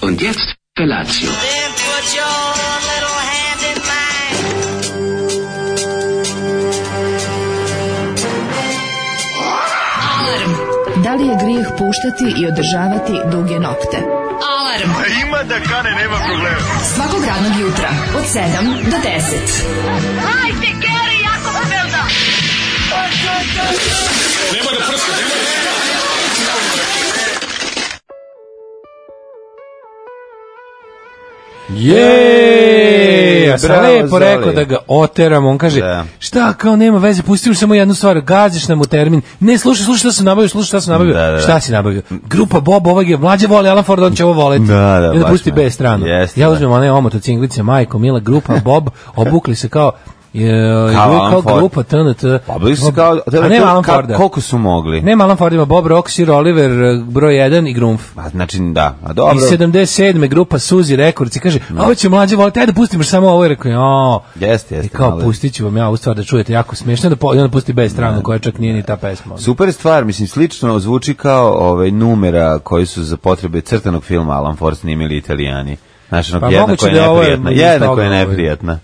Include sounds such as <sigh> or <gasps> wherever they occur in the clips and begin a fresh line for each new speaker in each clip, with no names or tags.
Und jetzt Felatio.
Then put your little hand in mine. Alarm,
Da li je grijeh puštati i održavati duge nokte?
alarm.
Ima da kane, nema problema.
Svakog radnog jutra od 7 do 10.
Hajde, Geri, Jakobsfelda!
Jej, ja sam
Bravo,
lepo
Zoli.
rekao da ga oteram, on kaže,
Da.
šta kao nema veze, pusti mi samo jednu stvar, gaziš nam u termin, ne slušaj, slušaj šta sam nabavio, slušaj šta sam nabavio,
Da, da, da.
šta si nabavio, grupa Bob ovog je, mlađe voli Alan Ford, on će ovo voleti,
Da, da,
i onda
baš
pusti
ne.
B stranu,
Jeste,
ja
da.
uzmem one omot od cinglice, majko, mila, grupa
<laughs>
Bob, obukli se kao, e, je,
Kao Alan
kao,
Ford.
grupa TNT,
Pa bili su kao...
a nema Alan
ka-
Forda,
Koliko su mogli?
nema Alan Forda, ima Bob Rock, Sir Oliver, eh, broj 1 i Grumf.
Pa, znači, da. A dobro.
I 77. grupa Suzi Rekords i kaže, a ovo će mlađe voliti, ajde da pustimo još samo ovo. I rekao, jo,
Jeste,
I
jeste,
E, kao,
malo je.
pustit ću vam ja ovu stvar da čujete jako smiješno, da po, i onda pusti bez stranu koja čak nije ni ta pesma.
Super stvar, mislim, slično zvuči kao ovaj, numera koji su za potrebe crtanog filma Alan Ford snimili italijani. Znaš, ono,
Pa
jedna
moguće
koja
da
je
je ovo
neprijatna.
iz
Jedna
toga,
koja je
ovaj.
neprijatna.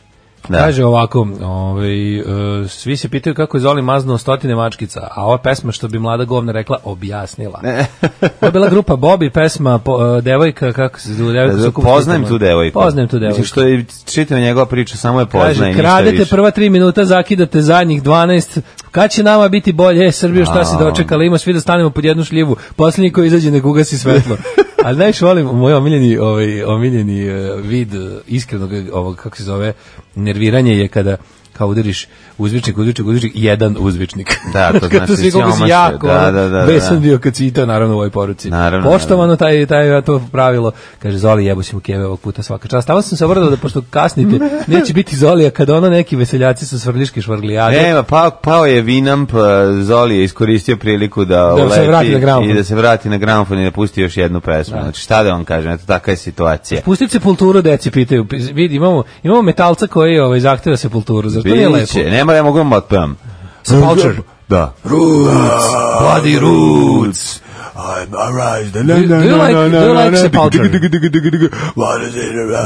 Da.
Kaže ovako, ovaj, e, svi se pitaju kako je Zoli maznuo stotine mačkica, a ova pesma što bi mlada govna rekla, objasnila. <laughs> Ovo je bila grupa Bobby, pesma po- e, Devojka, kako se zove, Devojka
Da,
sa
da,
kupom
poznajem
šutama.
tu devojku.
Poznajem tu devojku.
Mislim, što je čitava njegova priča, samo je poznaje
Kaže,
i ništa
kradete
više.
prva tri minuta, zakidate zadnjih 12. Kad će nama biti bolje? E, Srbijo, šta si
A.
dočekala? Ima svi da stanemo pod jednu šljivu. Posljednji koji izađe nek ugasi
<laughs>
svetlo. Ali najviše volim moj omiljeni, ovaj, omiljeni eh, vid eh, iskrenog ovog, kako se zove, nerviranje je kada kao udariš uzvičnik, uzvičnik, uzvičnik, jedan uzvičnik.
Da, to
<laughs> Kad
znači
svi kako si
siromašni,
jako,
da,
ono,
da, da,
besan
da.
bio kad si i to, naravno u ovoj poruci.
Naravno,
Poštovano Ono taj, taj ja to pravilo, kaže Zoli jebo si mu keve ovog puta svaka čast. Tamo sam se obradao da pošto kasnite,
<laughs>
neće biti Zolija kad ono neki veseljaci sa svrljiške švarglijade.
Nema, pao, pao je Vinamp, eh, Zoli je iskoristio priliku da,
se
uleti
vrati na gramofon.
i da se vrati na gramofon i da pusti još jednu pesmu. Znači, šta da vam kažem, eto, taka je situacija.
Pustit sepulturu, deci pitaju. Pis- Vidi, imamo, imamo metalca koji ovaj, zahteva sepulturu. Zar to nije lepo?
Biće, nema, ja mogu vam otpevam.
Sepulture.
Da.
Roots, bloody roots. Do, do you like, do you like sepulture?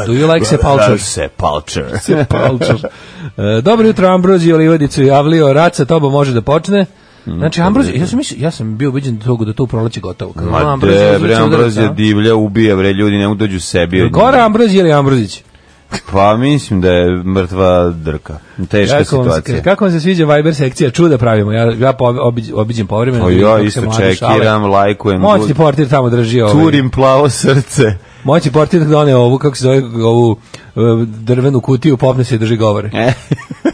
Do you like sepulture? <laughs>
Sepulture.
Sepulture. E, Dobro jutro, Ambrozio Olivadicu i Avlio. Rad sa tobom može da počne. Znači, Ambrozio, ja sam, mislio, ja sam bio ubeđen da to, da to u proleće gotovo. Kad ono
Mm, Ma
Ambrozio
de,
zvuči
bre,
udarac,
Ambrozija
a?
divlja, ubija, bre, ljudi, ne dođu sebi. od
Gora
nje.
Ambrozija ili Ambrozić?
Pa mislim da je mrtva drka. Teška
Kako vam, se,
situacija.
kako vam se sviđa Viber sekcija? Čuda pravimo. Ja, ja po, obiđ, obiđem povremeno.
O,
vidim
Pa ja
kako se
isto
mladi šale.
čekiram, lajkujem,
Moćni
gu-
portir tamo drži ovaj.
turim plavo srce.
Moćni portir doneo ovu, kako se zove, ovu e, drvenu kutiju, popne se i drži govore.
E,
<laughs>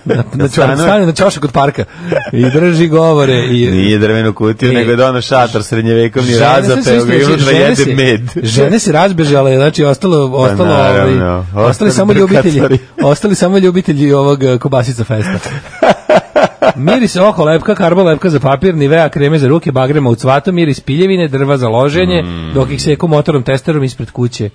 Na, na,
Stanu-
čošak, stane na čošak od parka i drži govore. I,
Nije drvenu kutiju,
E,
nego je dono šator srednjevekovni razapeo ga i unutra jede med.
znači,
Pa
žene se razbežale, znači ostalo, ostalo,
naravno.
ovaj,
Ostali
ostali samo ljubitelji,
drkatori.
ostali samo ljubitelji ovog eh, kobasica
<laughs>
festa. Miris oko lepka, karbo lepka za papir, nivea kreme za ruke, bagrema u cvatu, miris piljevine, drva za loženje, dok ih seku motorom testerom ispred kuće.
Mm.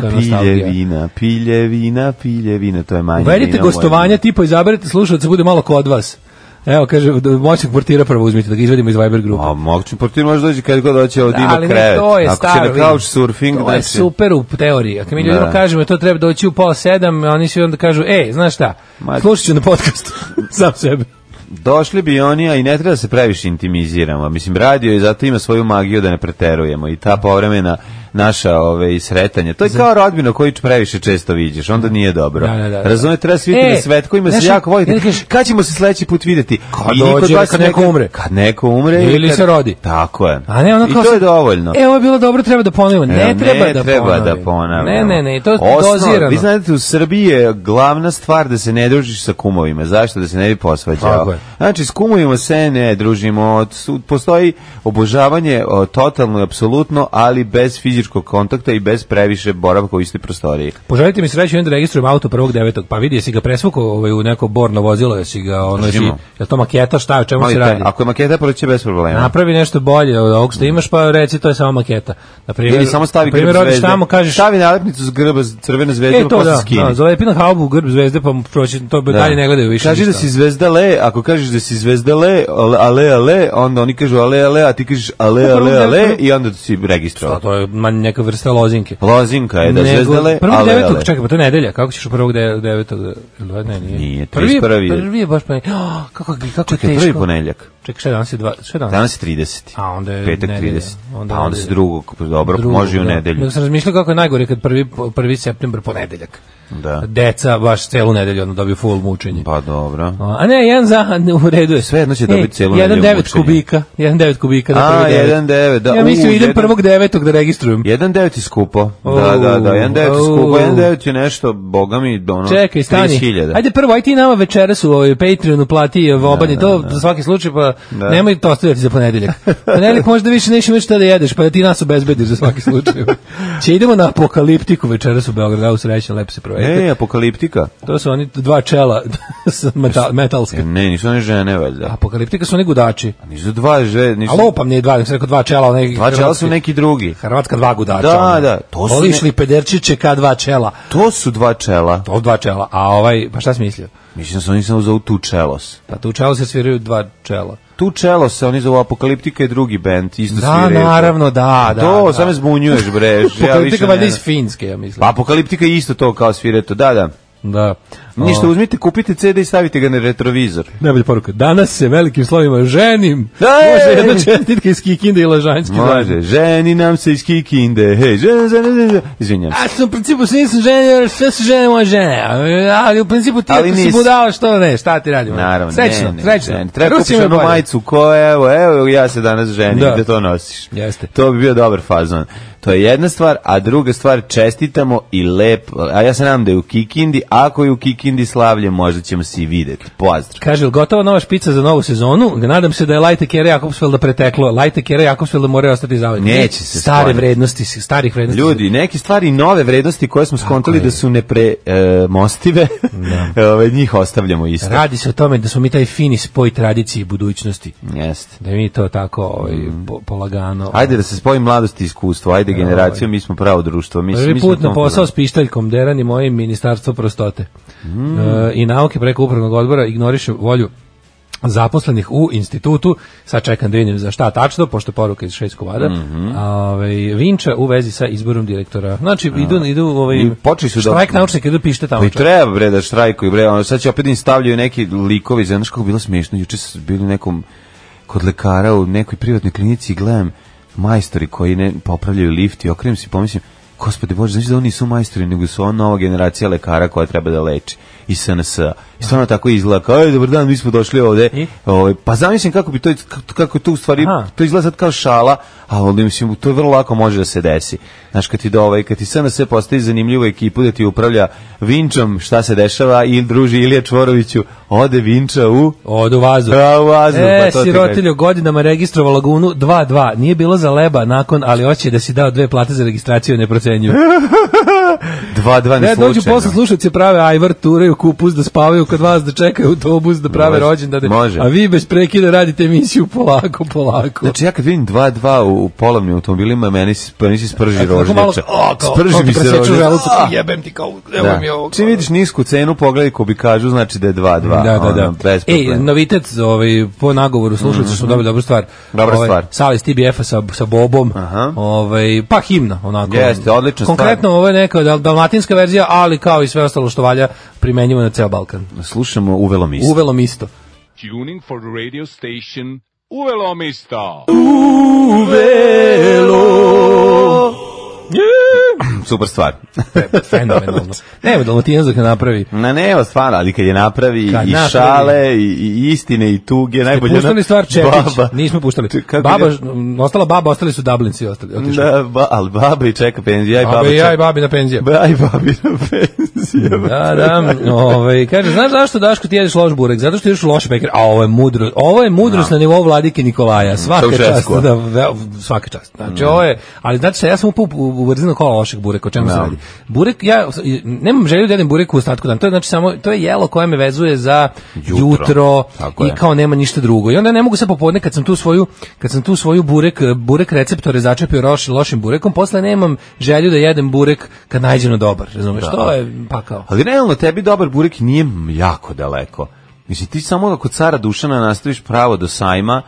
Teška nostalgija.
piljevina, piljevina, piljevina, to je manje.
Uvedite
vina u
gostovanja, tipa izaberite slušalca, bude malo kod vas. Evo, kaže, moćnog portira prvo uzmite, da ga izvedimo iz Viber grupe.
A pa moguće, portir može dođi kad god dođe od ima
ali ne,
krevet.
to je
Ako
staro.
će na
vidi.
couch surfing,
to je
znači...
super u teoriji. Ako mi
Da.
ljudima kažemo to treba doći u pola sedam, oni svi onda kažu, ej, znaš šta,
Ma-
slušat ću na
<laughs>
podcastu sam sebe.
Došli bi oni, a i ne treba da se previše intimiziramo. Mislim, radio je zato ima svoju magiju da ne preterujemo i ta povremena naša ove, sretanja. To je kao rodbina koju previše često vidiš, onda nije dobro.
Da, da, da, da.
Razumete, treba se vidjeti
E,
na svet kojima se
znaš,
jako volite.
i onda kažeš-
kad ćemo se sledeći put vidjeti?
Kad
I niko od
dođe,
vas
kad
ne-
neko umre.
Kad neko umre.
Ili
kad-
se rodi.
Tako je.
A ne, ono
I
kao
to je
sad,
dovoljno.
E, ovo je bilo dobro, treba da ponovimo. Ne,
E,
treba,
ne
da,
treba
ponovimo.
da ponavljamo.
Ne, ne, ne, to je
Osnov-
dozirano.
Vi znate, u Srbiji je glavna stvar da se ne družiš sa kumovima. Zašto? Da se ne bi
Tako
posvađao.
je.
Znači, s kumovima se ne družimo. Od- su- Postoji obožavanje o, totalno i apsolutno, ali bez fizičkog kontakta i bez previše boravka u istoj prostoriji.
Poželite mi sreću, onda registrujem auto prvog devetog. Pa vidi, jesi ga presvukao ovaj, u neko borno vozilo, jesi ga, ono, jesi,
Držimo.
je to maketa, šta, o čemu
Ali
se
taj-
radi?
Ako je maketa, proći će bez problema.
Napravi nešto bolje od ovog što imaš, pa reci, to je samo maketa. Na primjer,
Ili samo stavi
na primjer,
grb
odiš
zvezde.
tamo, kažeš,
Stavi nalepnicu s grba z- crvene zvezde,
E,
pa
to
posle
da,
skini.
da zalepi na haubu u grb zvezde, pa proći, to da. dalje ne gledaju više.
Kaži da
ništa.
si zvezda le, ako kažeš da si zvezda le, ale, ale, ale, onda oni kažu ale, ale, a ti kažeš ale, ale, ale, i onda si
Pa
registrovao.
to je ma neka vrsta lozinke.
Lozinka je Pa, e, da zvezdele,
prvog
ale,
devetog,
ale.
čekaj, pa to je nedelja, kako ćeš u prvog de- devetog, ili dva, ne, nije.
Nije,
prvi,
31 je.
prvi je baš ponedjeljak. Oh, <gasps> kako, kako je
Čekaj,
teško.
prvi ponedeljak.
Čekaj, šta je danas je dva, šta je danas?
Danas je 30.
A, onda je
Petak
nedelja.
30.
Onda
Onda pa onda
nedelja.
se drugog, dobro, može i u
da.
nedelju.
Nego sam razmišljao kako je najgore kad prvi, prvi september ponedeljak.
Da.
Deca baš celu nedelju ono dobiju full mučenje.
Pa dobro.
A ne, jedan za, u redu je.
Sve jedno će
E,
dobiti celu
Jedan
nedelju
devet
mučenja.
kubika, jedan devet kubika na
A,
prvi devet.
jedan devet, da,
Ja
u,
mislim, idem
jedan-
prvog devetog da registrujem.
1.9 je skupo. Da,
Au,
da, da, 1.9 je skupo.
au.
1.9 je nešto, boga mi, ono,
Čekaj, stani.
30.000.
Ajde prvo, aj ti nama večeras u ovoj Patreonu plati obanje to za svaki slučaj, pa
Da.
nemoj to ostavljati za
<laughs>
ponedeljak. Ponedeljak možda više nećeš imati šta da jedeš, pa da ti nas obezbediš za svaki
<laughs>
slučaj. Će idemo na apokaliptiku večeras u Beogradu, au srećan, lepo se provejte.
E, apokaliptika. E,
To su oni dva čela <laughs> sa metal, metalske.
Ne, nisu one žene, valjda.
Apokaliptika su oni gudači.
Nisu dva žene,
A
nisu...
lopam ne dva, nego sam rekao dva čela. One
Dva čela su
hrvatske-
neki drugi.
Hrvatska dva gudača.
Da,
ono.
da, to su
Oli
ne-
šli pederčiće ka dva čela.
To su dva čela.
To dva čela, a ovaj, pa šta si mislio?
Mislim da se oni samo zovu tu čelos.
Pa tu čelo se sviraju dva čela.
Tu čelo se oni zovu Apokaliptika i drugi band,
Da,
isto sviraju.
naravno, da, da.
to,
da.
sam me zbunjuješ, bre. ja više
Politika valjda
ne...
iz Finske, ja mislim.
Pa Apokaliptika je isto to kao svireto, da, da.
Da.
Ništa,
O,
uzmite, kupite CD i stavite ga na retrovizor.
Najbolja poruka. Danas se velikim slovima ženim.
Ej!
Može jedna čestitka iz Kikinde i Lažanjski.
Može, ženi nam se iz Kikinde, hej, ženi, ženi, ženi, ženi. Izvinjam se.
A sam u principu se nisam ženio, jer sve su žene moje žene. Ali u principu ti
Ali
ako si
nisi.
budala, što ne, šta ti radimo?
Naravno,
srećno,
ne, ne,
srećno.
ženi. Treba
Rusi
kupiš
imaju
onu
bolje.
majicu koja, evo, evo, ja se danas ženim,
Da.
da. to nosiš.
Jeste.
To bi bio dobar fazon. To je jedna stvar, a druga stvar, čestitamo i lep, a ja se nadam da je u Kikindi, ako je u Kikindi slavlje, možda ćemo se i videti. Pozdrav.
Kaže, jel gotova nova špica za novu sezonu? Nadam se da je Lajte Kera Jakobsfelda preteklo. Lajte Kera Jakobsfelda moraju ostati zavodni.
Neće se
Stare
skloniti.
vrednosti, starih vrednosti.
Ljudi, neke stvari i nove vrednosti koje smo skontali
je.
da su nepremostive, <laughs> Ove, njih ostavljamo isto.
Radi se o tome da smo mi taj fini spoj tradicije i budućnosti.
Jeste.
Da mi to tako ovaj, po- polagano...
Mm. Ajde da se spoji mladost i iskustvo, ajde generacija, mi smo pravo društvo. Mi, mi
Prvi
smo
put na
tom
posao
problemu.
s pištaljkom derani moje ministarstvo prostote.
Mm.
E, I nauke preko upravnog odbora ignoriše volju zaposlenih u institutu, sad čekam da vidim za šta tačno, pošto je poruka iz šest kovada,
Mhm.
A, ovaj, Vinča u vezi sa izborom direktora. Znači, idu, idu ovaj,
I počeli su da-
štrajk naučnika, idu pište tamo.
Pa i treba bre da štrajkuju bre, ono sad će opet im stavljaju neki likovi, znaš kako je bilo smiješno, juče su bili u nekom kod lekara u nekoj privatnoj klinici i gledam majstori koji ne popravljaju lift i okrenem se i pomislim, gospode bože, znači da oni nisu majstori, nego su ona nova generacija lekara koja treba da leči i SNS. I stvarno tako izgleda, kao, "Ej, dobar dan, mi smo došli ovde.
I?
Ovaj, pa zamislim kako bi to, kako- kako to u stvari,
Aha.
to izgleda sad kao šala, a ali mislim, to vrlo lako može da se desi. Znaš, kad ti, do, ovaj, kad ti SNS postavi zanimljivu ekipu da ti upravlja Vinčom, šta se dešava, ili druži Ilija Čvoroviću, ode Vinča u...
Od u vazu.
A, u vazduh,
e,
pa to ti
sirotiljo, godinama registrovao lagunu 2-2. Nije bilo za leba nakon, ali hoće da si dao dve plate za registraciju, ne procenjuju.
Dva, dva,
Ne,
ne,
E, dođu
slučajno.
posle slušalci prave ajvar, turaju kupus, da spavaju kod vas, da čekaju autobus, da prave
Može,
rođendane.
može.
A vi bez prekida radite emisiju polako, polako.
Znači ja kad vidim 2-2 u, u polovnim automobilima, meni se, meni se sprži
E, Tako
rožnjača.
malo- o, kao- kao
sprži
ti
mi se
preseču
rožnjača.
želucu,
Ah!
Jebem ti kao, evo
Da.
mi ovo.
Čim vidiš nisku cenu, pogledaj ko bi kažu, znači da je 2-2.
Da, da, da.
Ono, bez
Ej,
problema.
novitet, ovaj, po nagovoru slušalci smo dobili dobru stvar.
Dobra
ovaj,
stvar.
Sala iz TBF-a sa, sa Bobom,
Aha.
ovaj, pa himna, onako.
Jeste, odlična stvar.
Konkretno, ovo je neka dal- dalmatinska verzija, ali kao i sve ostalo što valja, primenjivo na ceo Balkan.
Slušamo uvelo misli.
Uvelo mi isto.
tuning for the radio station Uvelomisto.
Super stvar.
<laughs> Fenomenalno. Nemo dalmatinac dok ne napravi.
Na ne, evo, stvarno, ali kad je napravi
Kad
i
napravi.
šale i, i istine i tuge, najbolje
Puštali
ono-
stvar Čepić,
baba.
nismo puštali.
Tu- kako
Baba,
ide?
m, ostala baba, ostali su Dublinci ostali. Otišli.
Da, ba, ali baba i čeka penziju, ja i baba
Baba i ja i
čeka.
babi na penziju.
Ba, aj babi na penziju. <laughs>
Da, da, ovaj, kaže, znaš zašto Daško ti jedeš loš burek? Zato što jedeš loš peker, a ovo je mudro, ovo je mudrost na nivou vladike Nikolaja, svaka
To u
čast,
Švedsku.
da, ve- svaka čast.
Mm.
Znači, ovo je, ali znači, ja sam upao u, u vrzinu kola lošeg bureka, o čemu se
Da.
radi? Burek, ja nemam želju da jedem burek u ostatku dana, to je znači samo, to je jelo koje me vezuje za jutro,
Jutro. Tako
i
je.
kao nema ništa drugo. I onda ne mogu se popodne kad sam tu svoju kad sam tu svoju burek burek receptore začepio lošim lošim burekom, posle nemam želju da jedem burek kad nađem na dobar, razumeš?
Da.
To je pakao.
Ali realno, tebi dobar burek nije jako daleko. Mislim, ti samo ako kod cara Dušana nastaviš pravo do sajma,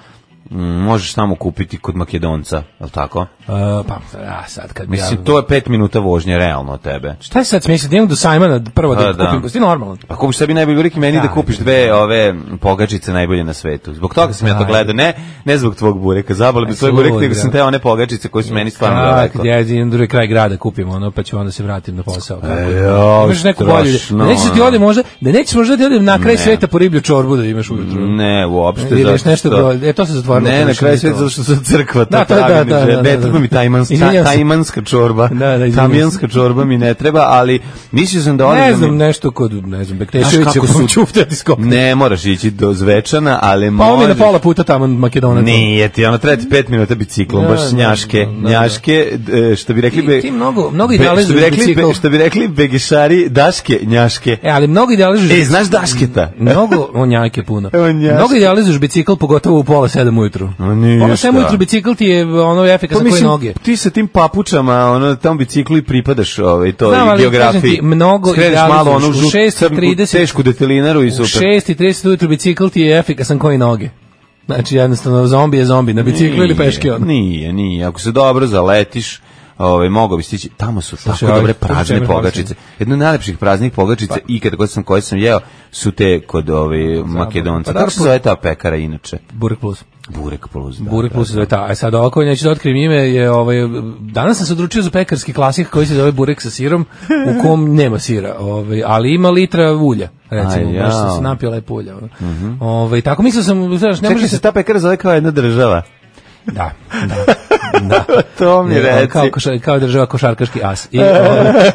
Mm, možeš tamo kupiti kod Makedonca, je li tako?
A, pa, a, sad kad bi ja...
Mislim, to je pet minuta vođnje, realno od tebe.
Šta je sad smisla? Da imam do Simona prvo da,
A, da.
kupim, si normalan.
Pa kupiš sebi najbolji urik i meni
Ja,
da kupiš dve ove pogačice najbolje na svetu. Zbog toga sam ja to
Ajde.
gledao, ne, ne zbog tvog bureka, zabole mi tvoj burek,
Sluga.
nego sam teo one pogačice koje su meni stvarno
Tako,
Pa, daleko.
gdje ja idem drugi kraj grada kupim ono, pa ću onda se vratim na posao. Kako?
E, jao,
imaš neku bolju.
strašno,
Da nećeš ti
ono.
ode možda, da nećeš možda ti ode na kraj
Ne.
sveta po riblju čorbu da imaš ujutru.
Ne, uopšte.
Ili još
zato
nešto,
što-
bro, e, to se zatvorilo.
Ne,
to
na
više
kraju
nije
sveta
to.
zato što se crkva, ta
Da, to je- da,
da,
da, da,
ne
da,
treba
da.
mi tajmanska,
Izvinjam se.
tajmanska čorba.
Da, da, izvinjam
Tamijanska čorba mi ne treba, ali mislio sam da oni...
Ne znam, nešto kod, ne znam,
Znaš
Bekteševića
kako su-
su čufte diskopne.
Ne moraš ići do Zvečana, ali
Pa on je na
možeš...
pola puta tamo Makedonac.
Nije ti, ono treba ti pet minuta biciklom,
Da,
baš
da,
njaške,
da, da.
njaške, e, što bi rekli...
Ti-
be-
ti mnogo- mnogo
be-
idealizuješ
što bi rekli,
bicikl.
be- Što bi rekli begišari, daške, njaške.
E, ali mnogo idealizuješ...
Ej, znaš dašketa?
Mnogo, on jake puno.
On jake.
Mnogo idealizuješ bicikl, pogotovo u pola sedam ujutru.
Ma nije
pola sedam
šta. Pa
ujutru bicikl ti je ono efikasan koje noge.
ti sa tim papučama, ono, tom biciklu i pripadaš ovaj, to
Znam,
i
ali
geografiji.
kažem ti, mnogo
Skreneš
idealizuješ.
malo ono
U
u žutu,
6:30
crnu, tešku detelinaru i
U
super.
6.30 ujutru bicikl ti je efikasan koje noge. Znači, jednostavno, zombi je zombi. Na biciklu ili peške ono. on.
Nije, nije. Ako se dobro zaletiš, ovaj mogao bi stići. Tamo su tako
ovaj,
dobre
slušaj,
prazne
Emir
pogačice. Jedno od najlepših praznih pogačica
Pa-
ikad koje sam koje sam jeo su te kod ove
Pa
Makedonca. Kako
dobro,
se zove ta pekara inače?
Burek plus.
Burek plus. da,
Burek
da,
plus se zove ta. A sad ovako koju neću da otkrijem ime je ovaj danas sam se odlučio za pekarski klasik koji se zove burek sa sirom u
<laughs>
kom nema sira, ovaj ali ima litra ulja recimo,
Aj,
baš sam
jao. Mhm.
se napio lepo ulja. ono. Ovaj tako mislio sam, znaš, ne
Čekaj
može
se
se
ta pekara zove kao jedna država.
da. da. Da.
To mi
Ne,
reci.
kao, koša, kao država košarkaški as.
<laughs>
I, ovaj,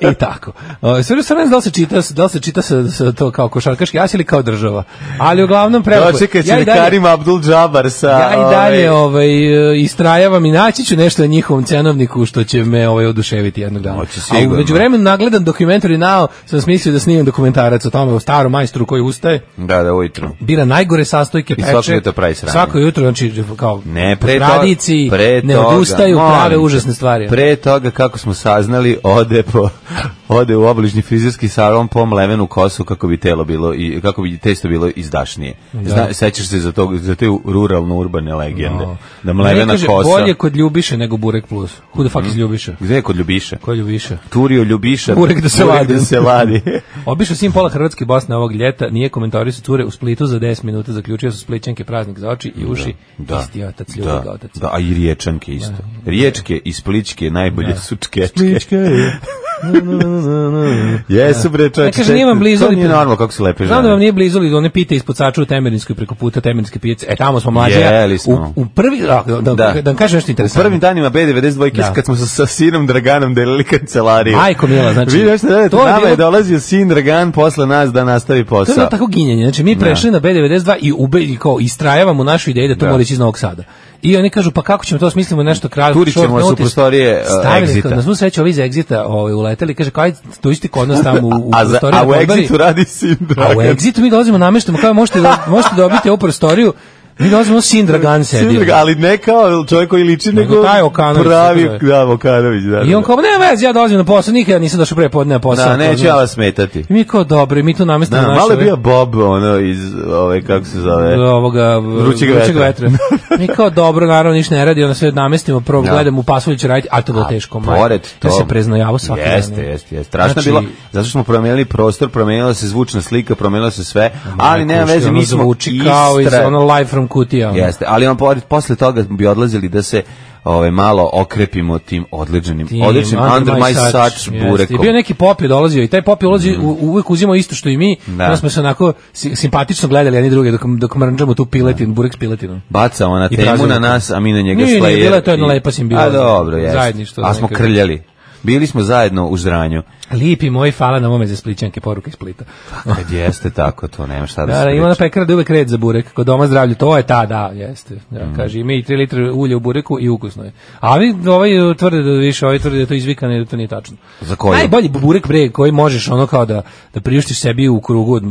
I tako. O, Sve sam ne znam da li se čita, da li se čita sa, sa to kao košarkaški as ili kao država. Ali uglavnom prelepo. je.
Dočekaj
Ja
će
i dalje-
Karim Abdul Džabar sa...
Ja i dalje
ovaj,
ovaj, e, istrajavam i naći ću nešto na njihovom cenovniku što će me ovaj, oduševiti jednog dana. A
Hoće sigurno.
umeđu vremenu nagledan dokumentari nao sam smislio da snimim dokumentarac o tome o starom majstru koji ustaje
Da, da, ujutru.
bira najgore sastojke
I
peče.
svako jutro pravi sranje.
Svako jutro, znači, kao
Ne,
po
pre toga-
tradiciji,
pre
ne
toga,
odustaju,
molim
prave
te.
užasne stvari.
Pre toga, kako smo saznali, ode, po, <laughs> ode u obližnji frizerski salon po mlevenu kosu kako bi telo bilo i kako bi testo bilo izdašnije. Zna, sećaš se za to za te ruralno-urbane legende. Da mlevena
Meni kaže,
kosa... Mhm.
Bolje kod Ljubiše nego Burek Plus. Who the fuck is Ljubiša?
Gde je kod Ljubiše?
Ko je Ljubiša?
Turio Ljubiša.
Burek da se vadi.
Da se vadi.
Obišao sam pola Hrvatske i Bosne ovog ljeta, nije komentarisao ture u Splitu za 10 minuta, zaključio su Splićanke praznik za oči i uši, isti otac, <laughs> ljubi ga
da,
otac.
da, a i riječanke isto. Riječke i spličke najbolje su čkečke. <laughs> Jesu bre
Ja
čoveče.
kažem, nije vam blizu,
To
ali-
nije normalno kako se lepe žene.
Znam da vam nije blizu ali one pite ispod sača u Temerinskoj preko puta Temerinske pijace. E tamo smo mlađe. ja.
Jeli smo.
U, u prvi da, da, da,
Da.
da vam kažem nešto
U
interesantno.
prvim danima B92
Da.
kad smo sa, sa sinom Draganom delili kancelariju.
Majko mila, znači,
Vi nešto da,
to je
nama
bilo-
je dolazio sin Dragan posle nas da nastavi
To je
posao.
bilo tako ginjenje. Znači, mi prešli na B92 i ube, i kao, istrajavamo našu ideju da to
Da.
mora ići iz Novog Sada. I oni kažu, pa kako ćemo to, smislimo nešto kratko.
Turit
short
ćemo vas u
notice.
prostorije, uh,
Stavili
Exita.
kao, Na svu sreću, ovi iz Exita ovaj, uleteli, kaže, kao, ajde, to isti kod nas tamo u, u
a, za,
prostoriji
a
na
u
Kolubari.
Exitu radi sin
A
Dragan.
u Exitu mi dolazimo nameštamo, kao možete, do- možete dobiti ovu prostoriju, mi dolazimo sin Dragan
Sin
sedi. ono.
Dragan, ali ne kao čovjek koji liči, nego,
Nego taj Okanović,
pravi,
tako
da, Okanović, da.
I on
da.
kao, ne vez, ja dolazim na posao, nikada nisam došao pre podne na posao.
Da,
to
neću
znaš.
ja vas smetati.
I mi kao, dobro, i mi tu namestimo
Da,
naše...
malo je
ove-
bio Bob, ono, iz, ove, kako se zove,
do ovoga
E. Vrućeg vetra. <laughs>
Mi kao dobro, naravno ništa ne radi, onda sve namestimo, prvo
Da.
gledamo u pasulju će raditi, a to je bilo
A
teško. maj.
Pored to.
Ja se preznojavao svaki dan.
Jeste, jeste, jeste. Strašno
Znači-
je bilo, zato što smo promijenili prostor, promijenila se zvučna slika, promijenilo se sve, ali nema
Kušti,
veze,
ono
mi smo
zvuči kao iz
istra-
ono live from kutija. ono.
Jeste, ali on pored, posle toga bi odlazili da se ovaj malo okrepimo tim odličnim,
Tim,
odličnim under my such
jeste. I
burekom.
bio neki pop je dolazio i taj pop je ulazio, u, uvijek uzimao isto što i mi,
Mm. Da.
da. onda smo se onako si- simpatično gledali jedni druge dok, dok mrnđamo tu piletin, burek s piletinom.
Baca ona
I
temu
tražimo
na
to.
nas, a mi na njega
Nije, nije,
slayer.
bila je to jedna
i-
lepa simbioza.
A dobro, jeste.
Zajedništvo,
A smo
neka-
krljali. Bili smo zajedno u žranju.
Lipi moji, hvala na ovome za splićanke, poruka iz Splita.
Kad jeste tako, to nema šta da,
Da,
se
da, ima na
priča.
pekara da je uvek red za burek. Kod doma zdravlja, to je ta, da, jeste. Ja,
Mhm.
Kaže, ima i 3 litre ulja u bureku i ukusno je. A vi ovaj e, tvrde da više, ovaj tvrde da je to izvikane, da to nije tačno.
Za koju?
Najbolji bu- burek bre koji možeš ono kao da, da priuštiš sebi u krugu od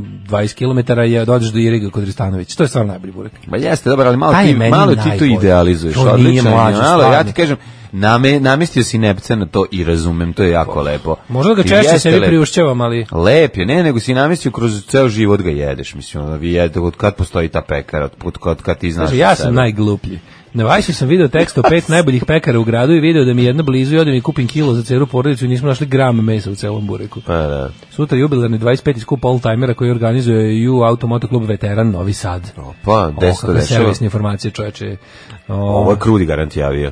20 km je da odeš do Iriga kod Ristanovića. To je stvarno najbolji burek.
Ma jeste, dobro, ali malo
Taj
ti,
Pa je meni
malo ti to
najbolji.
idealizuješ.
To nije
odličan je,
mlađe,
malo, ja
stvarno.
ti kažem, Name, namistio si nepce na to i razumem, to je jako lepo.
Možda ga
I
češće
jeste
sebi
lepo.
priušćavam, ali...
Lep je, ne, nego si namistio kroz ceo život ga jedeš, mislim, ono, vi jedete od kad postoji ta pekara, od put kad, kad ti znaš.
Kaže,
za
ja sam
sebe.
najgluplji. Na Vajsu sam video tekst o pet najboljih pekara u gradu i video da mi je jedna blizu i odem i kupim kilo za celu porodicu i nismo našli gram mesa u celom bureku.
Pa, da.
Sutra jubilarni 25 skup all-timera koji organizuje U Automoto klub Veteran Novi Sad.
Pa,
Ovo
desto
kakve
dešava.
servisne informacije, čoveče. O,
Ovo je krudi garant javio.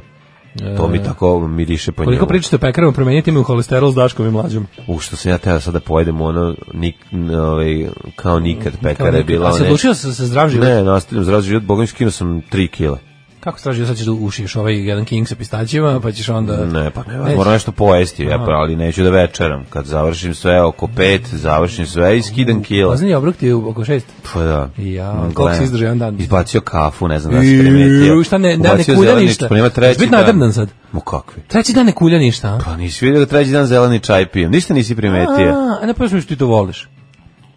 To mi tako miriše po
E. koliko
njemu.
pričate o pekarama, promenite mi u holesterol s Daškom i mlađom.
U što sam ja teo sada pojedem ono nik, n- ovaj, kao nikad pekara je
nekad.
bila.
A se
one-
odlučio sa, sa zdrav život?
Ne, nastavljam zrazu život, bogom skinuo sam 3 kila.
Kako se traži, sad ćeš da ušiješ ovaj jedan king sa pistaćima, pa ćeš onda...
Ne, pa ne,
Neće.
moram nešto pojesti, ja,
Aha.
pa, ali neću da večeram. Kad završim sve oko 5, završim sve i skidam kila.
Pazni obrok ti je oko šest.
Pa da.
Ja,
Mm,
koliko
gledam.
si izdržao jedan dan?
Izbacio kafu, ne znam da si
Iu,
primetio.
šta ne- da, ne
Ubacio
kulja
zeleni
ništa.
čaj, Pa nema treći
Biti
dan.
nadrdan sad.
Mu kakvi?
Treći dan ne kulja ništa, a?
Pa nisi vidio da treći dan zeleni čaj pijem. Ništa nisi primetio.
A, a ne poviš mi što ti to voliš.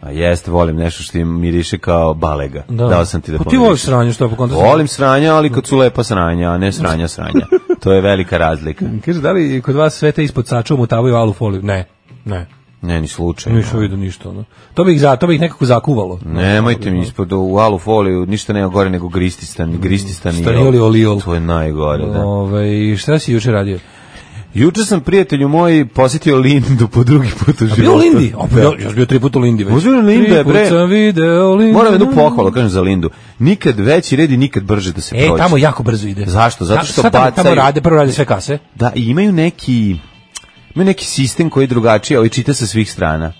A jeste, volim nešto što im miriše kao balega.
Da.
Dao sam ti da
Pa ti
pomirišeš.
voliš sranje, što po kontra-
Volim sranja, ali kad su lepa sranja, a ne sranja sranja. To je velika razlika.
Kaže, da li kod vas sve te ispod sačuva mutavaju alu foliju? Ne, ne.
Ne, ni slučaj.
Nisam vidio ništa, ono. To bi ih, za, to bi ih nekako zakuvalo.
Nemojte mi ispod u alu foliju, ništa nema gore nego grististan, grististan
Starioli oliol.
To je najgore, da.
Ove, Ovaj, šta si juče radio?
Juče sam prijatelju moj posjetio Lindu po drugi put u životu.
Bio u Lindi? O, pa
Da.
ja, ja sam bio tri puta u Lindi već.
Uzmem Linda,
Tri put
bre.
sam video Lindu.
Moram jednu pohvalu, kažem za Lindu. Nikad veći red i nikad brže da se
E,
prođe.
tamo jako brzo ide.
Zašto? Zato
Ta-
što
šta tamo- Tamo
bacaju-
rade, prvo rade sve kase.
Da, i imaju neki, imaju neki sistem koji je drugačiji, ali čita sa svih strana.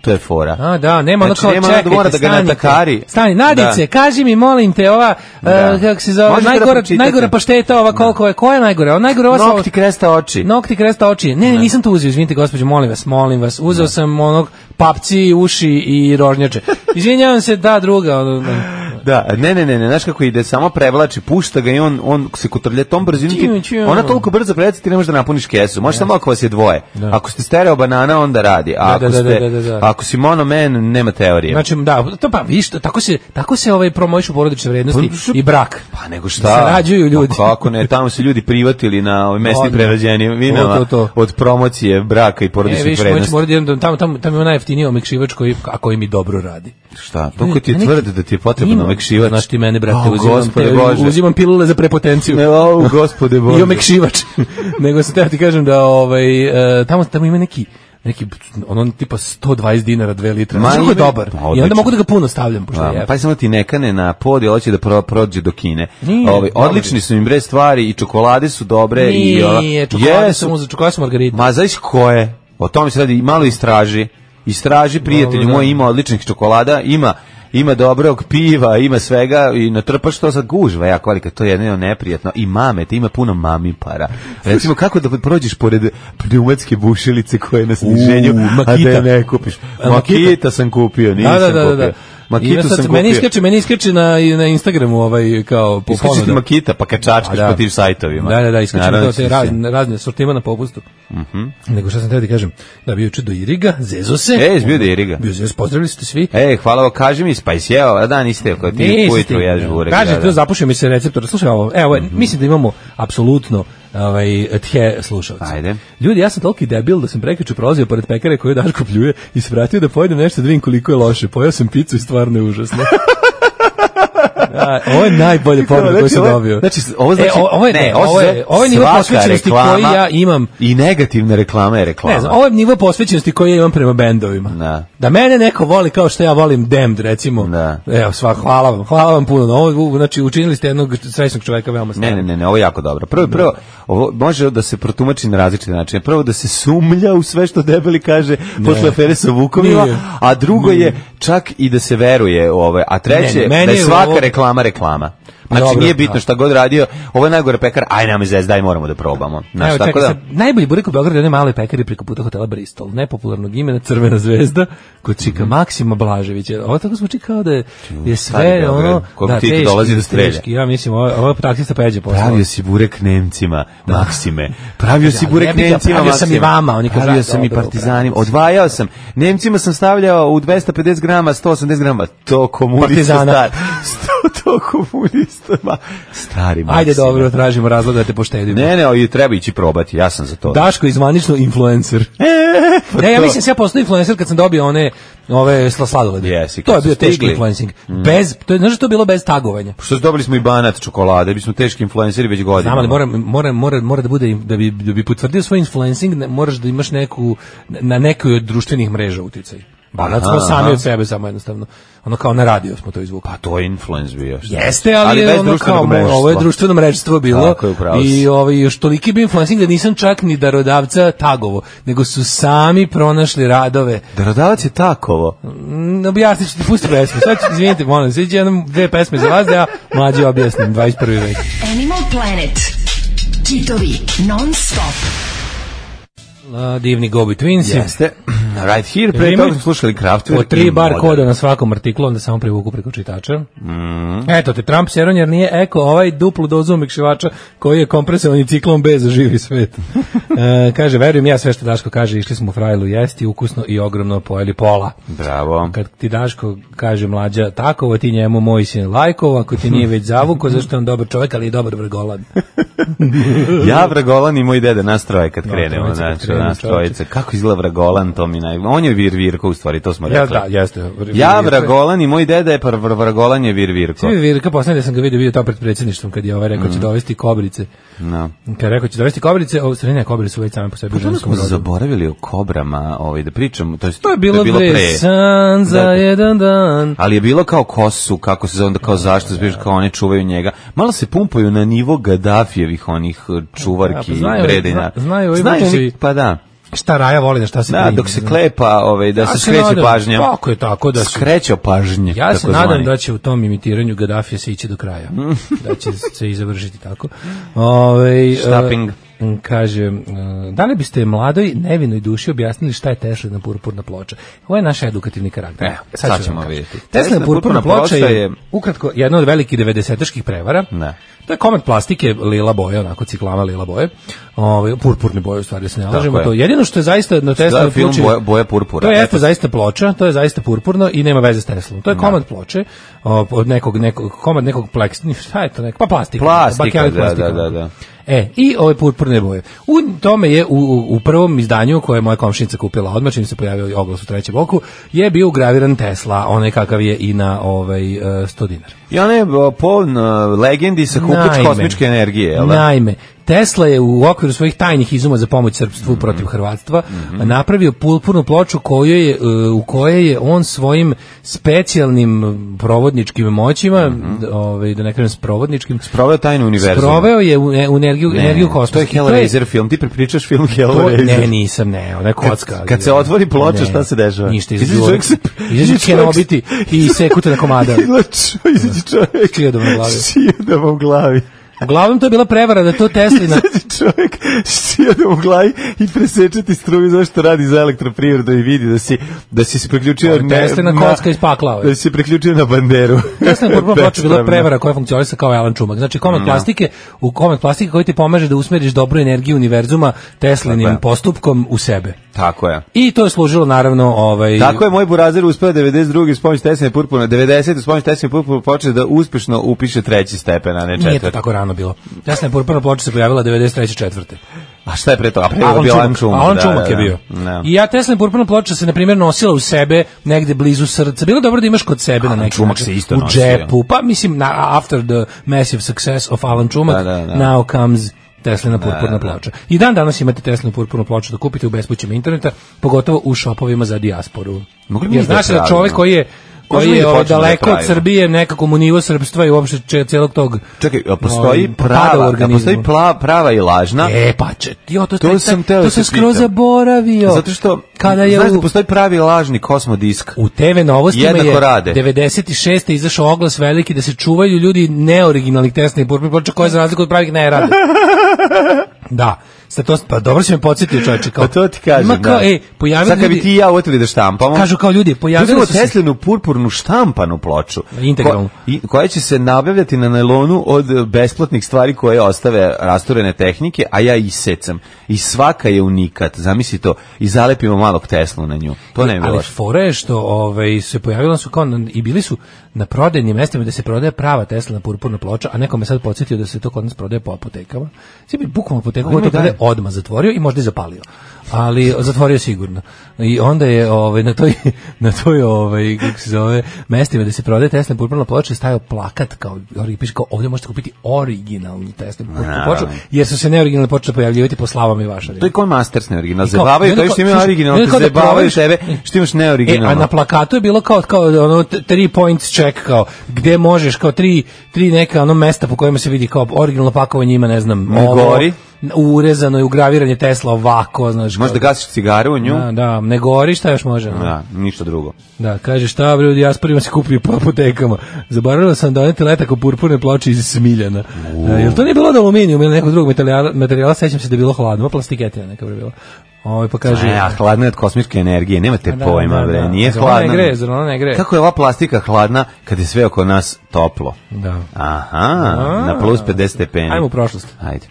To je fora.
A, da, nema ono
Znači,
kao,
nema ono da
čekajte,
mora da ga
stanite.
natakari.
Stani, Nadice,
Da.
kaži mi, molim te, ova,
Da.
e, kako se zove,
Možete da
najgora,
pročitate.
najgora pašteta, ova koliko je, koja je najgora? Ova najgora, ova sa-
Nokti kresta oči.
Nokti kresta oči. Ne, ne, nisam to uzeo, izvinite gospođo, molim vas, molim vas. Uzeo sam onog papci, uši i
<laughs>
rožnjače. Izvinjavam se, da, druga. ono, da.
Da, ne, ne, ne, ne, znaš kako ide, samo prevlači, pušta ga i on, on se kotrlja tom brzinom. ti-
Ćim, ćim.
Ona toliko brzo prelazi, ti ne možeš da napuniš kesu. Možeš samo ako vas je dvoje.
Da.
Ako ste stereo banana, onda radi. A
Da, da,
ako,
da,
ste,
da, da, da.
ako si monoman, nema teorije.
Znači, da, to pa, viš, tako se, tako se ovaj promovišu porodične vrednosti
Pa, što-
i brak.
Pa nego šta?
Sarađuju ljudi.
Pa kako ne, tamo su ljudi privatili na ovim mesnim
Odmah.
prerađenim vinama
To, to, to.
od promocije braka i
E,
porodičnih
viš,
vrednosti.
mora da idem, do- tamo, tamo, tamo je onaj jeftiniji omekšivač koji, a koji mi dobro radi.
Šta? Toliko ti je
Ne, neki-
tvrd da ti je potrebno
Ima.
omekšivač.
Znaš ti mene, brate,
O,
uzimam,
gospode
te,
Bože.
uzimam pilule za prepotenciju.
Ne, o, gospode Bože.
I
<laughs>
omekšivač. Nego sam teo ti kažem da ovaj, e, tamo, tamo ima neki neki ono tipa 120 dinara 2 litra.
Ma,
Ma, je
ima-
dobar.
Pa,
I onda
odlično.
mogu da ga puno stavljam pošto
A,
je.
pa samo ti nekane na pod, jel hoće da pro, prođe do Kine.
Nije,
Ovi,
dobro
odlični su im bre stvari i čokolade su dobre. i, ova-
Nije, čokolade
Jesu.
sam uzeo, čokolade sam margarita.
Ma znaš koje? O tome se radi, malo istraži. Istraži, prijatelju
Dobro,
moj,
da.
ima odličnih čokolada, ima ima dobrog piva, ima svega i natrpaš to sad gužva, ja kolika, to je jedno neprijatno. I mame, te ima puno mami para. Recimo, kako da prođeš pored pneumatske bušilice koje je na sniženju, a da je
Makita.
ne kupiš?
A, Makita.
Makita sam kupio, nisam
Da, da, da, da,
kupio.
da. Ima
Makitu
sad-
sam kupio.
Meni iskače, meni iskače na, na Instagramu ovaj, kao po
Iskače ti
ponudu.
makita, pa kačačkaš
Pa da.
po tim sajtovima.
Da, da, da, Mhm. iskačem
Naravno
to te
će se-
razne, razne sortima na popustu. Nego šta sam teo ti kažem, da bio juče do Iriga, zezo se.
E, jesi bio do Iriga?
Bio zezo, pozdravili ste svi.
E, hvala, vam, kaži mi, pa jesi jeo, a da, niste, ako ti
Nisi
ujutru
ti.
jedeš burek.
Kaže,
da,
to
da.
zapušio mi se receptor. Slušaj ovo, evo, ovaj,
Mhm.
mislim da imamo apsolutno ovaj, tje slušalca.
Ajde.
Ljudi, ja sam toliki debil da sam prekriču prolazio pored pekare koju Daško pljuje i svratio da pojedem nešto da vidim koliko je loše. Pojao sam picu i stvarno je
<laughs>
užasno. A, ovo je najbolje pogled
Znači,
koji sam
ovo je-
dobio.
Znači, ovo znači,
E, o- ovo je, ne, ovo je,
se
ovo je nivo
svaka
posvećenosti koji
reklama Pa.
ja imam.
I negativna reklama je reklama.
Ne znam, ovo je nivo posvećenosti koji ja imam prema bendovima.
Da.
Da mene neko voli kao što ja volim Damned, recimo.
Da.
Evo, sva, hvala vam, hvala vam puno. na Ovo, znači, učinili ste jednog srećnog čoveka veoma
Ne, ne,
slavnim.
ne, ne, ovo je jako dobro. Prvo, prvo, ovo može da se protumači na različite načine. Prvo da se sumlja u sve što debeli kaže posle afere sa Vukovima,
Nije.
a drugo je čak i da se veruje u ove. A treće,
Ne, ne, meni
da je
je
svaka
ovo-
reklama reklama. Znači,
Dobro,
nije bitno
da.
šta god radio, ovo je najgore pekar, aj nam iz daj moramo da probamo. Znaš,
Evo,
tako
čekaj,
da...
sad, najbolji burek u Beogradu je onaj mali pekari preko puta hotela Bristol, nepopularnog imena Crvena zvezda, kod čika Maksima Blaževića. Ovo tako zvuči kao da je, je
Mhm. stari
sve
Beograd,
ono...
koliko ti tu dolazi da strelja.
teški, ja mislim, ovo, ovo je taksista peđe posao.
Pravio si burek Nemcima, Maksime. Pravio si
Ja,
burek
jebi ga,
Nemcima,
pravio sam
Maksime.
i vama, oni kažu,
Pravio
a,
sam i
dobro,
partizanima. Odvajao sam. Nemcima sam stavljao u 250 grama, 180 grama. To komunista
Partizana.
star. To, to komunista isto, ma, stari Maksime.
Ajde, dobro, tražimo razlog da te poštedimo.
Ne, ne, ali treba ići probati, ja sam za to.
Daško je zvanično
<laughs>
influencer.
Pa
Ne, ja
to-
mislim da sam ja postao influencer kad sam dobio one ove sla- sladolede.
Jesi, kad
to je
su
bio teški
stigli. Mm. Pa
influencing. Bez, to je, znaš što je bilo bez tagovanja?
Što su dobili smo i banat čokolade, mi smo teški influenceri već godinama.
Znam, ali mora, mora, mora, mora da bude, da bi, da bi potvrdio svoj influencing, ne- moraš da imaš neku, na nekoj od društvenih mreža uticaj. Banat smo
Aha,
sami
aha.
od sebe, samo jednostavno. Ono kao na radio smo to izvukli.
Pa to je influence bio. šta?
Jeste, ali, je
bez
ono
društvenog
kao,
mrežstva.
ovo je društveno mrežstvo bilo.
Tako je, upravo si.
I ovaj, još toliki bi influencing da nisam čak ni darodavca tagovo, nego su sami pronašli radove.
Darodavac je takovo.
Mm, objasnit ću ti, pusti pesmu. Sad ću, izvinite, molim, sad ću jednom dve pesme za vas da ja mlađe objasnim, 21. vek.
Animal Planet. Čitovi non stop.
La, divni Gobi Twins.
Jeste. <clears throat> Right here, pre
Ima-
toga smo slušali Kraftwerk.
Po tri bar koda na svakom artiklu, onda samo privuku preko čitača. Eto te, Trump seron jer nije eko ovaj duplu dozu umikšivača koji je kompresovan i ciklom B za živi svet. <laughs> e, kaže, verujem ja sve što Daško kaže, išli smo u frajlu jesti, ukusno i ogromno pojeli pola.
Bravo.
Kad ti Daško kaže mlađa takovo, ti njemu moj sin lajkovo, ako ti nije već <laughs> zavuko, zašto je on dobar čovjek, ali i dobar <laughs> vrgolan.
Ja Vragolan i moj deda nas troje kad krenemo,
trojica kad
znači
krenemo,
nas
čoveče.
trojice. Kako izgleda Vragolan, to mi naj... On je Vir Virko, u stvari, to smo
ja,
rekli.
da, jeste.
Ja Vragolan i moj deda je par Vr- Vragolan je Vir Virko.
Svi Virka posljednje da sam ga vidio, bio to pred predsjedništvom kad je ovaj rekao će dovesti kobrice.
No.
Kad je rekao će dovesti kobrice, ovo sredine kobrice su već same po sebi u
Što
ženskom
smo
rodu.
zaboravili o kobrama, ovaj, da pričam, to, jest,
Ono To je bilo,
da je bilo
pre. San za
Da.
jedan dan.
ali je bilo kao kosu, kako se zove, onda kao zašto, zbiš kao one čuvaju njega. Malo se pumpaju na nivo Gaddafijevih onih eh, čuvarki,
Ja, pa znaju ovi-
vredina.
zna- znaju ovi
Znaju
vučevi.
se- pa da.
Šta Raja voli, na šta se
Da,
primi,
dok se
znaš.
klepa, ovaj, da
Ja
se
se
skreće
nadam- Pa,
pažnja.
Tako je, tako da su-
Skreće pažnje.
Ja se
takozvani.
nadam da će u tom imitiranju Gaddafija se ići do
<laughs>
kraja. da će se i završiti tako. Ove, e,
Štapping.
kaže, e, da li biste mladoj, nevinoj duši objasnili šta je Teslina purpurna ploča? Ovo je naš edukativni karakter.
Evo, E, sad
ću
ćemo
vam kažem.
vidjeti.
Teslina purpurna ploča je,
je-
ukratko, jedna od velikih 90-aških prevara.
Ne.
To je komad plastike, lila boje, onako ciklama lila boje. Ove, purpurne boje, u stvari, da se ne lažemo.
je.
To. Jedino što je zaista na Tesla
Da, film boja, boja purpura.
to
Eto,
jeste zaista ploča, to je zaista purpurno i nema veze s Teslom. To je komad ploče o, od nekog nekog komad nekog pleks, ni- šta je to neko? Pa plastika.
Plastika,
bakelit
da,
plastika.
da, da, da.
E, i ove purpurne boje. U tome je u, u, u prvom izdanju koje je moja komšinica kupila odmah, čim se pojavio oglas u trećem oku, je bio ugraviran Tesla, onaj kakav je i na ovaj, e, 100 dinara.
I ona je o, poln e, legendi sa kupić
Naime.
kosmičke energije, jel da?
Naime, Tesla je u okviru svojih tajnih izuma za pomoć srpstvu
Mhm.
protiv Hrvatstva napravio purpurnu ploču koju je, e, u kojoj je on svojim specijalnim provodničkim moćima,
Mhm.
ovaj, da ne kažem s provodničkim,
Sproveo tajnu univerzum.
sproveo je u, e, u energiju,
Ne,
energiju
To je
kosmosa. I to je-
Hellraiser film, ti prepričaš film
to-
Hellraiser.
ne,
<laughs>
nisam, ne, ona je kocka. ali-
kad se otvori ploča,
Ne,
šta se dešava?
Ništa,
Izađe
izađe
čovjek
čovjek,
se-
izađe
izađe čovjek se-
Kenobiti i sekute na
<laughs>
komada.
Izađi čovjek.
Šljadom na glavi.
S Šljadom u glavi.
Uglavnom to je bila prevara da to Teslina
Izađi čovjek s šljadom u glavi i preseče ti struju zašto radi za elektroprivredu i vidi da si, da si se priključio...
Ali Teslina kocka iz pakla, ovaj.
Da si se priključio na banderu. <laughs>
Tesla je purpurna ploča bila
Bespravno.
prevara koja funkcionisa kao Alan Čumak. Znači komad plastike, u komad plastike koji ti pomaže da usmeriš dobru energiju univerzuma Teslinim
Tako je.
postupkom u sebe.
Tako je.
I to je služilo naravno ovaj
Tako je, moj burazer uspeo 92. s pomoć tesne purpurne, 90. s pomoć tesne purpurne počeo da uspešno upiše treći stepen, a ne
Nije to
četvrti.
tako rano bilo. Tesla je purpurna ploča se pojavila 93. četvrte.
A šta je pre toga? A pre toga
Alan
bio Alan
Čumak,
Čumak.
Alan
da,
Čumak
da,
je
da.
bio.
Da.
I ja Tesla purpurna ploča se na primjer nosila u sebe negde blizu srca. Bilo je dobro da imaš kod sebe
Alan
na neki
Čumak
način.
se isto
u
nosio.
džepu. Pa mislim na after the massive success of Alan Čumak,
Da, da, da.
now comes Teslina purpurna
da.
ploča. I dan danas imate Teslinu purpurnu ploču da kupite u bespućima interneta, pogotovo u shopovima za dijasporu.
Mogli bi mi
Jer
da
znaš da
pravimo?
čovjek koji je
Možemo
koji
i
je
da
ovaj,
počnemo da
daleko od
pravimo.
Srbije nekako mu nivo srpstva i uopšte če- celog tog
Čekaj, a
ovaj,
postoji
pada u
prava, a
organizmu.
postoji pla- prava i lažna.
E, pa će, jo, to,
To
taj-
sam
taj-
teo
to
da
sam
te
skroz
pitam.
zaboravio.
Zato što,
kada je
znaš da
u,
postoji pravi i lažni kosmodisk.
u TV novostima
Jednako
je
rade.
96. izašao oglas veliki da se čuvaju
<laughs>
ljudi neoriginalnih tesnih burbi ploča koje za razliku od pravih ne rade. da. Sa to, pa dobro si me podsjetio, čovječe. Kao,
Pa to ti kažem,
ima kao,
da.
ej, pojavili
Sad kad bi
ljudi-
ti i ja oteli da štampamo.
Kažu kao ljudi, pojavili
Uzmemo
su se-
Teslinu purpurnu štampanu ploču.
Integralnu.
ko- i- koja će se nabavljati na nailonu od e, besplatnih stvari koje ostave rasturene tehnike, a ja isecam. I svaka je unikat, zamisli to. I zalepimo malog Teslu na nju. To ne bi bilo.
E, Ali fora je što ovaj, se pojavilo su kao, na- i bili su na prodajnim mestima da se prodaje prava Tesla purpurna ploča, a nekome sad podsjetio da se to kod nas prodaje po apotekama. Sve bi bukvalno apoteku koja to
i dalje.
prodaje odmah zatvorio i možda i zapalio. Ali zatvorio sigurno. I onda je ovaj, na toj, <laughs> na toj ovaj, kako se zove, mestima da se prodaje Tesla purpurna ploča stavio plakat kao, i piše kao, ovdje možete kupiti originalnu Tesla purpurnu ploču,
Naravno.
jer su se neoriginalne počele pojavljivati po slavama i vašarima.
To je kao Masters neoriginal.
I kao- i
Zabavaju
onda
to
kao-
što ima
slušaj, i
original,
onda
te
kao da
zabavaju
provališ-
tebe što imaš
E, a na
neoriginalno.
plakatu je bilo kao kao ono t- three points check kao gde možeš kao tri tri neka ono mesta po kojima se vidi kao originalno pakovanje ima ne znam
Ne gori.
urezano i ugraviranje Tesla ovako znaš kao-
Možeš da gasiš cigaru u nju?
da, da, ne gori, šta još može? ono?
Da, ništa drugo.
Da, kaže šta bre, u dijasporima se kupuju po apotekama. Zaboravila sam doneti letak u purpurne ploče iz Smiljana. E, jel to nije bilo od aluminijuma ili nekog drugog materijala, materijala sećam se da je bilo hladno, plastiketina neka bre bila. Ovo pa kaže...
E, a hladna je od kosmičke energije, nemate
Da,
pojma,
da,
bre,
da.
nije
Zar ona
hladna.
ne greje, zar ona ne greje?
Kako je ova plastika hladna kad je sve oko nas toplo?
Da.
Aha, na plus 50 stepeni.
Ajmo u prošlost.
Ajde.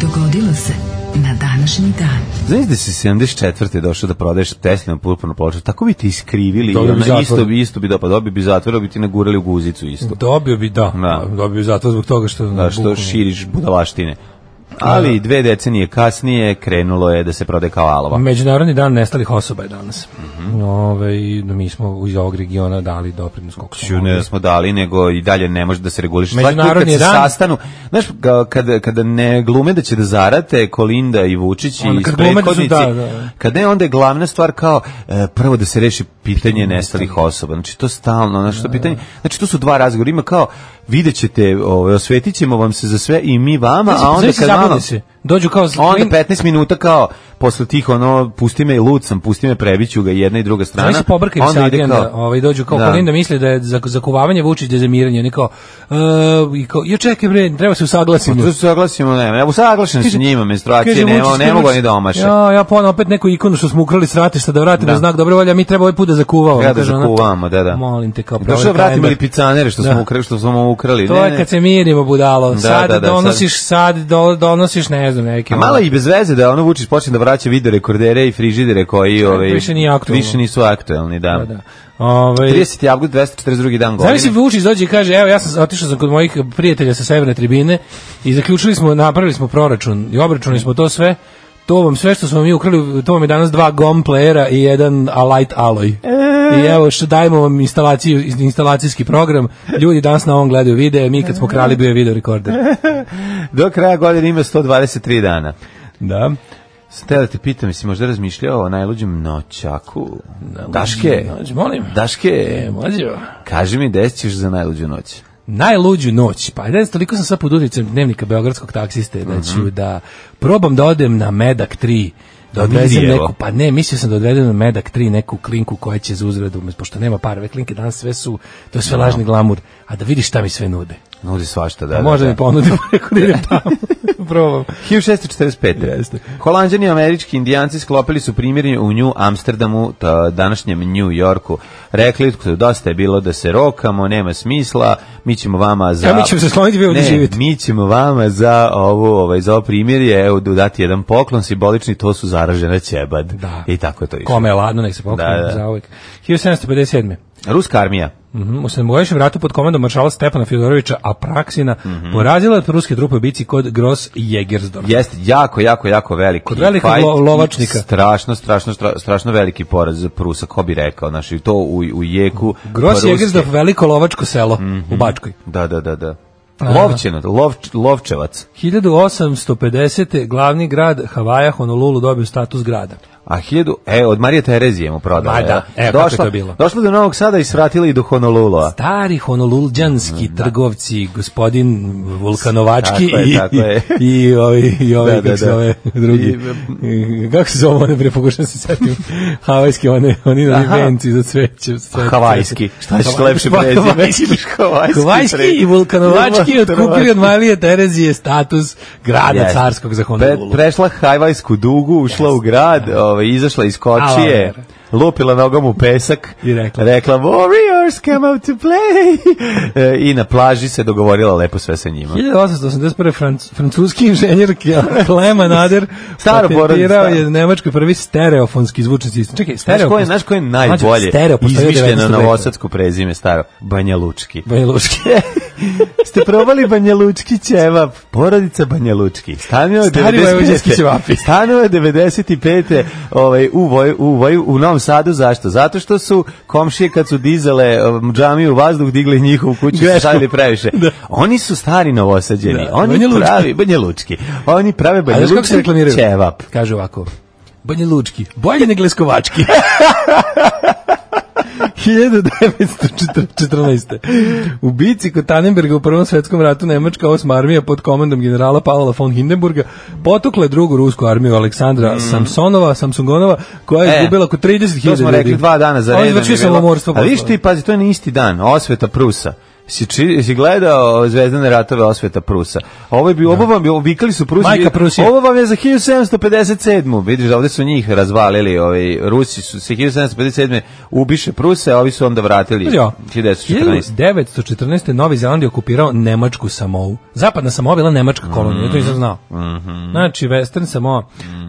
Dogodilo se na današnji dan.
Znaš da si 74. došao da prodaješ Teslinu purpurnu ploču, tako bi ti iskrivili i
Dobio bi
ona
zatvor.
isto bi, isto bi dopad, dobio bi zatvor, bi ti nagurali u guzicu isto.
Dobio bi, da.
Da.
Dobio bi zato zbog toga što...
Da, što
bukvalno-
širiš budalaštine. Ali dve decenije kasnije krenulo je da se prode kao alova.
Međunarodni dan nestalih osoba je danas.
Mhm.
Ove, i mi smo iz ovog regiona dali doprinos koliko smo
Ju ne
mogli.
da smo dali, nego i dalje ne može da se reguliše. Svaki put
Međunarodni
kad se
dan.
sastanu, znaš, ga- kada, kada ne glume da će da zarate Kolinda i Vučić i
Onda kad glume da su-
prethodnici,
da, da.
kad ne, onda je glavna stvar kao e, prvo da se reši pitanje nestalih osoba. Znači, to stalno, znači, to pitanje, znači, tu su dva razgovora, ima kao, vidjet ćete, ovaj, osvetit ćemo vam se za sve i mi vama, a onda
Znači,
kad vama...
zabludi se. Dođu kao... s-
Onda 15 minuta kao posle tih ono pusti me i lud sam, pusti me prebiću ga i jedna i druga strana.
Znači se pobrkaju sa
onda ide
agenda, ovaj, dođu kao da. Kolinda misli da je za, zakuvavanje Vučić da je zamiranje, oni kao, e, i kao, jo čekaj bre, treba se usaglasiti.
Pa to se saglasimo, ne, ne, usaglašen sa njima, menstruacije,
Kaže
ne,
Vučić,
ne
kaže
mogu
Vučić,
oni da omaše.
Ja, ja ponovno opet neku ikonu što smo ukrali s ratišta da vratimo
Da.
znak dobre volje, a mi treba ovaj put da zakuvamo.
Ja da zakuvamo, da, da.
ono, Molim te kao
Došao da
prover
vratimo
kalendar.
ili picanere što
Da.
smo ukrali, što smo mu ukrali.
To
ne,
je
ne.
kad se mirimo budalo.
Da,
sad
da, da,
donosiš sad, do, donosiš ne znam neke.
A mala i bez veze da ono Vučić počne da vraća video rekordere i frižidere koji ove,
više nije aktuelno.
više nisu aktuelni, da.
Da, da. Ovaj
30. avgust, 242. dan godine.
Zamisli Vučić dođe i kaže, evo ja sam otišao sam kod mojih prijatelja sa severne tribine i zaključili smo, napravili smo proračun i obračunali smo to sve. To vam sve što smo mi ukrali, to vam je danas dva GOM playera i jedan Alight Alloy. I evo što dajemo vam instalaciju, instalacijski program. Ljudi danas na ovom gledaju videe, mi kad smo krali bio je video
E.
rekorder.
Do kraja godine ima 123 dana.
Da.
Sada da te pitam, jesi možda razmišljao o najluđem noćaku? Daške,
Dođi, molim.
Daške,
E, mlađo.
kaži mi gde ćeš za najluđu noć?
najluđu noć. Pa ajde, toliko sam sad pod utjecem dnevnika beogradskog taksiste da
Mhm.
ću da probam da odem na Medak 3 da odvezem
Mirijevo.
neku, pa ne, mislio sam da odvedem na Medak 3 neku klinku koja će za uzradu, pošto nema par, ove klinke danas sve su, to je sve lažni glamur, a da vidiš šta mi sve nude.
Nudi svašta, da.
Da,
da,
Pa Možda
da.
mi <laughs> ponudi preko da idem
<laughs>
tamo, probam.
1645. Jeste. Holanđani i američki indijanci sklopili su primirje u New Amsterdamu, ta- današnjem New Yorku. Rekli, dosta je bilo da se rokamo, nema smisla, mi ćemo vama za...
Ja, mi ćemo se skloniti, vi ovdje
Ne,
živite.
mi ćemo vama za ovo, ovaj, za ovo primirje, evo, dati jedan poklon simbolični, to su zaražena ćebad.
Da.
I tako je to išlo.
Kome je ladno, nek se pokrije
Da, da.
za uvijek. 1757.
Ruska armija.
Mhm, U sedmogodišnjem ratu pod komandom maršala Stepana Fjodorovića Apraksina
Mhm.
porazila je ruske trupe u bici kod Gross Jägersdorf.
Jeste jako, jako, jako veliki.
Kod velikog
fight
lo- lovačnika.
i Strašno, strašno, stra- strašno veliki poraz za Prusa, ko bi rekao, znači to u, u jeku.
Gros
Ruske- Mhm.
Jegersdorf, veliko lovačko selo u Bačkoj.
Da, da, da, da. Lovčenot, lovč, lovčevac.
1850. glavni grad Havaja Honolulu dobio status grada.
A 1000, e, od Marije Terezije mu prodala.
Ma da,
jel?
evo kako je to bilo.
Došla do Novog Sada i svratila i do Honolulua.
Stari honolulđanski trgovci, gospodin Vulkanovački
Mhm, Tako je,
i,
tako je.
i, i ovi, i ovi
Da,
kako
da,
se
da.
zove, drugi. kako se zove one, prepokušam se setim. <laughs> Havajski one, oni na
Aha.
venci za cveće. cveće.
Havajski. Šta ćeš lepše
Pa,
prezime?
<laughs> Havajski.
<laughs> Havajski
Havajski
pre-
i Vulkanovački otkupili od Marije Terezije status grada
Jeste.
carskog za
Pre,
Honolulu.
prešla Hajvajsku dugu, ušla u grad, ovaj, izašla iz kočije,
Alo,
lupila nogom u pesak
I rekla.
Warriors come out to play E, i na plaži se dogovorila lepo sve sa njima.
1881. Franc, francuski inženjer
<laughs>
Kleman Ader
Staro
patentirao
borac,
je nemačkoj prvi stereofonski zvučni sistem. Čekaj,
Znaš
stereofon...
ko je, znaš ko je najbolje
stereo postoji od
izmišljeno
19.
novosadsko prezime staro? Banja Lučki.
Banja Lučki.
<laughs> Ste probali Banja Lučki ćevap? Porodica Banja Lučki. Stanio je
Stari vojvođanski ćevapi.
95. Stanio je 95. Ovaj, u, voj, u, voj, u Novom Sadu. Zašto? Zato što su komšije kad su dizale um, džamiju u vazduh, digli njihovu kuću i
Greškom.
stavili
<laughs>
previše. Oni su stari novosađeni.
Da,
Oni
Banja Lučki.
pravi Banja Lučki. Oni prave
A
Banja
znaš kako se
Lučki
reklamiraju?
ćevap.
Kaže ovako. Banja Lučki. Bolje nego Leskovački.
<laughs>
1914. U bici kod Tannenberga u Prvom svetskom ratu Nemačka osma armija pod komandom generala Pavla von Hindenburga potukla je drugu rusku armiju Aleksandra Samsonova, Samsungonova, koja je
Mm. E,
izgubila oko 30.000 ljudi.
To smo rekli dva dana za
On
redom.
izvršio
je bilo.
samomorstvo.
A vidiš
posle.
ti, pazi, to je na isti dan, osveta Prusa. Si, či, si gledao Zvezdane ratove osveta Prusa. Ovo, je bi, ovo vam je, vikali su Prusi.
Majka Prusija.
Ovo vam je za 1757. Vidiš, ovde su njih razvalili. Ovi, Rusi su se 1757. ubiše Pruse, a ovi su onda vratili.
Jo.
1914.
1914. Novi Zeland je okupirao Nemačku Samovu. Zapadna Samoa bila Nemačka kolonija, to nisam znao. Znači, Western Samoa,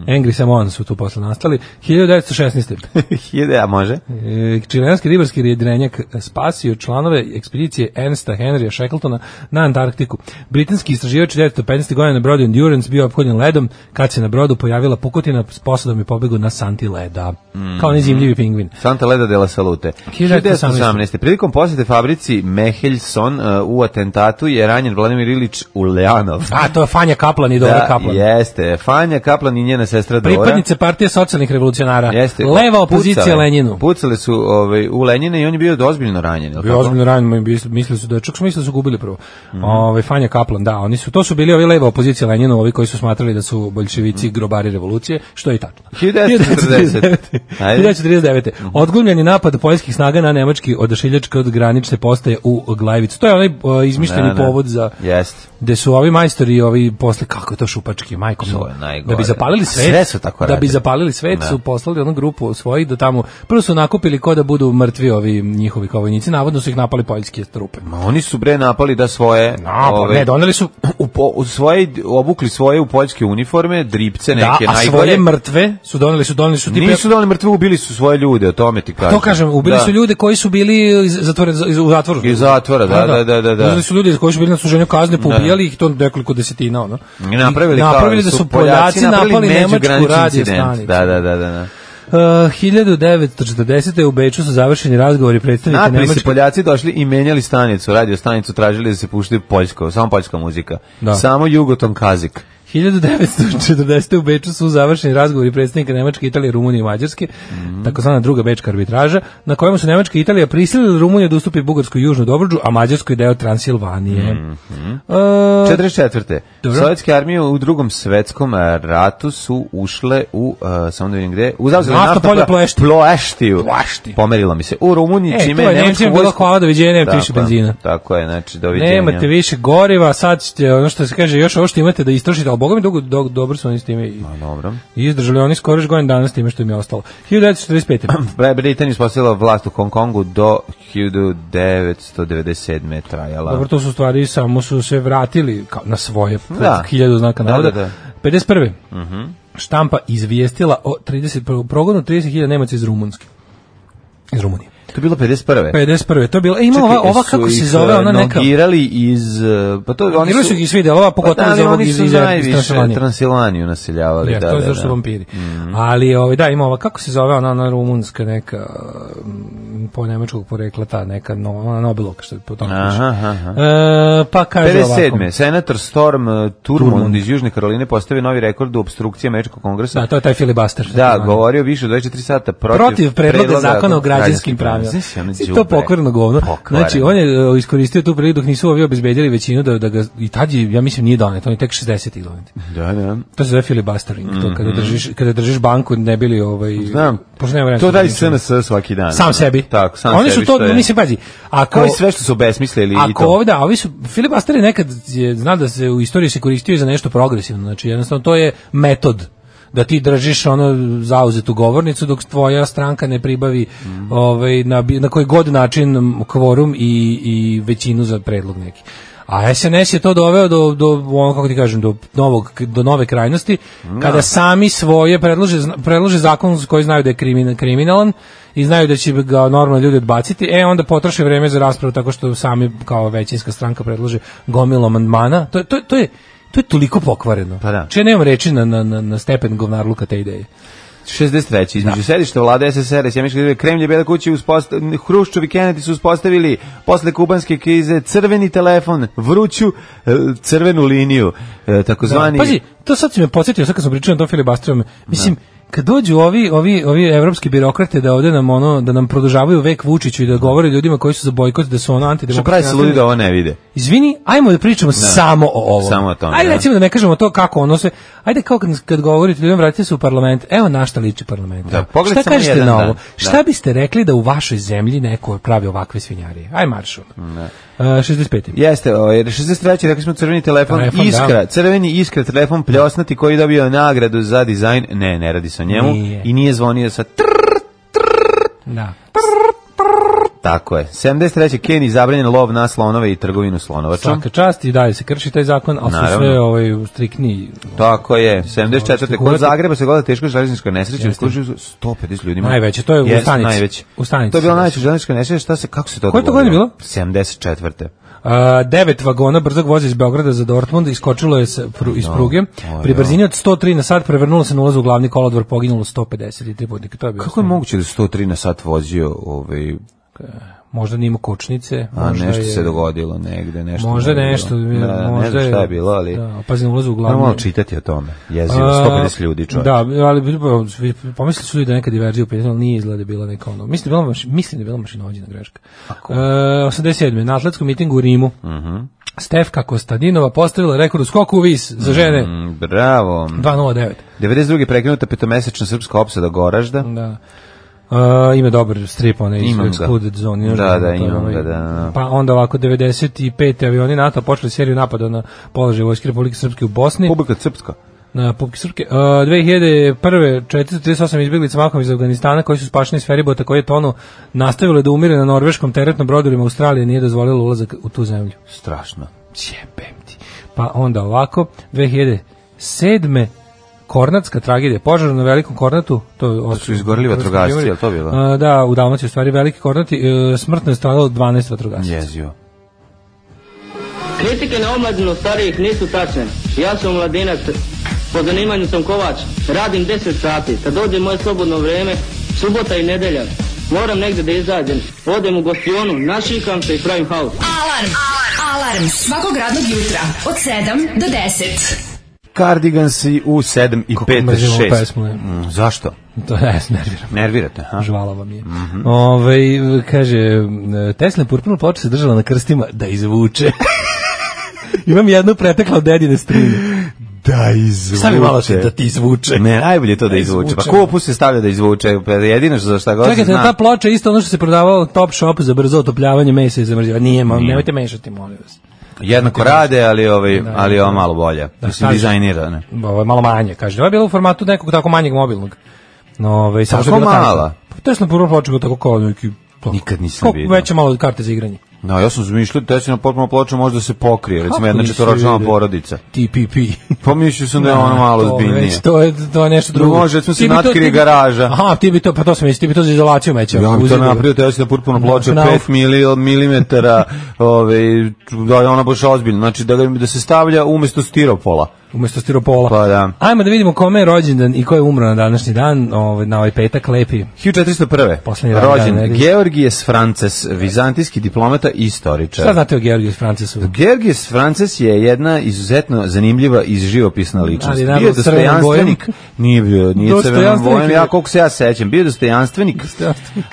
Angry Samoan su tu posle nastali. 1916.
<laughs> Hiljade, a može?
E, Čilenski ribarski rjedrenjak spasio članove ekspedicije Ernsta Henrya Shackletona na Antarktiku. Britanski istraživač 1915. godine na brodu Endurance bio ophodjen ledom kad se na brodu pojavila pukotina s posadom i pobegu na santi leda. Kao nezimljivi pingvin.
Santa Leda de la Salute. 1918. Prilikom posete fabrici Mehelson uh, u atentatu je ranjen Vladimir Ilić Uljanov.
A, to je Fanja Kaplan i Dora Kaplan.
jeste. Fanja Kaplan i njena sestra Dora.
pripadnice partije socijalnih revolucionara.
Jeste.
Leva opozicija
Pucale.
Lenjinu.
Pucale su ovaj, u Lenjina i on je bio ozbiljno ranjen. jel
Bio
tako?
ozbiljno ranjen, mislili su da čak su mislili da su gubili prvo.
Mhm.
Ovaj Fanja Kaplan, da, oni su to su bili ovi leva opozicija Lenjinu, ovi koji su smatrali da su
Mhm.
boljševici grobari revolucije, što je i tačno.
1940.
<laughs>
Ajde. Mhm.
1939. Odglumljeni napad poljskih snaga na nemački odašiljač kod granične postaje u Glajvicu. To je onaj e, izmišljeni
Da, da.
povod za
Jeste.
gde su ovi majstori i ovi posle kako je to šupački majko
To
mila.
je najgore.
da bi zapalili svet
Sve su tako
da bi
radili.
zapalili svet
Da.
su poslali onu grupu svojih do tamo prvo su nakupili ko da budu mrtvi ovi njihovi kao vojnici navodno su ih napali poljske trupe
Ma oni su bre napali da svoje...
a pa
ovaj,
ne doneli su
u, po- u svoje, obukli svoje u poljske uniforme, dripce neke
da, a
najgore.
svoje mrtve su doneli su doneli su tipe
Nisu dali mrtve, ubili su svoje ljude, o tome ti kažem.
Pa to kažem ubili
Da.
su ljude koji su bili iz zatvore iz- u zatvoru
Iz zatvora, da, da, da, da, da.
Pa Uzeli su ljudi koji su bili na služenju kazne, poubijali ih to nekoliko desetina, ono.
I napravili,
I
kao-
napravili da su Poljaci napali Nemačku
međugranični
radio
incident.
stanicu.
Da, da, da, da. da.
Uh, 1940. u Beču su završeni razgovori predstavnika
Napili se
Nemačke.
Poljaci došli i menjali stanicu, radio stanicu, tražili da se pušti poljsko, samo poljska muzika.
Da.
Samo Jugoton Kazik.
1940. u Beču su završeni razgovori predstavnika Nemačke, Italije, Rumunije i Mađarske,
Mhm.
takozvana druga bečka arbitraža, na kojemu su Nemačka i Italija prisilili Rumuniju da ustupi Bugarsku i Južnu Dobruđu, a Mađarsku je deo Transilvanije.
Mhm.
Uh,
44.
Dobro.
Sovjetske armije u drugom svetskom eh, ratu su ušle u, uh, samo da vidim gde, u zauzeli
Naftno
naftno
polje
pla-
Ploešti.
Ploeštiju.
Ploešti.
Pomerilo mi se. U Rumuniji
E,
čime
to je
nemačku
Nemcima bilo
vojsku-
hvala, doviđenja, nemate
Tako
više
je,
benzina.
Tako je, znači, pa, doviđenja.
Nemate više goriva, sad ćete, ono što se kaže, još ovo što imate da istrošite, ali boga mi dugo, do- dobro su oni s time i,
A, Dobro.
i izdržali oni skoro još godin danas s time što im je ostalo.
<clears throat>
1945.
Bre, Britanija je uspostavila vlast u Hong Kongu do 1997. je trajala.
Pa Dobro, to su stvari, samo su se vratili kao na svoje, da.
Da.
hiljadu znaka
Da,
navoda.
da, Mhm. da.
51. Štampa izvijestila o 30, pro- progonu 30.000 Nemaca iz Rumunske. Iz Rumunije.
To je bilo 51.
51. To je bila, e, ima ova, ova
su
kako se
ih,
zove,
e,
ona neka...
Nogirali iz... e, Pa to, oni Pa
Nogirali su ih iz videa, ova pogotovo
da,
iz
ali
ovog
oni
iz-
su
iz- iz
najviše
Transilvanije.
Transilvaniju naseljavali.
Ja,
da,
to je
da,
zato što
da. Mhm.
vampiri. Ali ovaj da ima ova kako se zove ona, ona rumunska neka m, po nemačkog porekla ta neka no, ona Nobelovka što je po tome piše.
Aha, aha, aha.
E, pa kaže
57.
ovako.
Senator Storm e, Turmund iz Južne Karoline postavio novi rekord u obstrukciji američkog kongresa.
Da, to je taj filibuster.
Da, govorio više od 24 sata protiv,
protiv predloga zakona o građanskim pravima.
Znači, ono
Znači, to
đubre.
pokvarno govno.
Pokvareno.
Znači, on je e, iskoristio tu priliku dok nisu ovi obezbedili većinu da, da ga, i tad je, ja mislim, nije donet, on je tek 60. donet.
Da, da.
To se zove filibustering, to kada držiš, kada držiš banku ne bili ovaj...
Mhm. Znam.
pošto nema vremena
To
za
radi
pričanje.
SNS svaki dan.
Sam sebi.
Tako, sam
Oni
sebi
su to,
što je-
mislim, pazi, ako...
Kao i sve što su obesmislili i
Ako
to.
ovdje, a ovi su, filibuster je nekad, je, zna da se u istoriji se koristio i za nešto progresivno, znači jednostavno to je metod da ti držiš ono zauzetu govornicu dok tvoja stranka ne pribavi ovaj, na, bi- na koji god način kvorum i, i većinu za predlog neki. A SNS je to doveo do, do ono, kako ti kažem, do, novog, do nove krajnosti, kada sami svoje predlože, zna- predlože zakon za koji znaju da je krimin- kriminalan i znaju da će ga normalno ljudi odbaciti, e onda potroše vreme za raspravu tako što sami kao većinska stranka predlože gomilu amandmana. To, je- to, je- to je to je toliko pokvareno.
Pa da.
Znači, ja nemam reči na, na, na, na stepen govnarluka te ideje.
63. Između sedišta vlade SSR i Sjemičke države Kremlj je Bela kuća usposta... Hruščov i Kennedy su uspostavili posle kubanske krize crveni telefon, vruću e, crvenu liniju, e, takozvani...
Pazi, to sad si me podsjetio, sad kad sam pričao na tom filibasterom, mislim, kad dođu ovi, ovi, ovi evropski birokrate da ovde nam ono, da nam produžavaju vek Vučiću i da govore ljudima koji su za bojkot, da su ono
Što
antidemokratski.
pravi se ludi da ovo ne vide?
Izvini, ajmo da pričamo samo o ovom.
Samo o tome,
Ajde
da.
recimo da ne kažemo to kako ono sve. Ajde kao kad, kad govorite ljudima vratite se u parlament. Evo na šta liči parlament.
Da, pogledaj
šta
samo
kažete
jedan
na
dan,
ovo?
da.
Šta biste rekli da u vašoj zemlji neko pravi ovakve svinjarije? Aj E, marš. Da. 65.
Jeste, ovaj, 63. rekli smo crveni telefon,
Telefon, da.
iskra, crveni iskra telefon pljosnati koji je dobio nagradu za dizajn, ne, ne radi se o njemu,
Nije.
i nije zvonio sa tr,
Da.
tako je. 73. Keniji zabranjen lov na slonove i trgovinu slonovačom.
Svaka čast i dalje se krši taj zakon, ali su
Naravno.
sve ovaj, strikniji.
Tako je, 74. Kod Zagreba se gleda teško železnička nesreća, u slučaju 150 ljudi.
Najveće, to je u
Jeste,
stanici.
Najveće.
U stanici.
To je bila najveća železnička nesreća, šta se, kako se to
Koje je to
dogodilo?
godine
74.
A, devet vagona brzog voza iz Beograda za Dortmund iskočilo je sa pru- iz pruge.
o,
Pri
ja.
brzini od 103 na sat prevrnulo se na ulazu u glavni kolodvor, poginulo 153 putnika. To je bio
Kako je moguće da je 103 na sat vozio, ovaj,
možda nije imao kočnice,
a
možda
nešto
je,
se dogodilo negde, nešto.
Možda
je
je
bilo.
nešto,
Da, da,
možda
ne znam šta je bilo, ali...
Da, pazi na ulazu u
Moramo
glavni.
malo čitati o tome. Jezivo,
A,
150 ljudi čovjek.
Da, ali pa, pomislili su ljudi da je neka diverzija u pitanju, ali nije izgleda bila neka ono. Mislim da je bila, maš, mislim da je bila mašinovođena greška. E, 87. Na atletskom mitingu u Rimu.
Mhm.
Stefka Kostadinova postavila rekord u skoku u vis za žene.
Mm, Bravo.
2.09.
92. prekinuta petomesečna srpska opsada Goražda.
Da. Uh, ima dobar strip, onaj iz
Imam ga.
Excluded Zone. još
Da,
znam
da,
to,
imam
ovaj.
ga, da, da.
Pa onda ovako, 95. avioni NATO počeli seriju napada na položaj Vojske Republike Srpske u Bosni.
Publika srpska.
na pupke srpske. Uh, 2001. 438 izbjeglica mahom iz Afganistana koji su spašeni iz feribota koji je tonu nastavilo je da umire na norveškom teretnom brodorima Australije nije dozvolilo ulazak u tu zemlju.
Strašno.
Jebem ti. Pa onda ovako, 2007. Kornatska tragedija, požar na Velikom Kornatu, to je
su izgorili vatrogasci, je li to bilo?
A, da, u Dalmaciji u stvari Veliki Kornati, e, smrtno je stradalo 12 vatrogasaca.
Jezivo.
Kritike na omladinu starijih nisu tačne. Ja sam mladinac, po zanimanju sam kovač, radim 10 sati, kad dođe moje slobodno vrijeme, subota i nedelja, moram negdje da izađem, odem u gostionu, našikam se i pravim haus.
Alarm. Alarm. Svakog radnog jutra od 7 do 10.
Cardigans i u 7 i 5
mrzim ovu
6.
pesmu, ne?
Mm, zašto?
To je <laughs> nervira.
Nervirate, ha?
Žvala vam je.
Mhm.
Ovaj, kaže, e, Tesla purpurnu ploču se držala na krstima da
<laughs>
izvuče. Imam jednu pretekla od dedine strine.
Da izvuče.
Stavi malo se da ti izvuče.
Ne, najbolje je to da,
Da
izvuče. Pa
izvuče.
kopu se stavlja da izvuče. pa Jedino što za šta god se
Čekajte,
zna.
ta ploča je isto ono što se prodavalo Top Shop za brzo otopljavanje mesa i zamrzivanje. Nije, ma, nemojte mešati, molim vas.
Jednako rade, ali, ovaj, ali ovo malo bolje.
Da,
Mislim,
kaže-
dizajnirane.
Ovo je malo manje, kaže. Ovo je bilo u formatu nekog tako manjeg mobilnog. No, ovaj, samo što je
Tako
bila
mala?
Tesla. Pa Tesla purpurna ploča je bila tako kao neki... to-
Nikad nisam
kao
vidio.
Veće malo od karte za igranje.
No, ja sam zmišljao da će na potpuno ploča možda se pokrije, recimo jedna
nisi
četvoročlana
vidio?
porodica.
TPP.
Pomislio sam da je ono
To
malo zbiljnije.
već, To je to je nešto drugo.
može, recimo, se
Ti bi to-
natkrije
ti bi-
garaža.
Aha, ti bi to, pa to sam mislio, ti bi to za izolaciju meća.
Ja bi to
uzeo.
napravio, teo sam da potpuno ploča
Knauf.
5 mili, milimetara, ove, da je ona baš ozbiljna. Znači, da, ga, da se stavlja umesto stiropola.
umesto stiropola.
Pa da.
Ajmo da vidimo kome je rođendan i ko je umro na današnji dan, ovaj na ovaj petak lepi.
1401.
Poslednji radni
rođen
dan, ne vidim.
Georgijes Frances, vizantijski diplomata i istoričar.
Šta znate o Georgiju Francesu?
Georgijes Frances je jedna izuzetno zanimljiva i živopisna ličnost.
Ali, naravno,
bio je
crvenom
dostojanstvenik.
bojem.
Nije bio, nije crvenom
Dostojanstvenik
bojem,
je.
ja koliko se ja sećam. Bio je dostojanstvenik,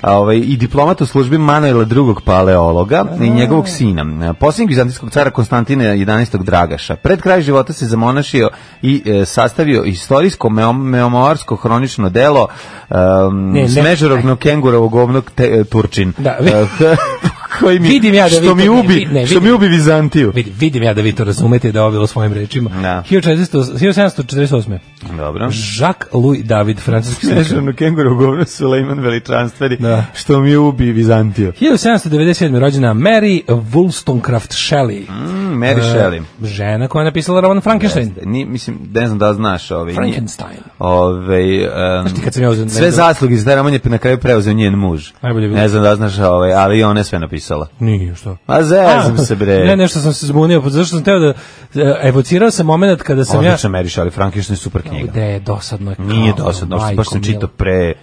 a, ovaj, i diplomat u službi Manuela II. paleologa i njegovog sina. Posljednjeg vizantijskog cara Konstantina 11. Dragaša. Pred kraj života se zamonašio i e, sastavio istorijsko meom- memoarsko hronično delo um,
Ne, ne.
smežerovnog kengurovog ovnog te- Turčin.
Da, vi-
E, <laughs> koji mi,
Vidim ja da vi
što
to
mi
ne-
ubi,
vi- ne,
što mi
vidim.
ubi Vizantiju.
Vidim, vidim ja da vi to razumete i da je ovo bilo svojim rečima.
Da.
1400 1748.
Dobro.
Jacques Louis David,
<laughs>
francuski slikar.
Snežano kenguru govno Sulejman veličanstveni,
Da.
što mi ubi Vizantiju.
1797. rođena Mary Wollstonecraft Shelley.
Mm,
E.
Mary Shelley.
Žena koja je napisala roman Frankenstein.
Ni, mislim, ne znam da li znaš ovaj, nije-
Frankenstein.
ovaj, um,
ti kad sam ja uzeo-
sve zasluge iz Daraman je na kraju preuzeo njen muž.
Najbolje bilo.
Ne znam da li znaš, ovaj, ali i ona je sve napisala.
Nije, što?
A zezam
A,
se bre.
Ne, nešto sam se zbunio, pa zašto sam teo da e, evocirao sam momenat kada sam ja
Odlična Mary Shelley, Frankenstein je super knjiga.
gde je dosadno. je
Nije
kao,
dosadno,
majko
baš sam čitao
mila.
pre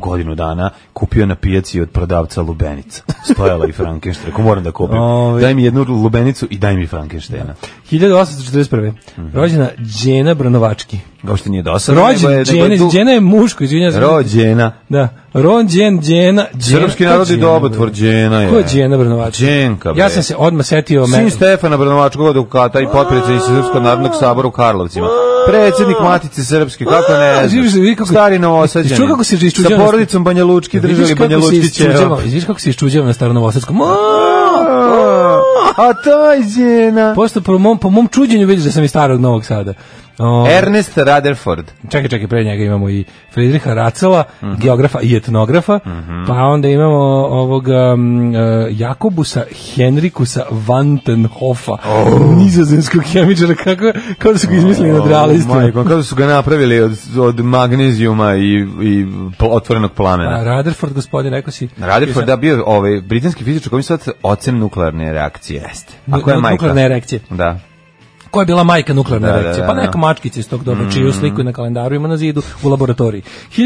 godinu dana, kupio na pijaci od prodavca lubenica. Stojala i Frankenstein, ko moram da kupim.
Ove.
Daj mi jednu lubenicu i daj mi Frankensteina.
1841. Rođena Đena Branovački.
Ga uopšte nije dosadno. nego
Rođen
Mhm. je- nego je
Đena,
du-
Đena je muško, izvinjavam se.
Rođena.
Da. Rođen Đena, Đena.
Srpski
ko
narod je
Đena,
dobotvor,
bre?
Đena je.
Ko je Đena Branovački?
Đenka, bre.
Ja sam se odmah setio me.
Sin Stefana Brnovačkog advokata i potpredsjednik Srpskog narodnog sabora u Karlovcima. Predsjednik Matice Srpske, kako ne
Živiš, vidi
znaš.
kako-
Stari novosađeni.
Čuo kako se
Sa
iščuđava-
porodicom Banja Lučki
Vidiš
držali
kako
Banja
se
Lučki
isčuđava- Vidiš kako se iščuđava na Staranovosadskom. Ma!
E! A taj Đena.
Posto po mom, po mom čuđenju vidiš da sam iz starog Novog Sada. O,
Ernest Rutherford.
čekaj, čekaj, pre njega imamo i Friedricha Racela,
Mhm.
geografa i etnografa, pa onda imamo ovoga mm, e, Jakobusa Henrikusa Vantenhofa,
Oh.
nizozemskog hemičara, kako, kako su ga izmislili nad realistima.
Oh, Majko, Kako su ga napravili od, od magnezijuma i, i pl- otvorenog
A
plamena.
Rutherford, gospodin, rekao si...
Rutherford da bio je, ovaj britanski fizičar koji sad ocen nuklearne reakcije. Jeste. A koja je
Nu-
majka?
Nuklearne erekcije.
Da.
Koja je bila majka nuklearne
Da, da,
reakcije?
da,
Pa
da. Mhm.
neka mačkica iz tog doba, čiju sliku na kalendaru ima na zidu u laboratoriji.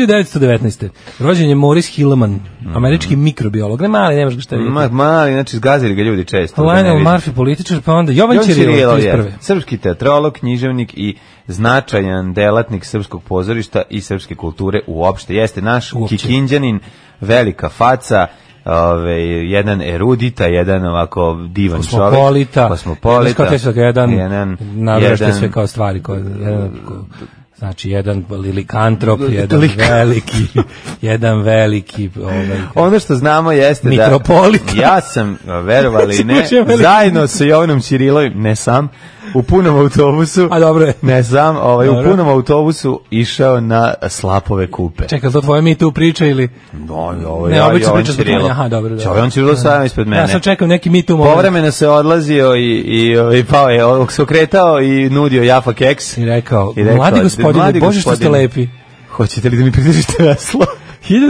1919. Rođen je Morris Hilleman,
Mhm.
američki mikrobiolog. Ne mali, nemaš ga šta vidjeti.
Ma, mali, znači zgazili ga ljudi često. da ne
Pa Lionel
vidim.
Murphy, političar, pa onda Jovan
Jovan
Ćirilo,
Ćirilo je
31.
srpski teatrolog, književnik i značajan delatnik srpskog pozorišta i srpske kulture uopšte. Jeste naš
Uopće.
kikinđanin, velika faca, Ove, jedan erudita, jedan ovako divan čovjek.
Kosmopolita. Znaš
Kosmopolita.
Kao teško, jedan,
jedan,
jedan navrašte
jedan-
sve kao stvari. Koje, jedan, ko- znači, jedan
<laughs>
lilikantrop, jedan
Lik-
veliki,
<laughs>
jedan veliki, ovaj,
Ono što znamo jeste
Mitropolita.
da ja sam,
<laughs>
verovali ili ne,
Slušaj, veliki-
zajedno sa Jovanom Ćirilovim, ne sam, u punom autobusu,
a dobro je.
ne sam, ovaj, u
Dobro.
punom autobusu išao na slapove kupe.
Čekaj, je li to tvoje mi tu priča ili...
No, ovo,
Ne,
ja, Znači,
obično
Jovan
priča s
Ćirilo.
putovanja, aha, dobro, dobro.
Jovan Ćirilo sam ispred mene.
Ja sam čekao neki mi tu moment.
Povremeno se odlazio i, i, i pao je, ovog se okretao i nudio Jafa keks.
I rekao,
I rekao,
mladi gospodine,
"Mladi
bože što ste
gospodine,
lepi.
Hoćete li da mi pridržite veslo?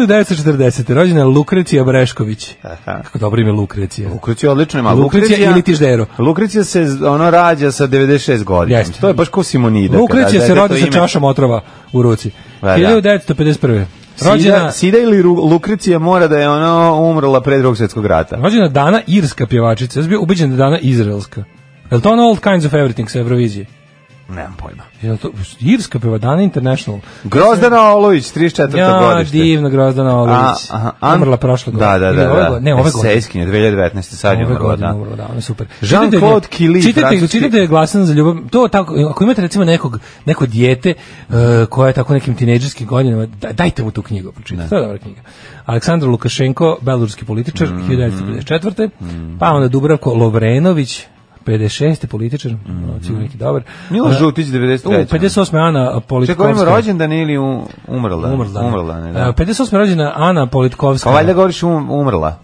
1940. rođena Lukrecija Brešković. Kako dobro ime Lukrecija.
Lukrecija odlično ima.
Lukrecija ili Tiždero.
Lukrecija se z- ono rađa sa 96 godina.
Jeste.
To je baš kao Simonida.
Lukrecija
kada
se
dete
rodi
to
sa
ime-
čašom otrova u ruci.
Pa da.
1951.
Sida,
Rođena,
Sida ili Ru- Lukrecija mora da je ono umrla pre drugog svjetskog rata.
rođena Dana irska pjevačica. Ja sam bio ubeđen da je Dana izraelska. Je li to ono All Kinds of Everything sa Eurovizije?
Nemam pojma.
Je li to irska pjeva Dana International?
Grozdana Olović, 34.
Ja,
godište.
divna Grozdana Olović.
A, aha, an-
Umrla prošle godine.
Da, da,
Ili
da.
ove
da.
godine? Ne, ove godine.
Esejskinja, 2019. Sad je
Ove
umrla,
godine
da.
umrla, da, ona je super.
Jean-Claude
Čitajte nju-
Killy,
Čitajte,
francuski-
čitajte glasan za ljubav. To tako, ako imate recimo nekog, neko dijete uh, koje je tako nekim tinejdžerskim godinama, da- dajte mu tu knjigu pročitati. To je dobra knjiga. Aleksandar Lukašenko, belorski političar,
Mhm.
1954. Pa onda Dubravko Lovrenović, 56. političar,
Mhm.
mm. sigurno neki dobar.
Milo
Uh,
Žutić,
u,
93.
58. Ana
ono. Čekaj, govorimo
Politkovska.
rođendan ili u- umrla?
Umrla.
Umrla, ne, da.
Uh, 58. rođena Ana
Pa
Politkovska.
valjda govoriš um, umrla.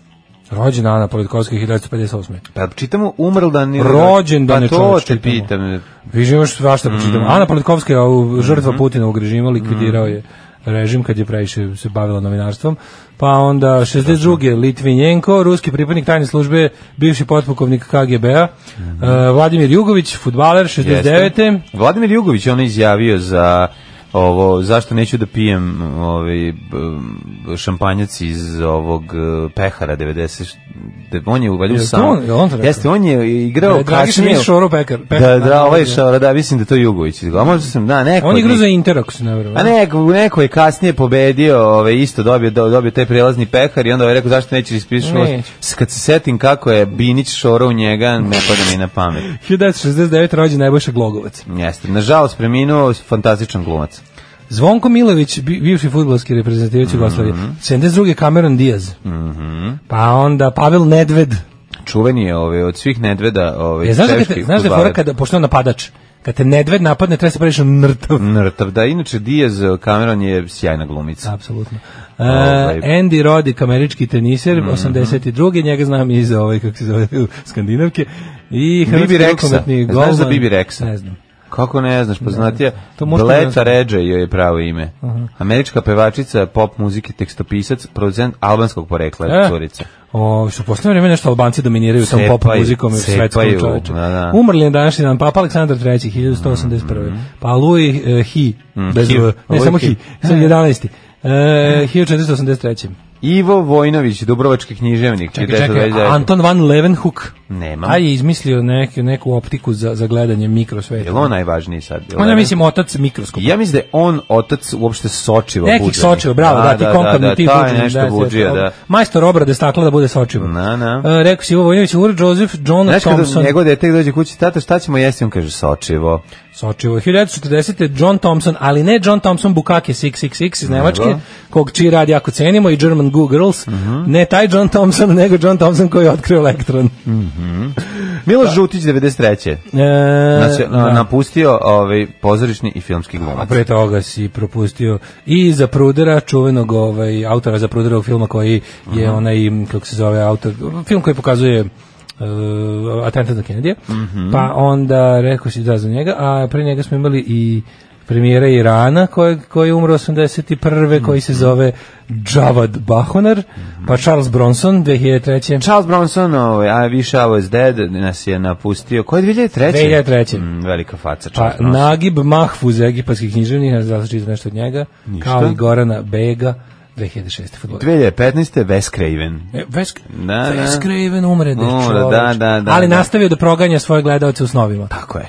Rođen Ana Politkovska 1958.
Pa čitamo umrldan ili
Rođendane,
pa to
čoveče,
te
čitamo.
pitam.
Vi imaš svašta pročitamo.
Mm.
Ana Politkovska je
Mm-hmm.
ovu žrtva Putinovog režima, likvidirao je režim kad je previše se bavila novinarstvom. Pa onda 62. Litvinjenko, ruski pripadnik tajne službe, bivši potpukovnik KGB-a.
Mm-hmm.
E, Vladimir Jugović, futbaler, 69.
Vladimir Jugović je on izjavio za ovo zašto neću da pijem ovaj b- šampanjac iz ovog eh, pehara 90 de- on je uvalio
Jel to
sam
on- jel on to rekao?
jeste on je igrao
E, Dragiša
kasnije
Mišić, Šoro Pekar-
da
Pehar,
da
da,
ovaj
da.
Šoro da mislim da je to Jugović a možda sam da neko
On
od
je igrao
njih.
za Inter, ako se ne vrlo.
A neko, neko je kasnije pobedio, ovaj, isto dobio, do- dobio taj prelazni pehar i onda je rekao zašto nećeš ispišiti
Neću.
Kad se setim kako je Binić šorao u njega, ne pada mi na pamet.
1969. rođen Nebojša Glogovac.
Jeste. Nažalost, preminuo fantastičan glumac.
Zvonko Milović, bi- bivši futbolski reprezentativac Jugoslavije.
Mm-hmm.
72. Cameron Diaz. Pa onda Pavel Nedved.
Čuveni je ovaj, od svih nedveda ovaj,
E, znaš da, kad
češki
te, znaš da je
fudbaler.
fora kada, pošto je on napadač, kad te Nedved napadne, treba se praviš nrtav.
Mm. Nrtav, da, inače Diaz Cameron je sjajna glumica.
Apsolutno. E,
Ovaj. Mhm.
Andy Roddick, američki teniser, 82. Njega znam iz ovaj, kako se zove, skandinavke. I hrvatski
Bibi Rexa. E,
rukometni
Znaš za
golman.
Bibi Rexa?
Ne znam.
Kako ne znaš, poznatija?
To možda
Bleta
ne znam.
Ređe joj je pravo ime. Američka pevačica, pop muzike, tekstopisac, producent albanskog porekla,
E.
curica.
O, što u poslednje vreme nešto Albanci dominiraju tom
Cepaju,
pop muzikom i svetskom
cepaju,
čoveče.
da, Mhm. da.
Umrli je na današnji dan Papa Aleksandar III, 1181. Pa Louis eh, Hi, bez
Hi.
V, ne
Mhm. Louis
samo
Hi.
Hi, sam 11. E, 1483.
Ivo Vojnović, Dubrovački književnik.
Čekaj, čekaj,
1929.
Anton van Leeuwenhoek.
Nemam.
A je izmislio neku, neku optiku za, za gledanje mikrosveta.
Jel on najvažniji sad? Jel
On ja
ne?
mislim otac mikroskopa.
Ja mislim da je on otac uopšte Sočiva
Nekih
Budžanih.
sočiva, bravo, da, ti konkavni
da,
ti
taj
Budžanin,
nešto
da, sve,
Budžija,
to.
da.
Majstor obrade stakla da bude sočivo.
Na, na.
E, rekao si Ivo Vojinović, Ur Joseph, John
Znaš kada
Thompson.
njegov dete dođe kući, tata šta ćemo jesti, on kaže Sočivo.
Sočivo. 1940. John Thompson, ali ne John Thompson Bukake 666 iz Nemačke, kog čiji rad jako cenimo, i German Goo Girls.
Mhm.
Ne taj John Thompson, <laughs> nego John Thompson koji je otkrio elektron.
Miloš Žutić, 93.
E,
Nas,
da.
Znači, Napustio ovaj, pozorišni i filmski
A
glumac.
pre toga si propustio i za Prudera, čuvenog ovaj, autora za Pruderovog filma koji je onaj, kako se zove, autor, film koji pokazuje uh, atentat na Kennedy.
Mhm.
Pa onda rekao si da za njega, a pre njega smo imali i premijera Irana koji, koji je umro 81. koji
Mhm.
se zove Javad Bahonar, pa Charles Bronson 2003.
Charles Bronson, ovaj, I wish I was dead, nas je napustio. Ko je 2003?
2003..
Mm, velika faca,
Pa
Charles Bronson.
Nagib Mahfuz, egipatski književnik, ne znam da li čitao nešto od njega, kao i Gorana Bega, 2006. fudbaler.
2015. Wes Craven.
E, Wes,
Da,
da, Wes
da.
Craven umre, da,
Umre,
čoveč.
da, da, da,
Ali
da.
nastavio da proganja svoje gledalce u snovima.
Tako je.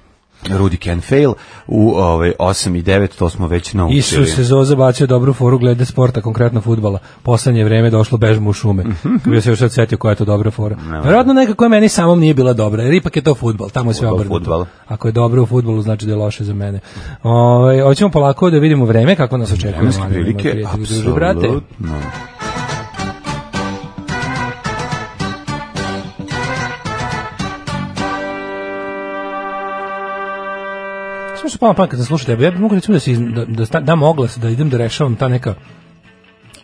Rudy can fail u ovaj 8 i 9 to smo već naučili.
Isus se Zoza bacio dobru foru glede sporta, konkretno futbala. Poslednje vreme došlo bežmo u šume.
Mhm.
Bio se još sad setio koja je to dobra fora. Verovatno neka koja meni samom nije bila dobra, jer ipak je to futbal, tamo je sve
Fudbal,
obrnuto.
fudbal.
Ako je dobro u futbolu, znači da je loše za mene. Ovaj hoćemo polako da vidimo vreme, kako nas očekuje.
vremenske
Mladine,
prilike
prijatelji, druže, brate.
apsolutno.
Samo što pamet kad sam slušao tebe, ja bih mogu recimo da, se iz, da, da sta- dam oglas, da idem da rešavam ta neka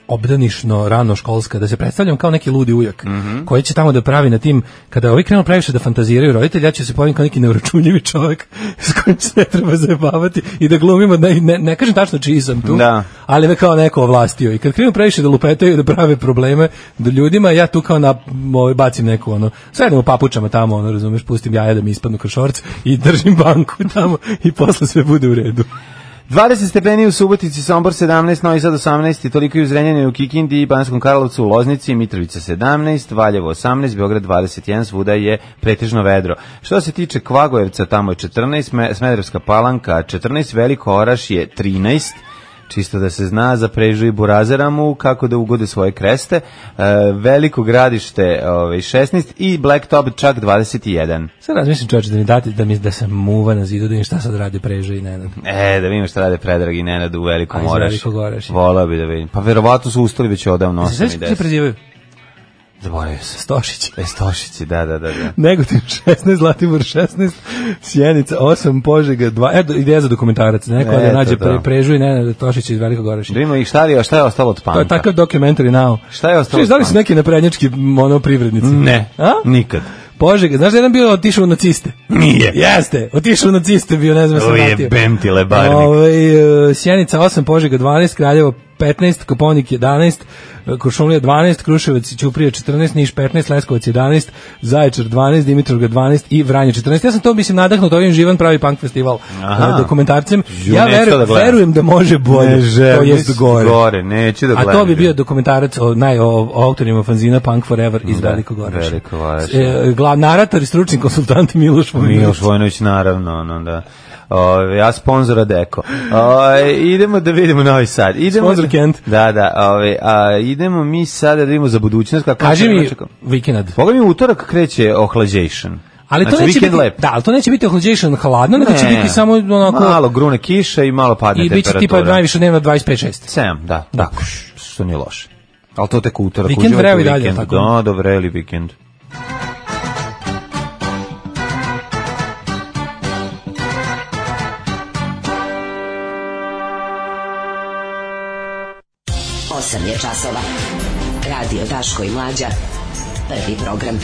obdanišno rano školska, da se predstavljam kao neki ludi ujak, koji će tamo da pravi na tim, kada ovi krenu previše da fantaziraju roditelji, ja ću se pojavim kao neki neuračunljivi čovjek <laughs> s kojim se ne treba zajebavati i da glumimo, ne, ne, ne kažem tačno čiji sam tu,
Da.
ali me kao neko ovlastio. I kad krenu previše da lupetaju, da prave probleme do ljudima, ja tu kao na, ovaj, bacim neku, ono, sedem u papučama tamo, ono, razumeš, pustim jaja da mi ispadnu kroz šorc i držim banku tamo i posle sve bude u redu.
20 stepeni u Subotici, Sombor 17, Novi Sad 18, toliko i u Zrenjanju, u Kikindi, Banskom Karlovcu, u Loznici, Mitrovica 17, Valjevo 18, Beograd 21, svuda je pretežno vedro. Što se tiče Kvagojevca, tamo je 14, Sme- Smederevska palanka 14, Veliko Oraš je 13, čisto da se zna za Prežu i Burazeramu kako da ugode svoje kreste, e, Veliko gradište ovaj, 16 i Blacktop čak 21.
Sad razmišljam čovječe da mi date, da mi da se muva na zidu, da im šta sad radi preže i Nenad.
E, da vidim šta rade Predrag i Nenad u Velikom
A, iz
Orašu.
Velikog Orašja.
Volao bi da vidim. Pa verovatno su ustali već odavno.
Se
osam i
sveći kako se
deset.
prezivaju?
Zaboravio sam.
Stošić. <laughs>
Estošići, da, da, da. da.
Negotin 16, Zlatibor 16, Sjenica 8, Požega 2. Eto, ideja za dokumentarac. Neko da
Eto,
nađe
da.
pre, prežu i Nenada Tošića iz Velikog Orašića.
Da ima i šta je, šta je ostalo od
To je
panka?
takav dokumentari now.
Šta je ostalo
Čuješ, da li su
od
neki naprednjački ono, privrednici?
Ne,
A?
nikad.
Požega, znaš da je jedan bio otišao u naciste?
Nije.
Jeste, otišao u naciste bio, ne znam, sam
Uje,
vratio.
bem ti lebarnik.
Ovaj, e, Sjenica 8, Požega 12, Kraljevo 15, Koponik 11, e, Kuršumlija 12, Kruševac i Ćuprija 14, Niš 15, Leskovac 11, Zaječar 12, Dimitrovgrad 12 i Vranje 14. Ja sam to mislim nadahnut ovim živan pravi punk festival
Aha.
e, dokumentarcem.
Ju,
ja
neću
veru,
da gledam.
verujem da može bolje, to jest gore.
gore, neću da
A
gledam.
to bi bio dokumentarac o naj o, o autorima fanzina Punk Forever iz
Da,
Velikog Oraša.
Velikog Oraša.
E, glav narator i stručni konsultant Miloš Vojinović.
Miloš Vojnović, naravno, no, da. Ove, ja sponzora Deko. Ove, idemo da vidimo Novi Sad. Idemo
Sponzor
da,
Kent.
Da, da. Ove, a, idemo mi sada da vidimo za budućnost. Kako
Kaži mi
Čekam.
vikend.
Boga mi u utorak kreće ohlađejšan.
Ali to
znači,
neće
vikend
biti,
lep.
da, ali to neće biti ohlađation hladno, nego će
Ne.
biti samo onako
Malo grune kiša i malo padne
i bit će
temperatura.
tipa najviše dnevno 25-6.
7, da.
Da.
Tako, što nije loše. Ali to tek utorak.
Vikend
uživajte
vreo
u
i dalje,
vikendu.
tako?
Da, da vreli vikend.
Osam je časova. Radio Daško i Mlađa. Prvi program.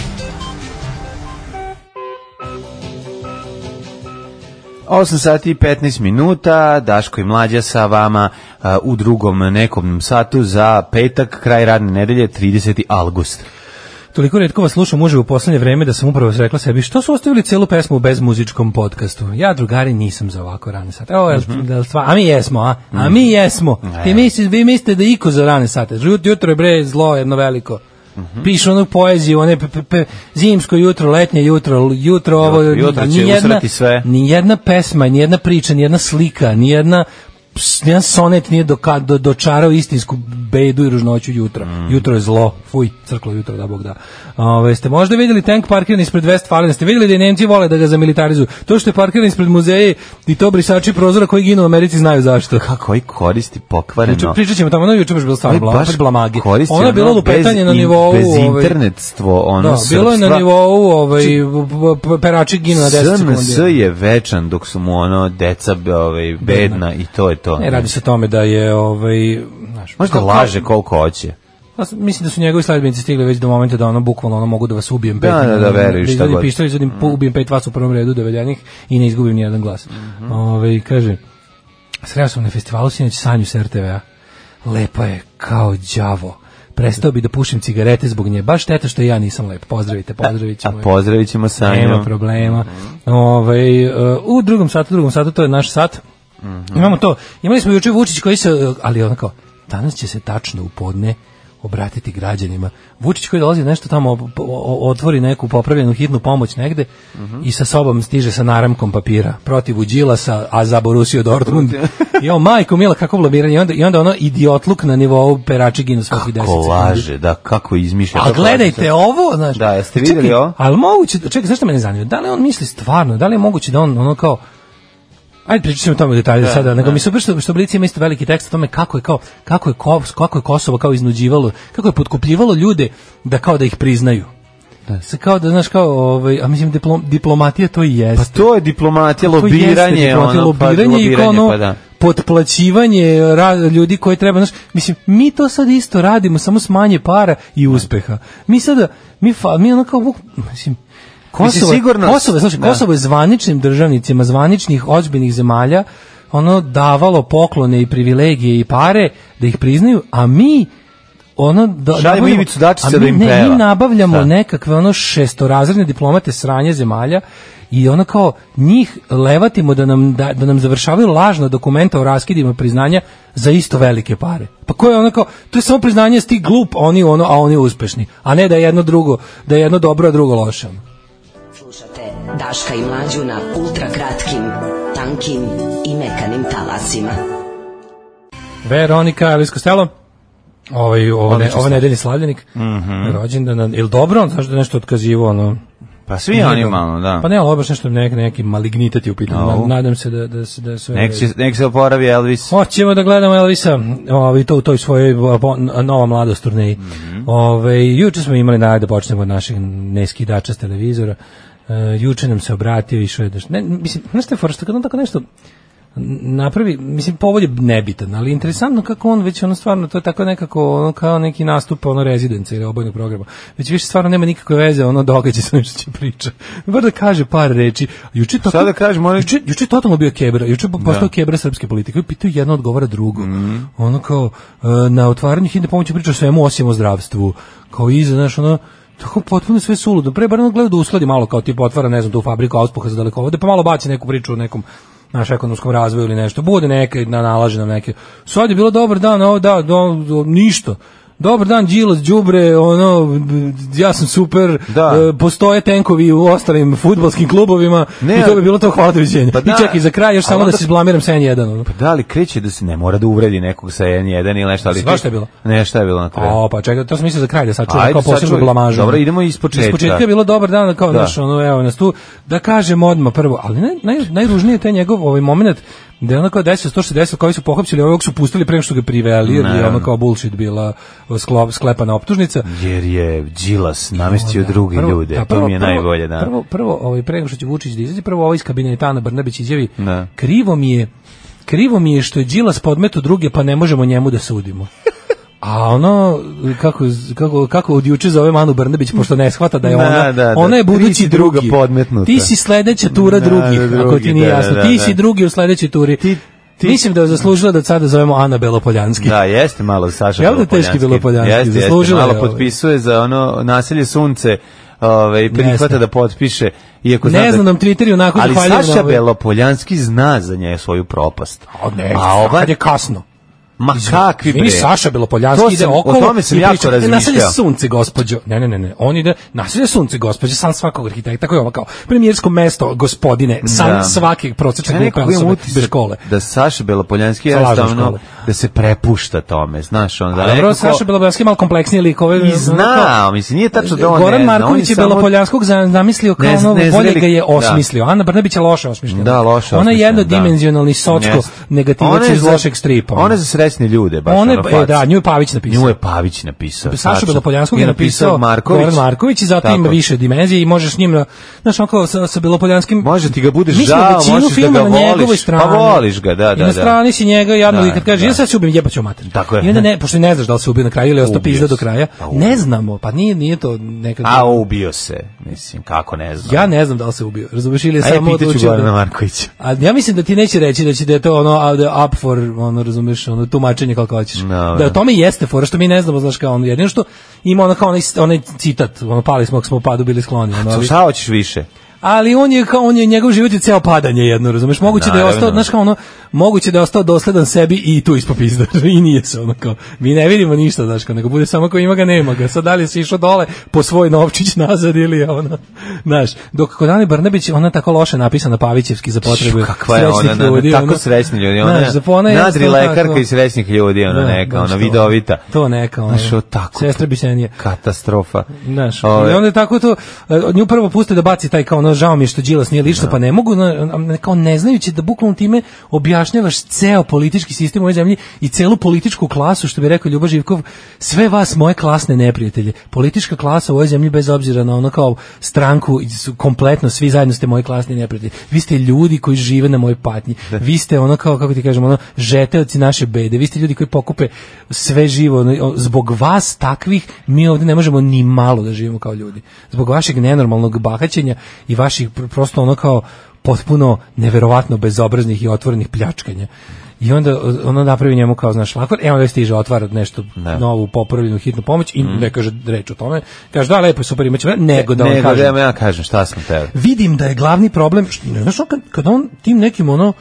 8 sati i 15 minuta, Daško i Mlađa sa vama uh, u drugom nekom satu za petak, kraj radne nedelje, 30. august.
Toliko retko vas slušam uživo u poslednje vreme da sam upravo rekla sebi što su ostavili celu pesmu bez muzičkom podcastu. Ja drugari nisam za ovako rane sate. Evo, jel-
Mhm.
jel stva- a mi jesmo, a? A mi jesmo. Ti misliš, vi mislite da je iko za rane sate. Jut, jutro je bre zlo jedno veliko.
Mhm.
Pišu onu poeziju, one pe, pe, pe, zimsko jutro, letnje jutro, jutro ovo,
jutro će
ni jedna,
usrati sve.
ni jedna pesma, ni jedna priča, ni jedna slika, ni jedna ps- nijedan sonet nije doka, do, dočarao istinsku bedu i ružnoću jutra.
Mm.
Jutro je zlo. Fuj, crklo jutro, da bog da. Ove, ste možda vidjeli tank parkiran ispred Westfalen? Ste vidjeli da i Nemci vole da ga zamilitarizuju? To što je parkiran ispred muzeje i to brisači prozora koji ginu u Americi znaju zašto.
Kako koji koristi
Priča,
pokvareno?
pričat ćemo tamo, ono je juče baš bilo stvarno
Ovaj
blam, baš blamage.
koristi
Ono je bilo
ono
lupetanje
bez
na
in-
nivou...
Bez
ovaj,
internetstvo, ono
da, bilo je na
srpstva.
nivou ovaj, p- p- perači ginu na 10
SNS
sekundi.
je večan dok su mu ono deca be- ovaj, bedna i to je to.
Ne, E, radi se o tome da je ovaj znaš,
Možda
kao-
laže koliko hoće.
Pa, mislim da su njegovi sledbenici stigli već do momenta da ono bukvalno ono mogu da vas ubijem
Da, da, da, veruju,
da
šta
izvadim
god. Mhm.
pištolj, izvadim, pu- ubijem pet vas u prvom redu dovedenih i ne izgubim nijedan glas.
Mhm.
Ovaj, kaže, sreo sam na festivalu sinoć Sanju s RTV-a. Lepa je kao đavo. Prestao bi da pušim cigarete zbog nje. Baš šteta što ja nisam lep. Pozdravite, pozdravit
E, A
ćemo. je.
pozdravit ćemo sa
Nema
njom.
problema. Ovaj, e, u drugom satu, drugom satu, to je naš sat. Imamo to. Imali smo juče Vučić koji se, e, ali onako, danas će se tačno u podne obratiti građanima. Vučić koji dolazi nešto tamo, o- o- otvori neku popravljenu hitnu pomoć negde i sa sobom stiže sa naramkom papira protiv Đilasa, a za Borusio Dortmund. <laughs> I on, majko mila, kako blamiranje. I onda, i onda ono idiotluk na nivou perači ginu svakih 10
Ko
sekundi.
laže, da, kako izmišlja.
A
kako laže.
gledajte ovo, znaš.
Da, jeste vidjeli
Čekaj,
ovo?
Ali moguće, čekaj, zašto mene zanima? Da li on misli stvarno? Da li je moguće da on ono kao Ajde pričat ćemo o tome u detalje sada, nego mi super što, što Blic ima isto veliki tekst o tome kako je kao kako je Kos- kako je Kosovo kao iznuđivalo, kako je potkupljivalo ljude da kao da ih priznaju. Da. Se kao da znaš kao ovaj, a mislim diplom, diplomatija to i
Pa
jeste.
to je diplomatija,
To jeste
lobiranje,
diplomatija,
ono, pa
lobiranje i kao ono
pa da.
potplaćivanje eh, ra- ljudi koji treba, znaš, mislim, mi to sad isto radimo, samo s manje para i uspeha. Mi sada, mi, fa, mi ono kao, vuk- mislim, Kosovo,
sigurno-
Kosovo, slušaj,
da.
Kosovo je zvaničnim državnicima, zvaničnih ozbiljnih zemalja, ono davalo poklone i privilegije i pare da ih priznaju, a mi ono da,
Šaljemo
nabavljamo-
Ivicu Dačića
a mi-
da im
ne,
peva.
mi nabavljamo
Šta?
nekakve ono šestorazredne diplomate sranje zemalja i ono kao njih levatimo da nam, da, da nam završavaju lažna dokumenta o raskidima priznanja za isto velike pare. Pa ko je ono kao, to je samo priznanje sti glup, oni ono, a oni uspešni. A ne da je jedno drugo, da je jedno dobro, a drugo loše. ono.
Slušate Daška i Mlađu na ultra kratkim, tankim i mekanim talasima.
Veronika Elvis Costello. Ovaj ovo ne,
Odličan
ovo
stav.
nedeljni slavljenik. Mm
Mhm.
Rođendan, ili dobro, on znaš da je nešto otkazivo, ono.
Pa svi oni malo, da.
Pa ne, ali ovo je baš nešto neki, neki malignitet je u pitanju.
Au.
Na- Nadam se da, da, se- da je sve... u
Nek
redu.
se, nek se oporavi Elvis.
Hoćemo da gledamo Elvisa ovaj, to u toj svojoj o, po- nova mladost turneji. Ove, juče smo imali najave da počnemo od naših neskidača s televizora. E, juče nam se obratio i išao je da... Ne, mislim, znaš što je fora, što kad on tako nešto napravi, mislim, povod je nebitan, ali interesantno kako on već, ono stvarno, to je tako nekako, ono kao neki nastup, ono, rezidenca ili obojnog programa. Već više stvarno nema nikakve veze, ono, događa sa onim što će priča. Bar da kaže par reči. Juče to
Šta da kažem, ono-
juče, juče je totalno bio kebra, juče je postao kebra srpske politike. I Pitaju jedno odgovara drugo.
Mhm.
Ono kao, e, na otvaranju hitne pomoći priča o svemu osim o zdravstvu. Kao iza, znaš, ono, tako potpuno sve suludo. Pre bar ono gleda da usladi malo kao tipa otvara, ne znam, tu fabriku auspuha za dalekovode, pa malo baci neku priču o nekom naš ekonomskom razvoju ili nešto. Bude neke, na, nalaže nam neke. Sad je bilo dobar dan, ovo da, do, do- ništa. Dobar dan, Đilas, Đubre, ono, b- ja sam super,
Da.
e, postoje tenkovi u ostalim futbolskim klubovima,
Ne,
i to bi
ali-
bilo to hvala doviđenja.
Pa da.
I čekaj, za kraj još
Ali
samo da
onda- Pa
se izblamiram sa N1. ono.
Da li kreće da se ne mora da uvredi nekog sa N1 ili nešto, ali...
Svašta je bilo.
Nešto je bilo na kraju.
O, pa čekaj, to sam mislio za kraj da sačuvam
Ajde,
kao posebnu
sačuvaj.
blamažu.
Dobro, idemo iz početka.
Iz početka je bilo dobar dan, kao
Da.
naš, ono, evo nas tu, da kažem odmah prvo, ali naj, naj, najružnije je taj njegov ovaj moment, da je ono kao 10, 160 koji su pohapsili, ovog su pustili prema što ga priveli, jer je ono kao bullshit bila sklop, sklepana optužnica.
Jer je Đilas namestio
Da,
druge
prvo-
ljude.
da,
to
prvo-
mi je
prvo-
najbolje, da.
Prvo, prvo ovaj, pre nego što će Vučić da izađe, prvo ovaj iz kabineta Ana Brnabić izjavi,
Da.
krivo mi je krivo mi je što je Đilas podmetu druge, pa ne možemo njemu da
<laughs>
sudimo. A ono, kako, kako, kako od juče zove Manu Brnabić, pošto ne shvata da je
Da,
ona,
da, da.
ona je
Ti
budući
si druga
drugi.
podmetnuta.
Ti si sledeća tura
Da,
drugih,
da,
ako
drugi,
ti nije
da,
jasno.
da,
ti
da.
si drugi u sledećoj turi.
Ti- ti-
Mislim da je zaslužila da sada zovemo Ana Belopoljanski.
Da, jeste malo Saša
Jel da
Belopoljanski.
teški Belopoljanski,
Jeste, jeste,
zaslužila je ovaj-
malo
ovo.
potpisuje za ono naselje sunce, ovaj, prihvata
Jeste.
da potpiše. Iako zna
Ne
da-
znam nam Twitter i onako
Ali
zahvaljujem na
Saša
ovoj-
Belopoljanski zna za nje svoju propast.
A ne,
A ova,
kad je kasno.
ma kakvi bre.
Mini Saša
To
Belopoljanski ide
sam-
okolo
O tome sam
i
jako
priča, "E,
razmišljao.
Naselje sunce, gospođo. Ne, ne, ne, ne. On ide, naselje sunce, gospođo, san svakog arhitekta, koji je ovo kao premijersko mesto, gospodine, san
Da.
svake prosječne
Ja
grupe
nekako imam
osobe bez
utisak
škole.
da Saša Belopoljanski
Sa lažnom
jednostavno
škole.
da se prepušta tome, znaš, on da
Da, Dobro,
nekako-
Saša Belopoljanski je malo kompleksniji lik. Ovo, je
I
ono
zna,
kao-
mislim, nije tačno da on
Goran
ne zna, on je
Marković je
samo-
Belopoljanskog za- zamislio kao
Ne zna-
ono,
ne
bolje
zreli-
ga je
da.
osmislio. Ana Brnabić je loše osmišljena.
Da, loše.
Ona je
osmišljen,
jednodimenzionalni
da.
socko
Jeste. Ona
negativac
je
iz
za-
lošeg stripa. ono.
Ona je za sresne ljude, baš
Ona je-
ono,
e,
faca.
da, nju je Pavić napisao.
Nju je Pavić napisao.
Pa Saša
tačno.
Belopoljanskog
I
je napisao
Marković.
Goran Marković i zato
Tako.
ima više dimenzije i možeš s njim, na- znaš, onako sa, sa Belopoljanskim...
Može ti ga budeš
Mi smo
žao,
većinu
možeš da
filma
ga
na njegovoj
voliš.
strani.
Pa voliš ga, da,
I
da,
na
da.
strani si njega jadno
Da,
i kad kaže, ja
da.
sad se ubim, jebaću mater.
Tako je.
I onda ne, pošto ne znaš da li se ubio na kraju ili je ostao
Ubio
pizda
se.
do kraja,
Pa ubio.
ne znamo, pa nije, nije to nekako...
A, ubio se. Mislim, kako ne znam.
ja ne znam da li se ubio, razumiješ, ili je
Ajde,
samo
pitaću
odlučio da-
Gorana Markovića.
A ja mislim da ti neće reći da će da je to ono a- da up for ono razumeš ono tumačenje kako hoćeš.
Dobro.
Da o tome i jeste fora što mi ne znamo znaš kao ono jedino što ima ono kao onaj, onaj citat ono pali smo ako smo u padu bili skloni ono, ali,
Šta hoćeš više?
ali on je kao on je njegov život je ceo padanje jedno razumeš moguće da je
Naravno.
ostao znaš kao ono moguće da je ostao dosledan sebi i tu ispopizda <laughs> i nije se ono kao mi ne vidimo ništa znaš kao nego bude samo kao ima ga nema ga sad da li si išao dole po svoj novčić nazad ili je ono <laughs> znaš dok kod Ani Brnabić ona je tako loše napisana Pavićevski za potrebu
Ču, kakva je
srećnih
ona, na,
ljudi,
tako
ono.
srećni ljudi, ona,
Znaš,
je
za po- ona je
nadri
jednostavno
lekarka
tako-
i sresnih ljudi, ona
Da,
neka,
znaš,
ona
to-
vidovita.
To neka, ona.
Znaš, o, tako.
Sestra Bisenije.
Katastrofa.
Znaš,
Ove,
i onda je tako to, e, nju prvo puste da baci taj kao ono, žao mi je što Đilas nije lično, pa ne mogu, na- na- kao ne znajući da bukvalno time objašnjavaš ceo politički sistem u ovoj zemlji i celu političku klasu, što bi rekao Ljubo Živkov, sve vas moje klasne neprijatelje. Politička klasa u ovoj zemlji bez obzira na ono kao stranku, su kompletno svi zajedno ste moji klasni neprijatelji. Vi ste ljudi koji žive na mojoj patnji. Vi ste ono kao, kako ti kažem, ono, žeteoci naše bede. Vi ste ljudi koji pokupe sve živo. Ono, o, Zbog vas takvih mi ovde ne možemo ni malo da živimo kao ljudi. Zbog vašeg nenormalnog bahaćenja i vaših pr- prosto ono kao potpuno neverovatno bezobraznih i otvorenih pljačkanja. I onda ono napravi njemu kao, znaš, lakvar, evo ga stiže, otvara nešto
Da. Mhm.
novu popravljenu hitnu pomoć i ne kaže reč o tome. Kaže, da, lepo je, super, imaćemo, vremena, nego da vam
nego
kažem
da ja kažem šta sam tebe.
vidim da je glavni problem, što, ne znaš, on kad, kad on tim nekim ono,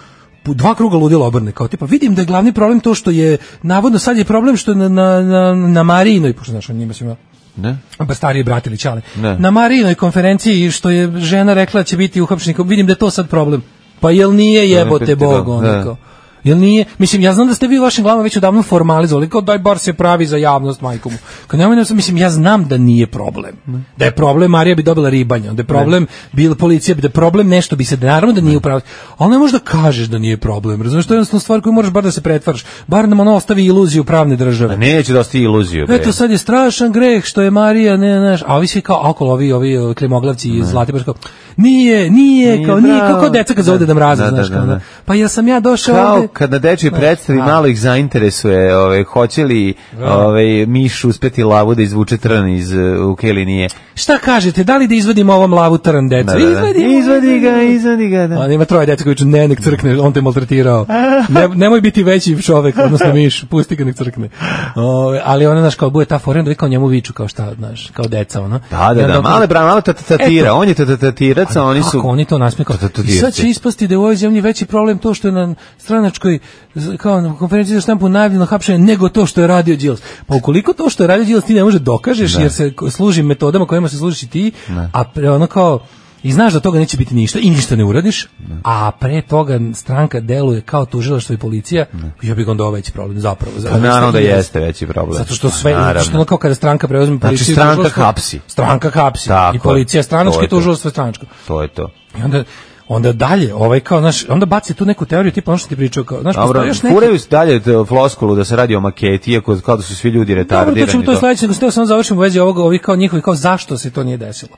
pu- dva kruga ludila obrne, kao tipa, vidim da je glavni problem to što je, navodno sad je problem što je na, na, na, na Marinoj, pošto znaš, on njima svima
Ne?
pa stariji brat ili čale,
Ne.
na Marinoj konferenciji što je žena rekla da će biti uhapšenik, vidim da je to sad problem. Pa jel nije jebote
piti, da,
bog, ono
da.
kao. Jel nije? Mislim, ja znam da ste vi u vašim glavama već odavno formalizovali, kao daj bar se pravi za javnost majkomu. Kao nemoj nam se, mislim, ja znam da nije problem. Da je problem, Marija bi dobila ribanje, da je problem, bila policija, bi- da je problem nešto bi se, naravno da nije upravo. Ali ne možeš da kažeš da nije problem, razumiješ, to je jednostavno stvar koju moraš bar da se pretvaraš. Bar nam ono ostavi iluziju pravne države.
A neće dosti iluziju. Bre.
Eto sad je strašan greh što je Marija, ne znaš, a ovi svi kao alkohol, ovi, ovi ovi klimoglavci iz Zlatiborska, kao, nije, nije,
Nije
kao, nije,
bravo.
kao, kao deca kad zove da, mraza,
Da, da,
znaš,
da,
kao,
da.
da. pa ja sam ja došao
Kao
ovde,
kad na dečjoj predstavi malo ih zainteresuje, ove, hoće li ove, miš uspeti lavu da izvuče trn iz e, uke ili nije.
šta kažete, da li da izvadimo ovom lavu trn, deca, izvadi,
izvadi ga, izvadi ga. Da.
On ima troje deca koji ću ne, nek crkne, on te
<laughs>
maltretirao. Ne, nemoj biti veći čovek, odnosno miš, pusti ga nek crkne. O, ali ona, znaš, kao bude ta forenda, vi kao njemu viču, kao šta, znaš, kao deca, ono.
Da, da, da, male bra, malo tatatira,
Eto.
on je tatatatirac, a oni su...
Kako oni to nasmeju kao,
To- to- to
I sad
djece.
će ispasti da je u ovoj zemlji veći problem to što je na stranačkoj z- kao na konferenciji za štampu najavljeno hapšenje nego to što je radio Đilas. Pa ukoliko to što je radio Đilas ti ne može dokažeš jer se ko- služi metodama kojima se služiš i ti, a pre, ono kao I znaš da toga neće biti ništa i ništa ne uradiš, a pre toga stranka deluje kao tužilaštvo i policija, ja bih onda ovo veći problem zapravo.
Pa naravno da jeste veći problem. Pa
Zato što sve,
Naravno.
zato što ono kao kada stranka preuzme
Znači,
policiju... i
stranka
tužilaštvo,
hapsi.
Stranka hapsi.
Tako
I
je.
policija
To
stranačka
je
i
to.
tužilaštvo je stranačko.
To je to.
I onda onda dalje, ovaj kao, znaš, onda baci tu neku teoriju tipa ono što ti pričao, kao, znaš,
Dobro,
postoji još neki...
furaju se dalje t- floskulu da se radi o maketi, iako kao da su svi ljudi
Dobro,
retardirani.
to ćemo to
to.
sledeće, nego samo završimo u vezi ovog, ovih kao njihovih, kao zašto se to nije desilo.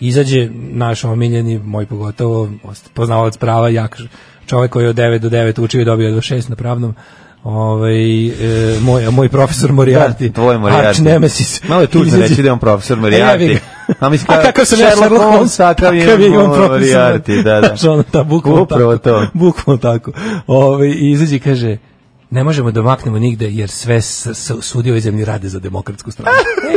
Izađe naš omiljeni, moj pogotovo, ost- poznavalac prava, jak čovjek koji je od 9 do 9 učio i dobio do 6 na pravnom, ovaj, e, moj, moj profesor Moriarty,
Da, tvoj Moriarty.
Arch Nemesis.
Malo je tužno
Izađe-
reći da je on profesor
E,
Moriarty.
jebi ga.
<laughs> A mislim
A kakav sam ja Sherlock Holmes,
takav je
i on profesor.
Moriarty, da,
<laughs>
da.
Znaš, ono, ta, bukvalno
Upravo
tako.
to.
Bukvalno tako. Ove, I izađe i kaže, ne možemo da maknemo nigde, jer sve s, s, sudi ovoj zemlji rade za demokratsku
<laughs>
stranu.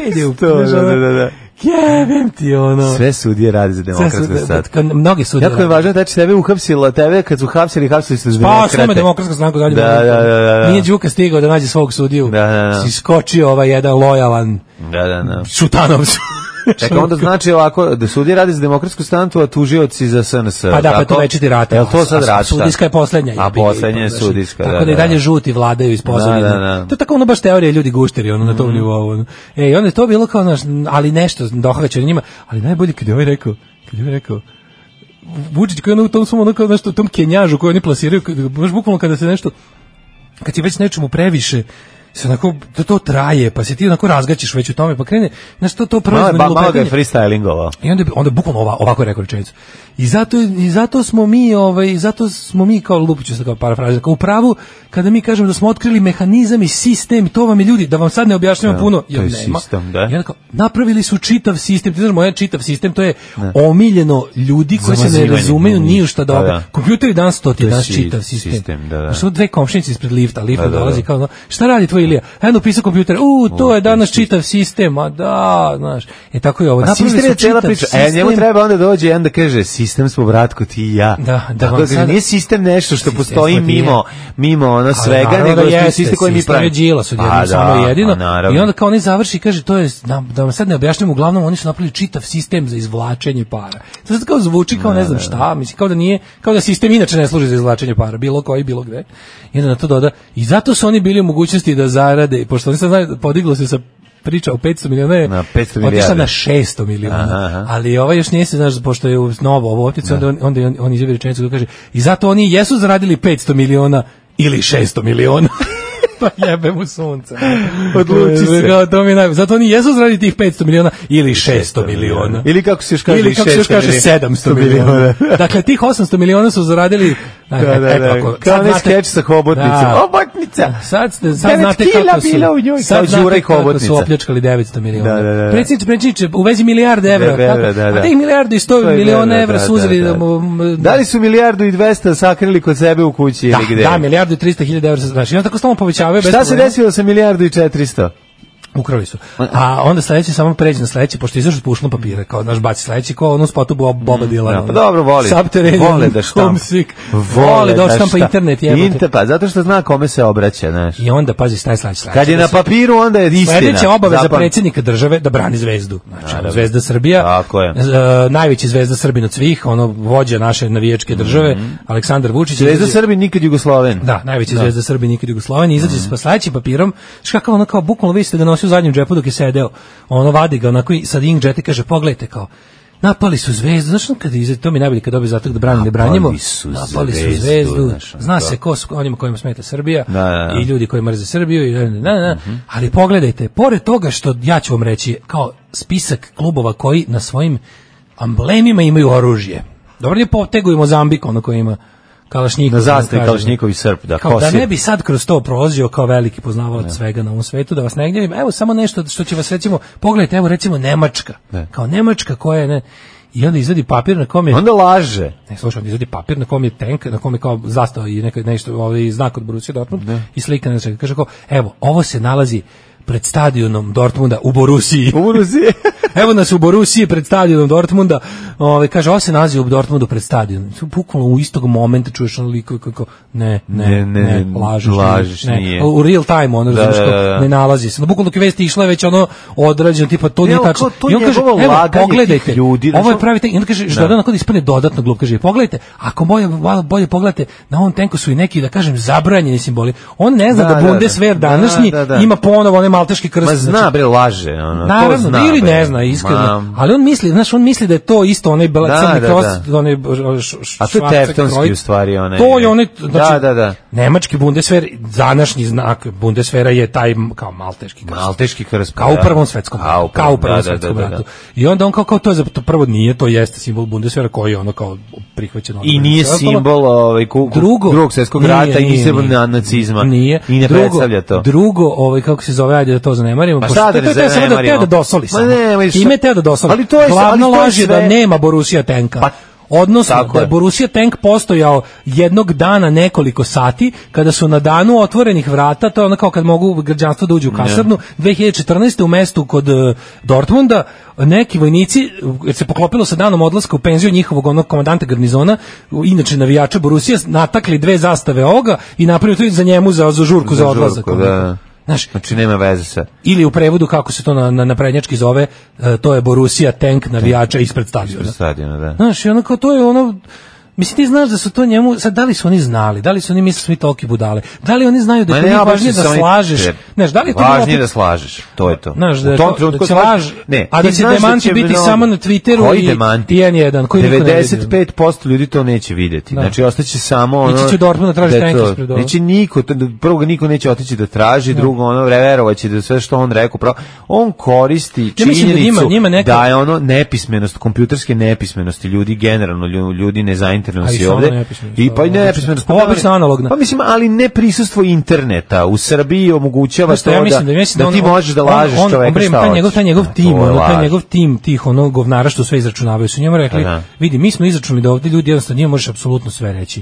E, ide u
To, da, da, da, da.
Jebem ti ono.
Sve sudije radi za demokratsku
su-
sad.
kao Mnogi sudije
Jako je
rade.
važno da će tebe uhapsila, tebe kad su hapsili, hapsili su
Pa,
demokrate.
samo demokratska stranka dalje.
Da, da, da, da, da.
Nije Đuka stigao da nađe svog sudiju.
Da, da, da.
Si skočio ovaj jedan lojalan
Da, da, da. <laughs>
Šutanovcu.
Čekaj, onda znači ovako, da sudije radi za demokratsku stranku, a tužioci za SNS.
Pa da, pa
tako?
to večiti rata.
Jel to sad
A- a
rata?
Sudijska je poslednja.
A
jebi ga,
poslednja je
znaš.
sudijska, da,
Tako da i
da,
dalje
da.
žuti vladaju iz pozadine.
Da, da, da. Mhm.
To je tako ono baš teorija ljudi gušteri, ono na tom nivou. ono. E, i onda je to bilo kao, znaš, ali nešto dohvaća njima. Ali najbolje kad je ovaj rekao, kad je ovaj rekao, Vučić koji je ono u tom svom ono kao nešto, u tom kenjažu koji oni plasiraju, kad- baš bukvalno kada se nešto, kad ti već nečemu previše, se onako, to, to traje, pa se ti onako razgaćiš već u tome, pa krene, znaš, to, to prvo
Malo, je, ba, malo ga je freestylingovao.
i onda bi- onda bukvalno ova, ovako je rekao rečenicu. I zato i zato smo mi ovaj zato smo mi kao lupiću se kao parafraza kao u pravu kada mi kažemo da smo otkrili mehanizam i sistem to vam je ljudi da vam sad ne objašnjavam puno
to
jer
je
nema.
sistem, da.
I onda kao, napravili su čitav sistem, ti znaš moj čitav sistem to je omiljeno ljudi koji se ne
Zamazivanje.
razumeju ni u šta
Da,
da
da.
obja- Kompjuter i danas to ti
je
danas
si-
čitav sistem.
sistem, da, da.
Znaš, su dve komšinice ispred lifta, lift
Da, da, da.
dolazi kao ono, šta radi tvoj Ilija? Eno pisao kompjuter. U, to je danas čitav sistem, a da, znaš. E tako je ovo.
A
Napravili
sistem je
su
cijela
čitav
priča. E, njemu
sistem.
treba onda dođe i onda kaže, sistem smo, bratko, ti i ja.
Da, da
Tako
vam
kaže,
sad-
nije sistem nešto što
Sistem
postoji
smo ti i ja.
mimo, mimo ono
Ali
svega,
Pa naravno
nego
da
što je
jeste,
sistem koji Pa mi
sistem
pravi.
je Đilas odjednom, samo i jedino. I onda kao oni završi i kaže, to je, da, da vam sad ne objašnjam, uglavnom oni su napravili čitav sistem za izvlačenje para. To sad kao zvuči kao ne znam šta, mislim, kao da nije, kao da sistem inače ne služi za izvlačenje para, bilo koji, bilo gde. I onda na to doda, i zato su oni bili u mogućnosti da zarade, pošto oni sad znaju, podiglo se sa priča o 500 miliona je
Na 500
otišla
milijardi.
na 600 miliona.
Aha, aha.
Ali ovaj još nije se, znaš, pošto je u novo ovo optice, onda, on, onda je on, on izjavi rečenicu koja kaže i zato oni jesu zaradili 500 miliona ili 600 miliona. <laughs> pa jebe mu sunce.
Odluči se.
Kao, to mi je naj... Zato oni jesu zaradili tih 500 miliona ili 600 miliona.
miliona. Ili kako se još kaže,
Ili kako se još
600
kaže,
miliona.
700 miliona. dakle, tih 800 miliona su
<laughs>
zaradili... e,
Da, da, da. Kao onaj skeč sa hobotnicom.
Da.
Hobotnica!
Sad, ste, sad
Devet
znate
kila
kako su,
bila u njoj.
sad
Kao Đura
znate
i
kako
hobotnica.
su opljačkali 900 miliona.
Da, da, da, da.
Predsjedniče, predsjedniče, u vezi milijarde evra.
Da, da,
tako?
da, da.
A tih milijarde i 100
100
miliona
evra,
evra
da,
su uzeli.
da,
Da,
da. Da li su milijardu i 200 sakrili kod sebe u kući
da,
ili gde?
da, milijardu i 300 hiljada evra. Znači, i onda tako stalno povećavaju. bez
Šta se
problema.
desilo sa milijardu i 400?
Ukrali su. A onda sledeći samo pređe na sledeći, pošto je izašao pušno papira, kao, znaš, baci sledeći, kao ono spotu Bob, Boba Dilana.
Da, pa dobro, voli. Vole da štampa.
Vole da štampa
šta-
internet, jebote.
Inter, pa zato što zna kome se obraća, znaš.
I onda, pazi, šta je sledeći sledeći?
Kad je na papiru, onda je istina.
Sledeća obaveza
Zapam-
predsjednika države da brani zvezdu. Znači, ono, zvezda Srbija,
Tako je.
e, najveći zvezda Srbin od svih, ono vođa naše navijačke države, Aleksandar Vučić.
Mhm. Zvezda
izlazi-
Srbi nikad Jugosloven.
Da, najveća zvezda Srbije nikad Jugoslovenije, izađe
Mhm.
sa sledećim papirom, što kao ono kao bukvalno vi ste ga nosio u zadnjem džepu dok je sedeo. Ono vadi ga onako i sad inkdžet i kaže pogledajte kao napali su zvezdu, znaš ono kad izađe, to mi je najbolje kad dobije zato da branimo, ne branimo.
Napali su
napali
zvezdu,
su zvezdu.
znaš, ono
Zna
to.
se ko su onima kojima smeta Srbija
Da, da, Mhm. da.
i ljudi koji mrze Srbiju i na, na, na, na. ali pogledajte, pored toga što ja ću vam reći kao spisak klubova koji na svojim amblemima imaju oružje. Dobro ne potegujemo Mozambik ono koji ima Kalašnjikov.
Na
ono
zastavi
kaže.
Kalašnjikovi srp, da,
Kao da
kosir.
ne bi sad kroz to prolazio kao veliki poznavalac svega na ovom svetu, da vas ne gnjavim. Evo samo nešto što će vas recimo, pogledajte, evo recimo Nemačka. Kao Nemačka koja je, ne, i onda izvadi papir na kom je
Onda
<laughs>
laže.
ne slušaj, on izvadi papir na kom je tank, na kom je kao zastava i neka nešto ovaj znak od Borussia Dortmund i slika na čega kaže kao evo, ovo se nalazi pred stadionom Dortmunda u Borusiji.
U Rusiji.
<laughs> Evo nas u Borusiji pred stadionom Dortmunda. Ovaj kaže ovo se nalazi u Dortmundu pred stadionom. Tu Bukvalno u istog momenta čuješ ono liko kako ne, ne,
Ne,
ne,
ne,
lažeš,
lažeš,
ne,
nije.
U real time on razumeš
da,
kao,
da.
ne nalazi se. No bukvalno dok je vest išla je već ono odrađeno tipa to nije
Evo,
tačno.
kao to
I on kaže
njegovo
evo
laganje tih
pogledajte.
ljudi, znaš, ono
Ovo je
on-
pravi tank. I onda kaže što da onako da ispane dodatno glup kaže pogledajte, ako bolje malo bolje pogledate na ovom tenku su i neki da kažem zabranjeni simboli. On ne zna
Da,
da,
da, da.
Bundeswehr
Da,
današnji
da, da.
ima ponovo onaj malteški krst.
Ma zna,
znači,
bre, laže. Ono, to
Naravno,
zna,
ili
bre.
ne zna, iskreno.
Ma,
Ali on misli, znaš, on misli da je to isto onaj bela
Da,
crni
da,
kros,
da.
onaj š- š-
A to je
švarca
teftonski
kroj.
u stvari, onaj-
To je onaj,
Da,
znači,
da, da.
Nemački Bundeswehr, današnji znak Bundeswehra je taj m- kao malteški kros.
Malteški krst.
Kao u
da.
prvom svetskom
Kao u
ratu.
prvom,
Kao u prvom
da, da,
svetskom
da, da,
ratu.
da.
I onda on kao, kao to je, za- to prvo nije, to jeste simbol Bundeswehra koji je ono kao prihvaćeno.
I nije simbol ovaj, ku, ku-
drugo
drugog svjetskog
nije,
rata i
nije,
nije simbol
nije.
na- nacizma.
Nije.
I ne
drugo,
predstavlja to.
Drugo, ovaj kako se zove, ajde da to zanemarimo.
Pa
pošto-
šta da
to je teo samo da
zanemarimo?
teo da dosoli
Ma
samo.
ne, ma šta-
Time je teo da dosoli.
Ali to je- ali
Glavna
to je
laž je da
sve-
nema Borussia tenka.
Pa,
Odnosno,
tako
da je
je.
Borussia tank postojao jednog dana nekoliko sati, kada su na danu otvorenih vrata, to je ono kao kad mogu građanstvo da uđe u kasarnu, 2014. u mestu kod e, Dortmunda, neki vojnici, jer se poklopilo sa danom odlaska u penziju njihovog onog komandanta garnizona, u- inače navijača Borussia, natakli dve zastave ovoga i napravili to za njemu za, za žurku, za,
Za
odlazak. ono.
žurku, da.
Znaš,
Znači, nema veze sa...
ili u prevodu kako se to na, na, na prednjački zove, e, to je Borussia tank navijača ispred stadiona.
Stadiona, da.
Znaš, i ono kao to je ono, mislim ti znaš da su to njemu, sad da li su oni znali, da li su oni mislili svi toliki budale, da li oni znaju da
Ma
je to
ne,
njih
obično
važnije da
se oni-
slažeš,
Te-
znaš, da li je to
Važnije da
bilo-
slažeš, to je to.
Znaš, da je
U tom
to-
trenutku
da će
slažeš-
laž- a da
ti
će
znaš
demanti biti
mnogo-
samo na Twitteru
Koji
i-
demanti?
i N1, koji niko ne vidi.
95% ljudi to neće vidjeti.
Da.
Znači ostaće samo ono.
Ići će u Dortmund da traži
je
tenk
to-
ispred ovog.
Neće niko, to- da- prvo ga niko neće otići da traži, drugo ono verovaće da sve što on rekao, pravo on koristi
Ja mislim da
činjenicu
njima- njima neka-
da je ono nepismenost, kompjuterske nepismenosti ljudi generalno lju- ljudi
Ali
nezainteresovani
samo
ovde.
nepismenost,
I pa i
ono obično.
nepismenost.
Ovo je obično analogna.
Pa mislim, ali ne prisustvo interneta u Srbiji omogućava
Znaš šta,
to
Pa ja
da,
mislim da, mislim
da
on-
ti možeš da
on-
lažeš
on,
čoveka
bre,
šta
taj njegov,
hoćeš.
taj njegov
To je
tim, ono, taj
laž.
njegov tim tih ono govnara što sve izračunavaju su njemu rekli,
Pa da.
vidi, mi smo izračunali da ovdje ljudi jednostavno njima možeš apsolutno sve reći.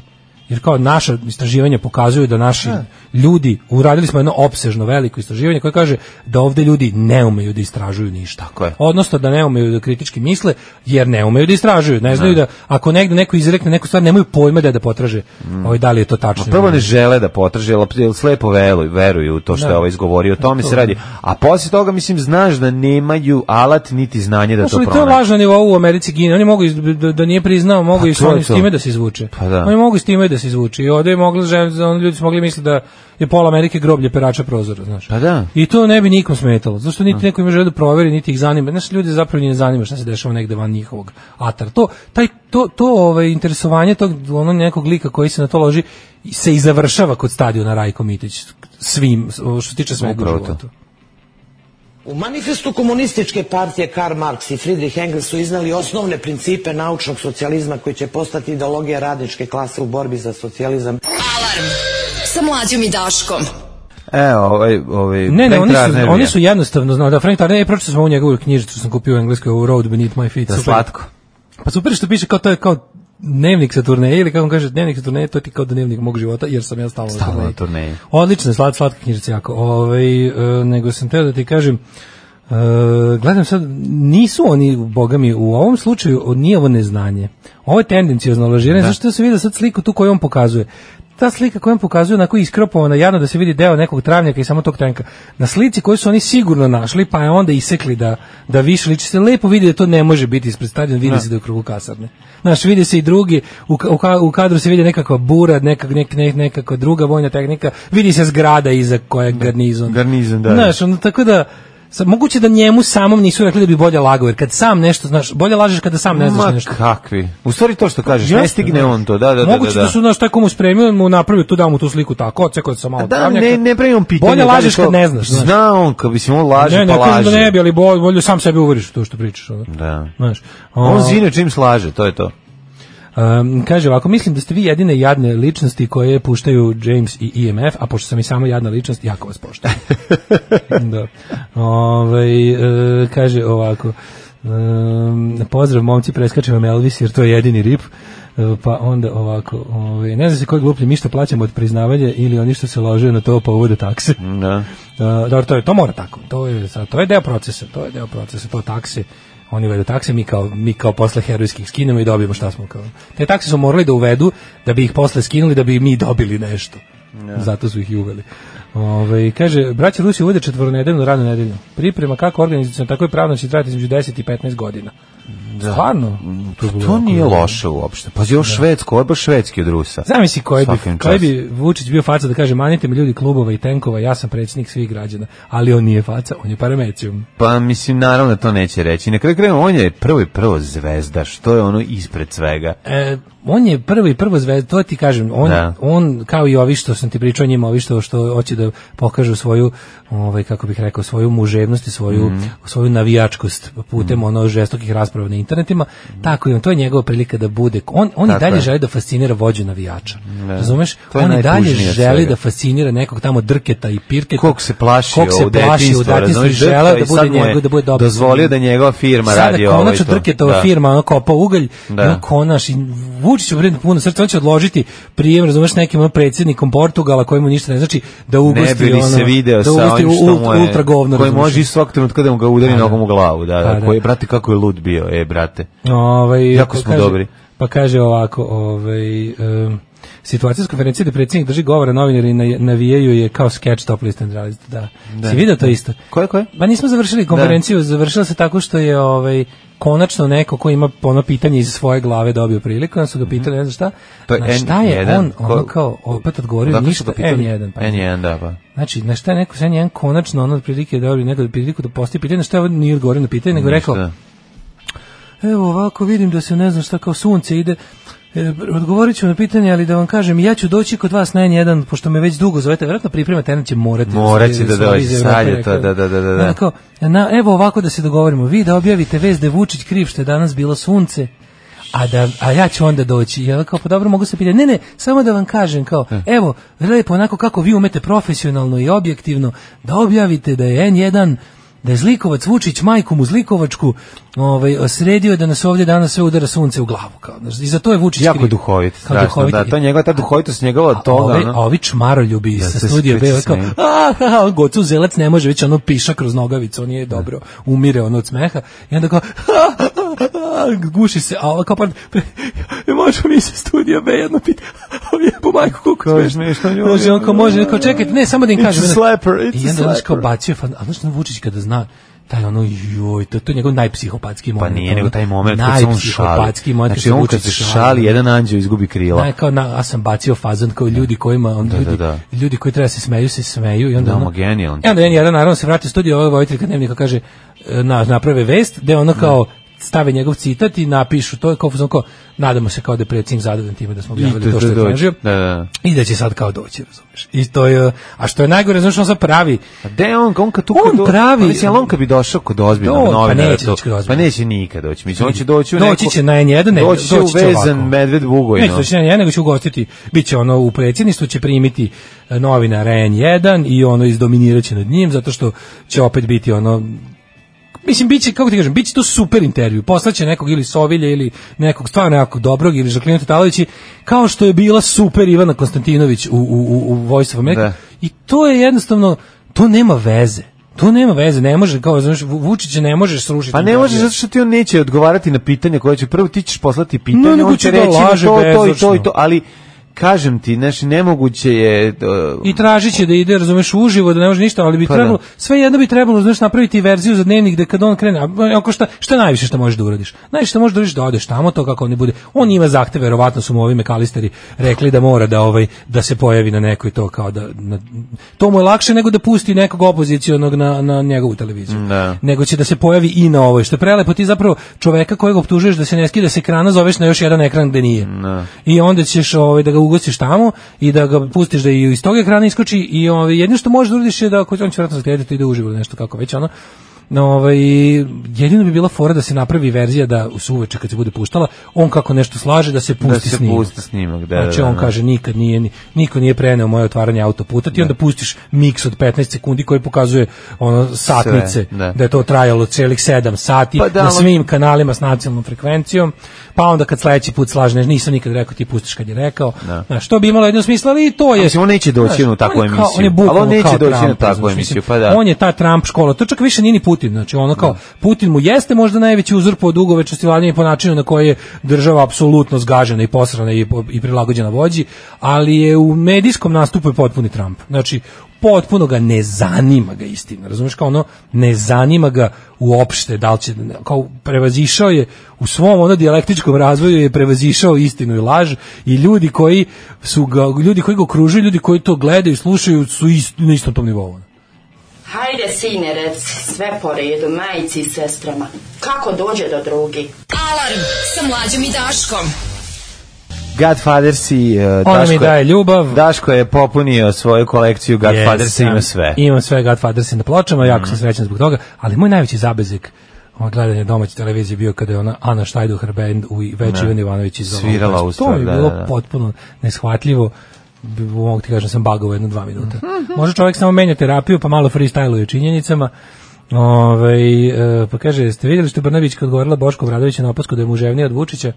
Jer kao naša istraživanja pokazuju da naši ljudi, uradili smo jedno opsežno veliko istraživanje koje kaže da ovdje ljudi ne umeju da istražuju ništa.
Tako je.
Odnosno da ne umeju da kritički misle, jer ne umeju da istražuju. Ne znaju da ako negde neko izrekne neku stvar, nemaju pojma da je da potraže ovaj, da li je to tačno.
Mm. Prvo
ili
ne žele da potraže, jer- jer slepo veluju, veruju u to što
Da.
je ovaj izgovorio, o tome se radi. A poslije toga, mislim, znaš da nemaju alat niti znanje da
Znaš
to
li, Pa to je
pronađu.
lažno nivou u Americi gine. Oni mogu iz- da, da nije priznao, mogu
Pa
i
to je
s
to.
time da se izvuče.
Pa da.
Oni mogu s time da se izvuče. I ovde je mogli, žen- oni ljudi su mogli misliti da je pola Amerike groblje perača prozora, znaš.
Pa da.
I to ne bi nikom smetalo. Zašto niti neko ima želju da proveri, niti ih zanima. Znaš, ljudi zapravo ni ne zanima šta se dešava negde van njihovog atar. To, taj, to, to ovaj, interesovanje tog ono nekog lika koji se na to loži se i završava kod stadiona Rajko Mitić svim, što se tiče svega u
Upravo to.
životu.
U manifestu komunističke partije Karl Marx i Friedrich Engels su iznali osnovne principe naučnog socijalizma koji će postati ideologija radničke klase u borbi za socijalizam.
Alarm sa mlađom i Daškom.
E, ovaj, ovaj,
Ne, ne,
Frank
oni su,
Drazner
oni
je.
su jednostavno znali. Da, Frank Tarner, ja pročito sam ovu njegovu knjižicu, sam kupio u engleskoj, ovu Road Beneath My Feet.
Da,
super.
slatko.
Pa super što piše kao to je kao dnevnik sa turneje ili kako on kaže dnevnik sa turneje to ti kao dnevnik mog života jer sam ja stalno,
Stalno na
na
turneji.
Odlična je, slat, slatka knjižica jako. Ovaj, e, nego sam teo da ti kažem e, gledam sad, nisu oni, boga mi, u ovom slučaju o, nije ovo neznanje. Ovo je tendencijozno lažiranje, da. zašto se vidi sad sliku tu koju on pokazuje. Ta slika koju on pokazuje onako iskropovana, jadno da se vidi deo nekog travnjaka i samo tog tenka. Na slici koju su oni sigurno našli, pa je onda isekli da, da više liči se lepo vidi da to ne može biti ispred stadiona, vidi se da je u krugu kasarne. Znaš, vidi se i drugi, u, ka- u, ka- u kadru se vidi nekakva bura, nekak, nek, nek, nekakva druga vojna tehnika, vidi se zgrada iza koje je garnizon.
garnizon, da, da.
Znaš, ono, tako da, sa, moguće da njemu samom nisu rekli da bi bolje lagao, jer kad sam nešto, znaš, bolje lažeš kada sam ne znaš
Ma
nešto.
kakvi. U stvari to što kažeš, ne
Jeste,
stigne
da.
on to, da, da, da.
Moguće da su naš taj komu spremio, mu napravio tu da mu tu sliku tako, odsekao sam malo.
Da,
travnjaka.
ne, ne pravim pitanje.
Pa Bolje
da li
lažeš
to-
kad ne znaš. znaš.
Zna on, kad mislim, on laže,
ne, ne,
pa
kažem
laže.
da ne bi, ali bolje, bolje sam sebe uveriš u to što pričaš. ono.
Da.
Znaš, ono.
On
o-
zine čim slaže, to je to.
Um, kaže ovako, mislim da ste vi jedine jadne ličnosti koje puštaju James i IMF, a pošto sam i samo jadna ličnost, jako vas poštujem. da. Ovaj, e, kaže ovako, um, pozdrav momci, preskačem vam Elvis jer to je jedini rip. E, pa onda ovako, ovaj, ne znam se koji gluplji, mi što plaćamo od priznavanja ili oni što se lože na to pa uvode takse.
Da.
Uh, dobro, to je to mora tako. To je sad to je deo procesa, to je deo procesa, to takse. Oni uvedu takse, mi kao mi kao posle herojskih skinemo i dobijemo šta smo kao. Te takse su morali da uvedu da bi ih posle skinuli da bi mi dobili nešto. Zato su ih i uveli. Ove, kaže, braća Rusi uvode četvornedeljnu radnu nedelju. Priprema kako organizacijona, tako i pravno će trajati između 10 i 15 godina. Da. Stvarno? je bilo
Pa To
jako
nije
dobro.
loše uopšte. Pazi, ovo švedsko, ovo je baš švedski od Rusa.
Zamisli koji
Svaka im
bi, koji
čast.
bi Vučić bio faca da kaže manite mi ljudi klubova i tenkova, ja sam predsjednik svih građana, ali on nije faca, on je paramecijum.
Pa mislim, naravno to neće reći. Na kraju krajeva, on je prvo i prvo zvezda, što je ono ispred svega.
E, on je prvi, prvo zvezda, to ti kažem, on,
Da.
on kao i ovi što sam ti pričao o njima, ovi što, što hoće da pokažu svoju, ovaj, kako bih rekao, svoju muževnost i svoju,
Mhm.
svoju navijačkost putem ono žestokih rasprava na internetima, tako i on, to je njegova prilika da bude, on, on i
Mhm. Tako
dalje
je.
želi da fascinira vođu navijača, razumeš?
To je
On i dalje
najtužnije od
želi
svega.
da fascinira nekog tamo drketa i pirketa.
Kog se plaši
Kog se
u
plaši
detinjstvu,
u detinjstvu i
razumiješ,
žele da
i sad
bude
mu je
njegov, da bude dobar.
Dozvolio da njegova firma radi
Sada
ovo i
konačno
to.
Drketova
Da.
firma ono kopa ugalj,
Da.
da. ono konaš i vuči se vredno puno srca, on će odložiti prijem, razumeš, nekim ono predsjednikom Portugala kojemu ništa ne znači, da
ne
ugosti
bi li
ono,
se video
da
sa
ugosti
onim što mu je,
ultra govno,
koji
razumeš.
može iz svog trenutka da mu ga udari nogom u glavu, da, da,
Pa da.
koji, brate, kako je lud bio, e, brate.
Ovaj,
Jako
pa
smo dobri.
Pa kaže ovako, ovaj, um, situacija s konferencije da predsjednik drži govora novinari na, navijaju je kao sketch top list and reality, da. da. Si video to isto?
Koje, koje?
Ba nismo završili konferenciju, završila se tako što je ovaj konačno neko ko ima ono pitanje iz svoje glave dobio priliku, onda su ga pitali ne znam šta.
Mhm. To je
na šta je
N1,
on ono
ko-
kao opet odgovorio
Odakle su
ništa
ga pitali?
N1 pa.
N1, da, pa.
Znači, na šta je neko sad jedan konačno ono prilike dobio neku priliku da postavi pitanje, na šta je ovo nije odgovorio na pitanje, nego je rekao,
Šta?
Evo ovako vidim da se ne znam šta kao sunce ide. E, odgovorit ću na pitanje, ali da vam kažem, ja ću doći kod vas na N1, pošto me već dugo zovete, vjerojatno pripremate, jedan će morati.
Morat
se-
će da
se ovi iz
dođe,
Evrope
sad je
rekao. Ono,
to, da, da, da, da, da.
Onako, na, evo ovako da se dogovorimo, vi da objavite vez da je Vučić kriv što je danas bilo sunce, A, da, a ja ću onda doći. Ja kao, pa dobro, mogu se pitati. Ne, ne, samo da vam kažem, kao,
Hm.
evo, lepo, onako kako vi umete profesionalno i objektivno, da objavite da je N1 da je Zlikovac Vučić majku mu Zlikovačku ovaj, sredio da nas ovdje danas sve udara sunce u glavu. Kao, znaš, I za to je Vučić
Jako
kriv.
duhovit,
Kao
strašno, da,
duhovit.
to je njegova, ta duhovitost njegova od
A
toga,
ovi, a
ono.
ovi čmaroljubi
Da
sa
se
studija
spriči
B kao,
smeh.
a, ha, ha, gocu zelac ne može, već ono piša kroz nogavicu, on je dobro, umire ono od smeha, i onda kao, ha, ha, ha, ha, guši se, a ovo kao, pardon, možemo mi se studija B jedno pita, <laughs> ovi je po majku kuku
Kao je smešno, joj,
Može, on
joj,
kao, može,
joj,
kao, čekajte, ne, samo da im
It's
kažem.
a
ono.
slapper, it's
I
a
onda ono kao
slapper.
bacio, fan, a znaš što Vučić kada zna, taj ono, joj, to, to je njegov najpsihopatski
Pa
moment.
nije, nego
ono,
taj moment kad se on šali.
Najpsihopatski moment. kad
Znači, on kad
Vučić
se šali, jedan anđeo izgubi krila.
Ne, kao na, ja sam bacio fazon kao ljudi kojima on
Pa. Da,
ljudi,
da, da.
ljudi koji treba se smeju se smeju i onda
Da,
ono-
ma, genijalan.
E onda jedan jedan naravno se vrati u studio ovaj vojitelj kad dnevnika kaže e, na naprave vest da ono kao stave njegov citat i napišu to je kao fazon kao nadamo se kao da je predsjednik zadovoljan time da smo objavili to što je
dođe.
tražio.
Da, da, da.
I da će sad kao doći, razumeš. I to je a što je najgore, znaš on sad pravi
A Pa gde je on, on kad tu
On
kad do-
pravi-
pa mislim, ali on kad bi došao kod ozbiljnog
To- pa
novinara,
neće
to-
doći kod
pa
ozbiljnog.
neće nikad doći. Mislim, on će doći u
Doći
neku...
će na N1, ne,
doći će
doći će
uvezan
ovako.
medved
Neće
bugojno.
doći na N1, nego će ugostiti, bit će ono u predsjedništvu, će primiti e, novinar N1 i ono izdominirat će nad njim, zato što će opet biti ono Mislim, biće, kako ti kažem, biće to super intervju. Poslaće nekog ili Sovilja ili nekog stvarno nekog dobrog ili Žaklina Tatalovići, kao što je bila super Ivana Konstantinović u, u, u, u Voice of America.
Da.
I to je jednostavno, to nema veze. To nema veze, ne može, kao, znaš, Vu- Vučića ne možeš srušiti.
Pa ne
intervju.
možeš zato što ti on neće odgovarati na pitanja koje će prvo ti ćeš poslati pitanje,
nego
on
će
će
da
reći da
laže
to, to i to
bezočno.
i to, ali kažem ti, znači nemoguće je uh,
i tražit će da ide, razumeš, uživo, da ne može ništa, ali bi
Pa
trebalo,
da.
sve jedno bi trebalo, znaš, napraviti verziju za dnevnik da kad on krene, a, ako šta, šta je najviše što možeš da uradiš? Najviše što možeš da uradiš da odeš tamo, to kako oni bude. On ima zahteve, verovatno su mu ovi mekalisteri rekli da mora da ovaj da se pojavi na nekoj to kao da na, to mu je lakše nego da pusti nekog opozicionog na, na njegovu televiziju.
Da.
Nego će da se pojavi i na ovoj, što je prelepo ti zapravo čoveka kojeg optužuješ da se ne skida s ekrana zoveš na još jedan ekran gde nije. I onda ćeš ovaj da ga ugostiš tamo i da ga pustiš da i iz tog ekrana iskoči i ovaj jedino što možeš da uradiš je da ako on će verovatno zagledati ide uživo ili nešto kako već ono. No, ovaj, jedino bi bila fora da se napravi verzija da u suveče kad se bude puštala, on kako nešto slaže da se pusti
da se
snimak.
pusti snimak. Da,
Znači
da,
on
da.
kaže nikad nije ni- niko nije preneo moje otvaranje autoputa ti onda pustiš miks od 15 sekundi koji pokazuje ono satnice
da.
da je to trajalo celih 7 sati
Pa da,
na
ali-
svim kanalima s nacionalnom frekvencijom pa onda kad sledeći put slažeš nisam nikad rekao ti pustiš kad je rekao da. znači to bi imalo jedno smisla ali i to je
Pa Mislim, on neće doći
Znaš,
na takvu
on je kao-
emisiju.
on je bukvalno
Ali on neće
kao
doći na
Trump,
takvu
razumeš,
emisiju,
mislim,
pa da.
On je ta Trump škola. To čak više nije ni Putin, znači ono kao Putin mu jeste možda najveći uzor po dugovečnosti vladanja i po načinu na koji je država apsolutno zgažena i posrana i, po- i prilagođena vođi, ali je u medijskom nastupu je potpuni Trump. Znači potpuno ga ne zanima ga istina, razumeš kao ono ne zanima ga uopšte da li će kao prevazišao je u svom ono dijalektičkom razvoju je prevazišao istinu i laž i ljudi koji su ga, ljudi koji ga okružuju, ljudi koji to gledaju i slušaju su ist, na istom tom nivou. ono.
Hajde, sine, rec, sve po redu, majici i sestrama. Kako dođe do drugi?
Alarm sa mlađom i Daškom.
Godfathers i uh,
Ona mi
Daško-
daje ljubav.
Daško je popunio svoju kolekciju Godfathers
Jesam.
ima sve. Mhm.
Imam sve Godfathersa na pločama, jako sam srećan zbog toga, ali moj najveći zabezik od gledanja domaće televizije bio kada je ona Ana Štajduhar band u već Ivan Ivanović iz
Svirala u
To mi je
stvar, da,
bilo
da, da.
potpuno neshvatljivo B- mogu ti kažem sam bagao jedno dva minuta. Može čovjek samo menja terapiju, pa malo freestyluje činjenicama. Ove, pa kaže, ste vidjeli što je Brnabić kad govorila Boško Bradovića na opasku da je muževnija od Vučića, e,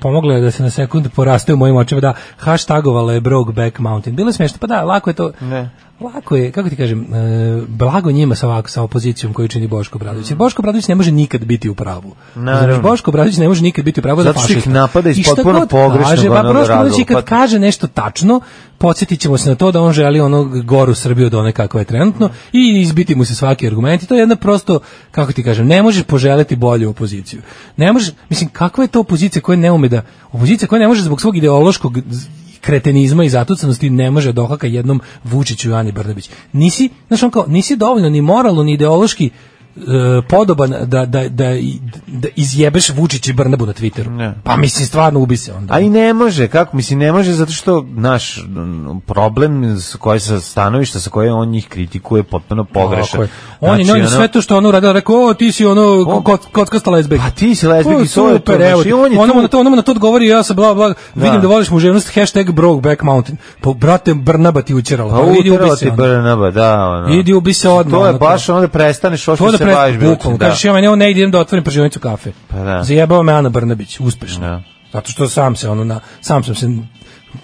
pomogla je da se na sekund poraste u mojim očima, da, hashtagovala je Brokeback Mountain. Bilo je smešno, pa da, lako je to,
Ne.
Lako je, kako ti kažem, e, blago njima sa ovako, sa opozicijom koju čini Boško Bradović. Jer Boško Bradović ne može nikad biti u pravu.
Naravno.
Znači, Boško Bradović ne može nikad biti u pravu za
Zato što ih
fašista.
napada iz
I šta
potpuno
god
pogrešnog
kaže, pa
onog
Boško Bradović i
razloga,
kad
pa-
kaže nešto tačno, podsjetit ćemo se na to da on želi onog goru Srbiju od one kakva je trenutno i izbiti mu se svaki argument i to je jedna prosto, kako ti kažem, ne možeš poželiti bolju opoziciju. Ne možeš, mislim, kakva je to opozicija koja ne ume da, opozicija koja ne može zbog svog ideološkog z- kretenizma i zatucanosti ne može dohaka jednom Vučiću i Ani Brnabić. Nisi, znaš, on kao, nisi dovoljno ni moralno, ni ideološki e, podoban da, da, da, i- da izjebeš Vučić i Brnabu na Twitteru.
Ne.
Pa mislim, stvarno ubi se onda.
A i ne može, kako mislim ne može zato što naš m, problem s koje sa stanovišta sa koje on njih kritikuje je potpuno pogrešan.
Tako je. On je
Znači,
znači,
ono-
sve to što on uradila, rekao, o, ti si ono, ko- ko- kockasta lezbejka.
Pa ti si lezbijka
O,
i to je
super,
to,
evo
znači,
ti.
on je
Ona
tu-
mu na to, ona mu na to odgovori, ja sam bla, bla, vidim
Da.
da voliš muževnost, hashtag Brokeback Mountain. Pa, brate, Brnaba ti učerala.
Pa
Pa, vidi, ubi
utrla
se
ti
onda.
Brnaba, da, ono.
Idi, ubi se odmah,
To je
ono,
baš onda prestaneš ovo što se
pre-
baviš. bilo ti,
bukvalno.
da.
Kažeš, ja meni ovo ne idem da otvorim pržionicu kafe.
Pa da.
Zajebao me Ana Brnabić, uspešno.
Da.
Zato što sam se, ono, na, sam sam se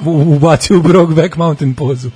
u- ubacio u Brokeback Mountain pozu.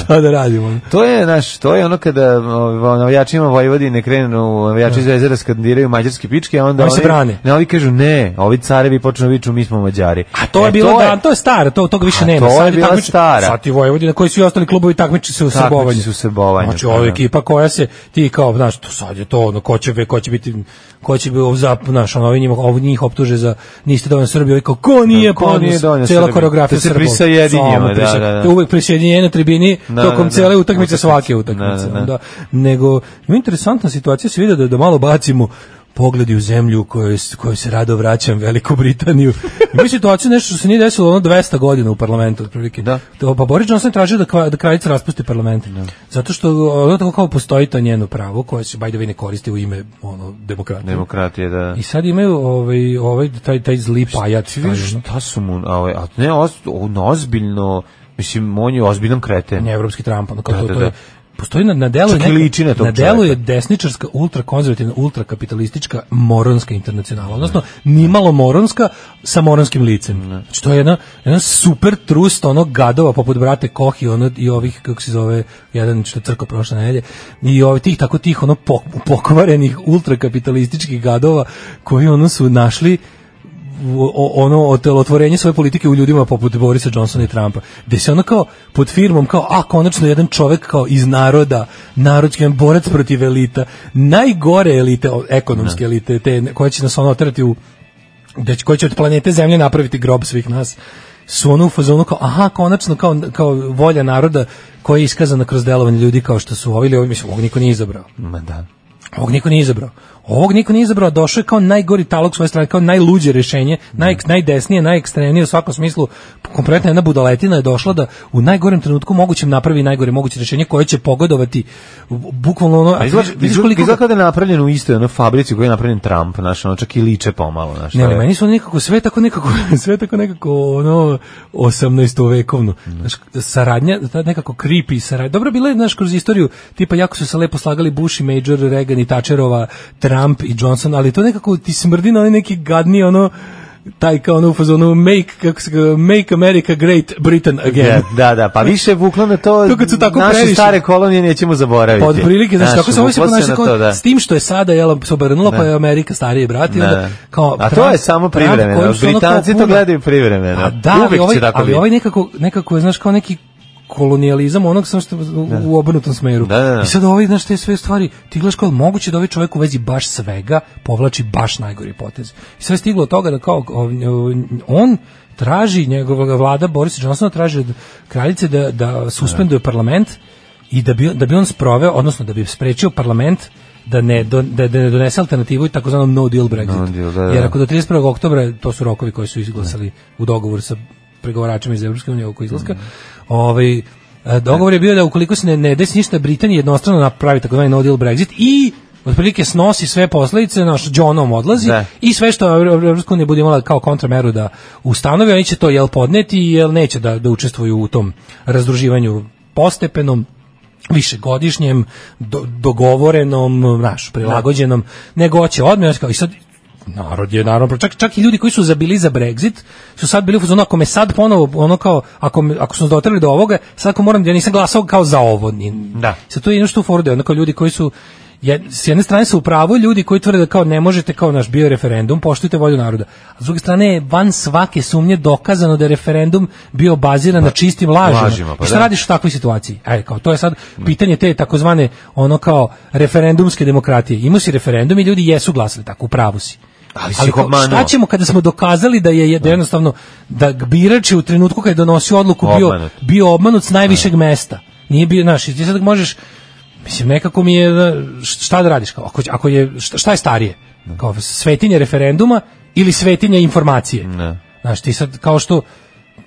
Šta da radimo? ono?
To je naš, to je ono kada ovaj, navijačima Vojvodine krenu navijači iz Zvezdara skandiraju mađarski pičke, a onda
Oni se brane.
Ne, ovi kažu ne, ovi carevi počnu viču mi smo Mađari.
A to je
E,
bilo da, to je staro, to toga više
A
nema.
to je
Sad
bila
takmič-
stara.
Sad i Vojvodina koji svi ostali klubovi takmiče se u
Takmiče
srbovanju.
se u srbovanju,
Znači
pa
ova
da.
ekipa koja se ti kao, znaš, to sad je to, ono ko će ve- ko će biti ko će biti za, znaš, ono, ovi njima, ovi njih optuže za niste dovoljno Srbi, ovi kao ko nije,
Da, ko
pa
nije dovoljno
cela
Srbi.
koreografija
Da se
Srba.
prisajedinjamo,
Samo
da,
prisaj-
da, da.
te Uvek prisjedinjenje na tribini
Da,
tokom
da, da.
cele utakmice
Utakmice.
svake utakmice. ono,
Da, da, da.
onda. Nego ima interesantna situacija, se vidi da da malo bacimo pogledi u zemlju u kojoj, s- kojoj se rado vraćam, Veliku Britaniju. Ima situaciju nešto što se nije desilo ono 200 godina u parlamentu, otprilike.
Da.
To, pa Boris Johnson je tražio da, kva- da kraljica raspusti parlament. Zato što ono tako kao postoji to njeno pravo koje se by the way ne koristi u ime ono, demokratije.
Demokratije, da.
I sad imaju ovaj, ovaj, taj, taj zli pajac.
Ti vidiš
taj, ono,
šta su mu, a, ovaj, a ne, oz, on ozbiljno, mislim, on je ozbiljnom kreten.
ne evropski Trump, ono kao
Da,
to,
da,
to je
da.
Postoji na, na delu je
Čak i
neka-
liči na tog
delu je
čoveka.
desničarska, ultrakonzervativna, ultrakapitalistička moronska internacionala, odnosno nimalo moronska sa moronskim licem. Znači to je jedna, jedna super trust onog gadova poput brate Koh i, ono, i ovih, kako se zove, jedan što je crko prošle nedelje, i ovih tih, tako tih ono pok- pokvarenih ultrakapitalističkih gadova koji ono su našli o- o- ono otelotvorenje svoje politike u ljudima poput Borisa Johnsona i Trumpa. Gde se ono kao pod firmom kao a konačno jedan čovek kao iz naroda, narodski jedan borac protiv elita, najgore elite, o- ekonomske elite, te koje će nas ono otrati u da će, koji će od planete Zemlje napraviti grob svih nas su ono u fazonu kao, aha, konačno kao, kao volja naroda koja je iskazana kroz delovanje ljudi kao što su ovi ili ovi, mislim, ovog niko nije izabrao.
Ma da.
Ovog niko nije izabrao. Ovog niko nije izabrao, došao je kao najgori talog svoje strane, kao najluđe rešenje, naj, najdesnije, najekstremnije u svakom smislu. Kompletna jedna budaletina je došla da u najgorem trenutku mogućem napravi najgore moguće rešenje koje će pogodovati bu- bukvalno ono...
A izgleda, izgleda, izgleda kao da je napravljen u istoj onoj fabrici u kojoj je napravljen Trump, znaš, ono čak i liče pomalo, znaš.
Ne,
to
ne,
je.
meni su oni nekako sve tako nekako <laughs> sve tako nekako ono 18. vekovno.
Mhm.
Znaš, saradnja, ta nekako creepy saradnja. Dobro bila je znaš kroz istoriju, tipa jako su se lepo slagali Bush i Major, Reagan i Thatcherova, Trump i Johnson, ali to nekako ti smrdi na onaj neki gadni ono taj kao ono u fazonu make, kako se ga- make America great Britain again.
Da, da, da, pa više vuklo na to,
To kad su tako
naše
previše.
stare kolonije nećemo zaboraviti.
Pa otprilike, znači, tako se ovo se
vuklo
ponaša
na
kao,
to, da.
s tim što je sada, jel, se obrnulo, pa je Amerika stariji brat, i
Da.
onda, kao,
A to
Trump-
je samo
Trump
privremeno,
kojim su ono kao
Britanci to
puno-
gledaju privremeno.
A da, ali
Uvek će
ovaj,
tako
ali
biti.
ovaj nekako, nekako je, znaš, kao neki kolonijalizam onog samo što u, u obrnutom smeru.
Da, da, da.
I sad ovaj, znaš, te sve stvari, ti gledaš kao moguće da ovaj čovjek u vezi baš svega povlači baš najgori potez. I sve je stiglo od toga da kao ov- on traži, njegova vlada Boris Johnsona traži od kraljice da, da suspenduje parlament i da bi, da bi on sproveo, odnosno da bi sprečio parlament da ne, do, da, da ne donese alternativu i takozvanom no deal Brexit.
No deal, da, da.
Jer ako do 31. oktobra, to su rokovi koji su izglasali u dogovoru sa pregovaračima iz Evropske unije oko izlaska, ovaj, e, dogovor je bio da ukoliko se ne, ne desi ništa, Britanija jednostrano napravi takozvani no deal Brexit i otprilike snosi sve posledice, naš Johnom odlazi
Da.
i sve što Evropska unija bude imala kao kontrameru da ustanovi, oni će to jel podneti, jel neće da, da učestvuju u tom razdruživanju postepenom, višegodišnjem, do, dogovorenom, naš, prilagođenom, nego hoće odmah, znaš, kao, i sad narod je naravno, pro- čak, čak i ljudi koji su za- bili za Brexit, su sad bili u fazonu, ako me sad ponovo, ono kao, ako, me, ako su nas doterali do ovoga, sad ako moram, ja nisam glasao kao za ovo. Ni,
Da.
Sad tu je jedno što u foru da je ono kao ljudi koji su jed- s jedne strane su u pravu ljudi koji tvrde da kao ne možete kao naš bio je referendum, poštujte volju naroda. A s druge strane je van svake sumnje dokazano da je referendum bio baziran na čistim lažima.
Pa, lažima, pa
I šta
da.
radiš u takvoj situaciji? Aj, kao to je sad pitanje te takozvane ono kao referendumske demokratije. Imao si referendum i ljudi jesu glasali tako, u pravu si.
Ali si ih
kao, šta
obmanuo.
ćemo kada smo dokazali da je da jednostavno da birač je u trenutku kada je donosio odluku bio
Obmanut.
bio obmanut s najvišeg mesta. Nije bio naš. Ti sad možeš mislim nekako mi je da, šta da radiš kao ako ako je šta, šta je starije? Kao svetinje referenduma ili svetinje informacije?
Ne.
Znaš, ti sad kao što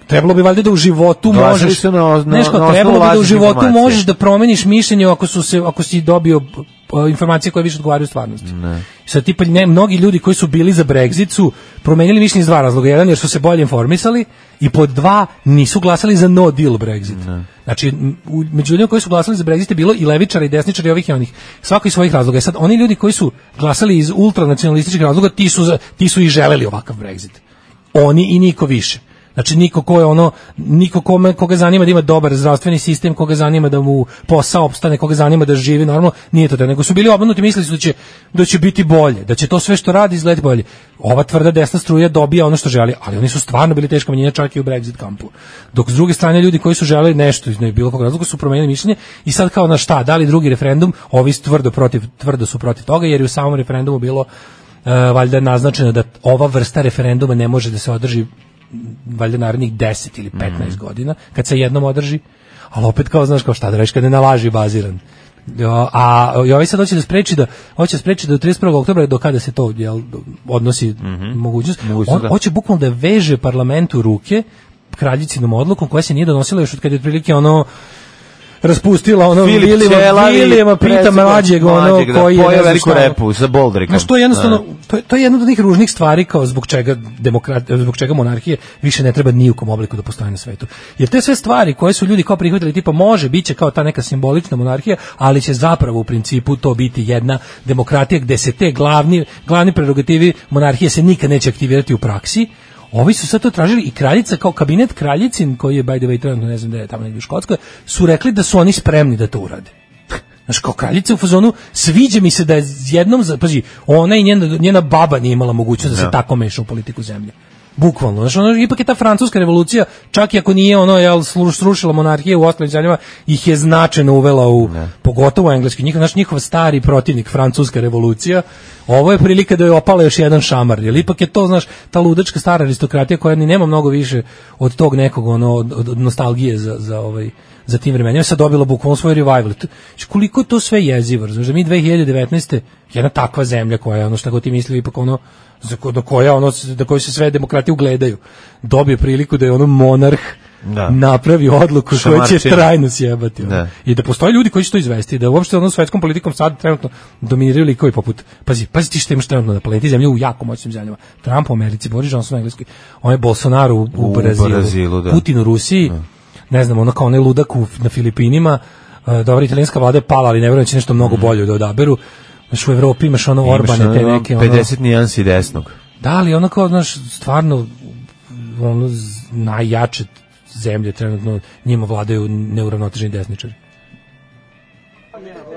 trebalo bi valjda da u životu
Glasali
možeš
su na os- na-
znaš kao,
na osnovu
trebalo bi da u
lažnih
životu
informacija.
možeš da promeniš mišljenje ako su se ako si dobio p- p- informacije koje više odgovaraju stvarnosti. I Sad tipa ne, mnogi ljudi koji su bili za Brexit su promenili mišljenje iz dva razloga. Jedan jer su se bolje informisali i pod dva nisu glasali za no deal Brexit. Znači m- u- među ljudima koji su glasali za Brexit je bilo i levičara i desničara i ovih i onih. Svako iz svojih razloga. I sad oni ljudi koji su glasali iz ultranacionalističkih razloga ti su za- ti su i želeli ovakav Brexit oni i niko više. Znači niko ko je ono, niko kome, koga zanima da ima dobar zdravstveni sistem, koga zanima da mu posao opstane, koga zanima da živi normalno, nije to da, nego su bili obmanuti, mislili su da će, da će biti bolje, da će to sve što radi izgledati bolje. Ova tvrda desna struja dobija ono što želi, ali oni su stvarno bili teška manjina čak i u Brexit kampu. Dok s druge strane ljudi koji su želeli nešto iz ne bilo kog razloga su promenili mišljenje i sad kao na šta, da li drugi referendum, ovi su tvrdo protiv, tvrdo su protiv toga jer je u samom referendumu bilo e, valjda je naznačeno da ova vrsta referenduma ne može da se održi m, valjda narednih 10 ili 15
Mhm.
godina kad se jednom održi ali opet kao znaš kao šta da radiš kad je na laži baziran Jo, a i ovaj sad hoće da spreči da hoće da spreči da do 31. oktobra do kada se to jel, odnosi mogućnost,
Mhm. Mogućnost,
on,
da.
hoće bukvalno da veže parlamentu ruke kraljicinom odlukom koja se nije donosila još od kad je otprilike ono raspustila ono
Filip
Vilijema,
Ćelavi,
Vilijema Prita
predsjednik
Mlađeg, ono
Mlađeg, da,
koji je... ne
pojeo
znam
veliku
šta, ono.
repu sa Boldrikom.
Znaš, to je jednostavno, to je, to je jedna od onih ružnih stvari kao zbog čega, demokrat, zbog čega monarhije više ne treba ni u kom obliku da postoje na svetu. Jer te sve stvari koje su ljudi kao prihvatili, tipa može, bit će kao ta neka simbolična monarhija, ali će zapravo u principu to biti jedna demokratija gde se te glavni, glavni prerogativi monarhije se nikad neće aktivirati u praksi, Ovi su sad to tražili i kraljica, kao kabinet kraljicin, koji je, by the way, trenutno ne znam da je tamo negdje u Škotskoj, su rekli da su oni spremni da to urade. Znaš, kao kraljica u fazonu, sviđa mi se da je jednom, za- pazi, ona i njena, njena baba nije imala mogućnost da se tako meša u politiku zemlje. Bukvalno, znaš, ono, ipak je ta francuska revolucija, čak i ako nije ono, jel, slu- srušila monarhije u ostalim zemljama, ih je značajno uvela u, pogotovo u engleski, njihov, znaš, njihov stari protivnik, francuska revolucija, ovo je prilika da je opala još jedan šamar, jer ipak je to, znaš, ta ludačka stara aristokratija koja ni nema mnogo više od tog nekog, ono, od, od- od nostalgije za, za ovaj, za tim vremenima sad dobila bukvalno svoj revival. To- znači, Koliko je to sve jezivo, razumiješ, da mi 2019. jedna takva zemlja koja je ono što god ti misli ipak ono za ko, do koja ono da koji se sve demokrati ugledaju. Dobije priliku da je ono monarh
Da.
napravi odluku koja će
Šamarčina.
trajno sjebati. ono.
Da.
I da postoje ljudi koji će to izvesti, da uopšte ono svetskom politikom sad trenutno dominiraju likovi poput, pazi, pazi ti što imaš trenutno na planeti zemlje u jako moćnim zemljama. Trump u Americi, Boris Johnson u Engleskoj, on je Bolsonaro u, u,
U
Brazilu,
Brazilu, da.
Putin u Rusiji, ne znam, ono kao onaj ludak u, na Filipinima, e, dobra italijanska vlada je pala, ali ne vjerujem da će nešto mnogo bolje da odaberu. Znaš, u Evropi Mhm. imaš ono Orbane, te neke, ono,
50 nijansi desnog.
da, ali ono kao, znaš, stvarno, ono, z- najjače zemlje trenutno njima vladaju neuravnoteženi desničari.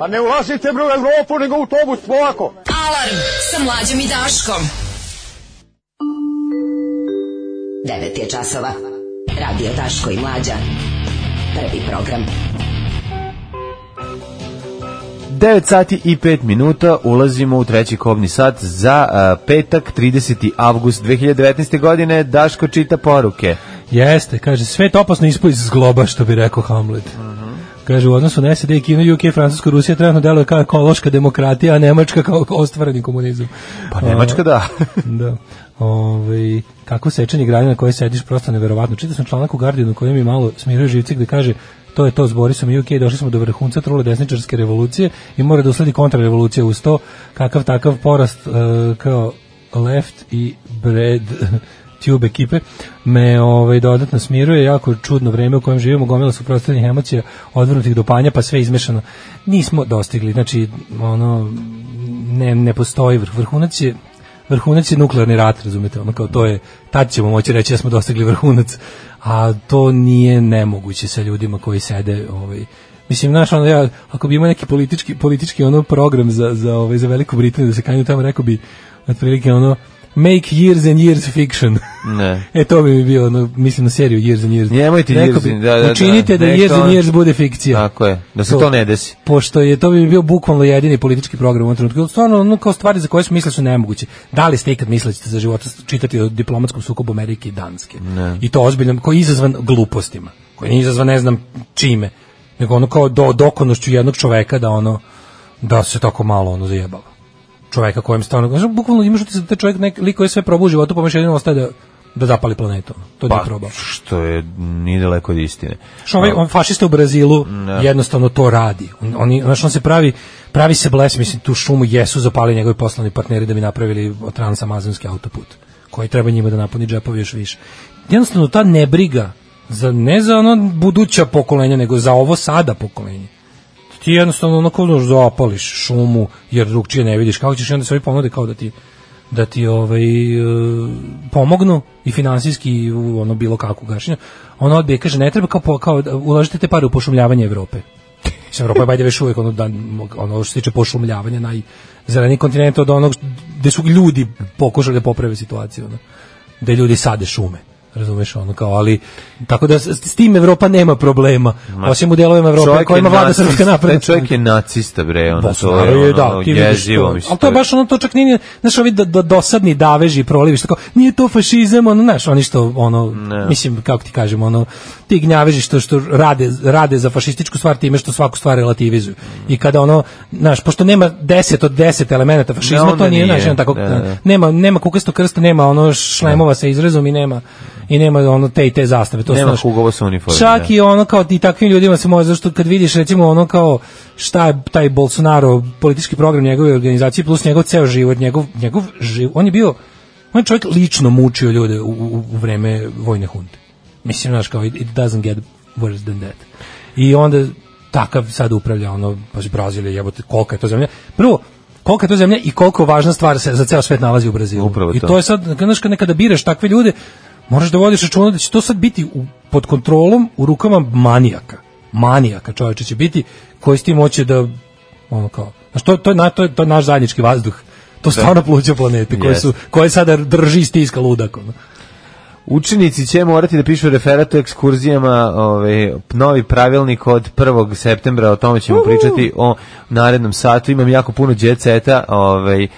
A ne ulazite bre u Evropu nego u autobus polako.
Alarm sa mlađom i Daškom. 9 je časova. Radio Daško i Mlađa. Prvi program.
9 sati i 5 minuta ulazimo u treći kobni sat za a, petak 30. avgust 2019. godine. Daško čita poruke.
Jeste, kaže, sve je to opasno ispo iz zgloba, što bi rekao Hamlet. Kaže, u odnosu na SED, Kino, UK, Francusko, Rusija trenutno deluje kao ekološka demokratija, a Nemačka kao ostvareni komunizam.
Pa Nemačka da.
<laughs> da. Ove, kako sečenje granja na kojoj sediš prosto neverovatno. Čitao sam članak u Guardianu kojem mi malo smiruje živci gde kaže to je to s Borisom i UK, došli smo do vrhunca trule desničarske revolucije i mora da usledi kontrarevolucija uz to, kakav takav porast e, kao left i bread <laughs> tube ekipe me ovaj dodatno smiruje jako čudno vreme u kojem živimo gomila su emocija odvrnutih do panja pa sve izmešano nismo dostigli znači ono ne, ne postoji vrh vrhunac je vrhunac je nuklearni rat, razumete, ono kao to je, tad ćemo moći reći da smo dostigli vrhunac, a to nije nemoguće sa ljudima koji sede, ovaj, Mislim, znaš, ono, ja, ako bi imao neki politički, politički ono program za, za, ovaj, za Veliku Britaniju, da se kanju tamo, rekao bi, otprilike, ono, make years and years fiction.
<laughs>
<laughs>
Ne.
e, to bi mi bio, ono, mislim, na seriju years and years.
Nemojte
Rekao
years
bi,
and- da, da, da.
učinite da,
Nek
years
to-
and years bude fikcija
Tako je. Da se to ne desi.
pošto je to bi mi bio bukvalno jedini politički program u ovom trenutku. Stvarno, ono kao stvari za koje smo mislili su nemoguće. Da li ste ikad mislili da ćete za života čitati o diplomatskom sukobu Amerike i Danske? I to ozbiljno, koji je izazvan glupostima, koji nije izazvan ne znam čime, nego ono kao do, dokonošću jednog čoveka da ono, da se tako malo ono zajebalo. Čoveka kojem stvarno, znaš, bukvalno imaš utisak da taj čovjek nek, lik koji sve probao u životu, pa mu još jedino ostaje da, da zapali planetu. ono. To nije
Pa,
probao.
što je nije daleko od istine. Ono,
Što ovaj on fašista u Brazilu jednostavno to radi. On- Oni znači on se pravi pravi se bles, mislim tu šumu jesu zapali njegovi poslovni partneri da bi napravili transamazonski autoput koji treba njima da napuni džepovi još više. Jednostavno ta nebriga za ne za ono buduća pokolenja nego za ovo sada pokolenje. Ti jednostavno onako znaš, zapališ šumu jer drugčije ne vidiš kako ćeš i onda se ovi ponude kao da ti da ti ovaj e, pomognu i finansijski i u ono bilo kako gašenje. Ona odbije i kaže ne treba kao, po- kao da ulažite te pare u pošumljavanje Evrope. Mislim, Evropa je bajde već uvijek ono, dan, ono što se tiče pošumljavanja najzeleni kontinent od onog gde su ljudi pokušali da poprave situaciju. Ono. Da ljudi sade šume. Razumeš ono kao, ali tako da s, s tim Evropa nema problema. Osim u delovima Evrope kojima vlada
nacist-
srpska napredna.
taj Čovjek je nacista, bre. Ono, to
Bolsonaro
je,
je,
ono,
da, ti vidiš
jezivo.
to.
mislim,
Ali to je baš ono, to čak nije, znaš, ovi do, do, dosadni daveži i prolivi, što kao, nije to fašizam, ono, znaš, oni što, ono, mislim, kako ti kažem, ono, ti gnjaveži što, što rade, rade za fašističku stvar time što svaku stvar relativizuju. I kada ono, znaš, pošto nema deset od deset elemenata fašizma,
Ne, onda
to nije, ono
nije,
znaš, jedan tako,
da, da.
nema, nema kukasto krsta, nema ono šlemova sa izrezom i nema i nema ono te i te zastave. To su,
Nema
znaš,
Hugova sa uniformom,
Čak
da.
i ono kao i takvim ljudima se može zašto kad vidiš recimo ono kao šta je taj Bolsonaro politički program njegove organizacije plus njegov ceo život, njegov njegov živ, on je bio on je čovjek lično mučio ljude u, u, u vreme vojne hunte. Mislim znaš kao it, it doesn't get worse than that. I onda takav sad upravlja ono pa Brazilija jebote kolika je to zemlja. Prvo kolika je to zemlja i koliko važna stvar se za ceo svet nalazi u Brazilu.
Upravo
I
to.
to je sad znaš kad nekada biraš takve ljude moraš da vodiš računa da će to sad biti u, pod kontrolom u rukama manijaka. Manijaka čoveče će biti koji s tim hoće da ono kao, znaš, to, to, je, na- to, je, to je naš zajednički vazduh. To stvarno pluća planete koje, su, koje sada drži i stiska ono. ludakom.
Učenici će morati da pišu referat o ekskurzijama, ovaj, novi pravilnik od 1. septembra, o tome ćemo pričati o narednom satu. Imam jako puno djeceta, ovaj,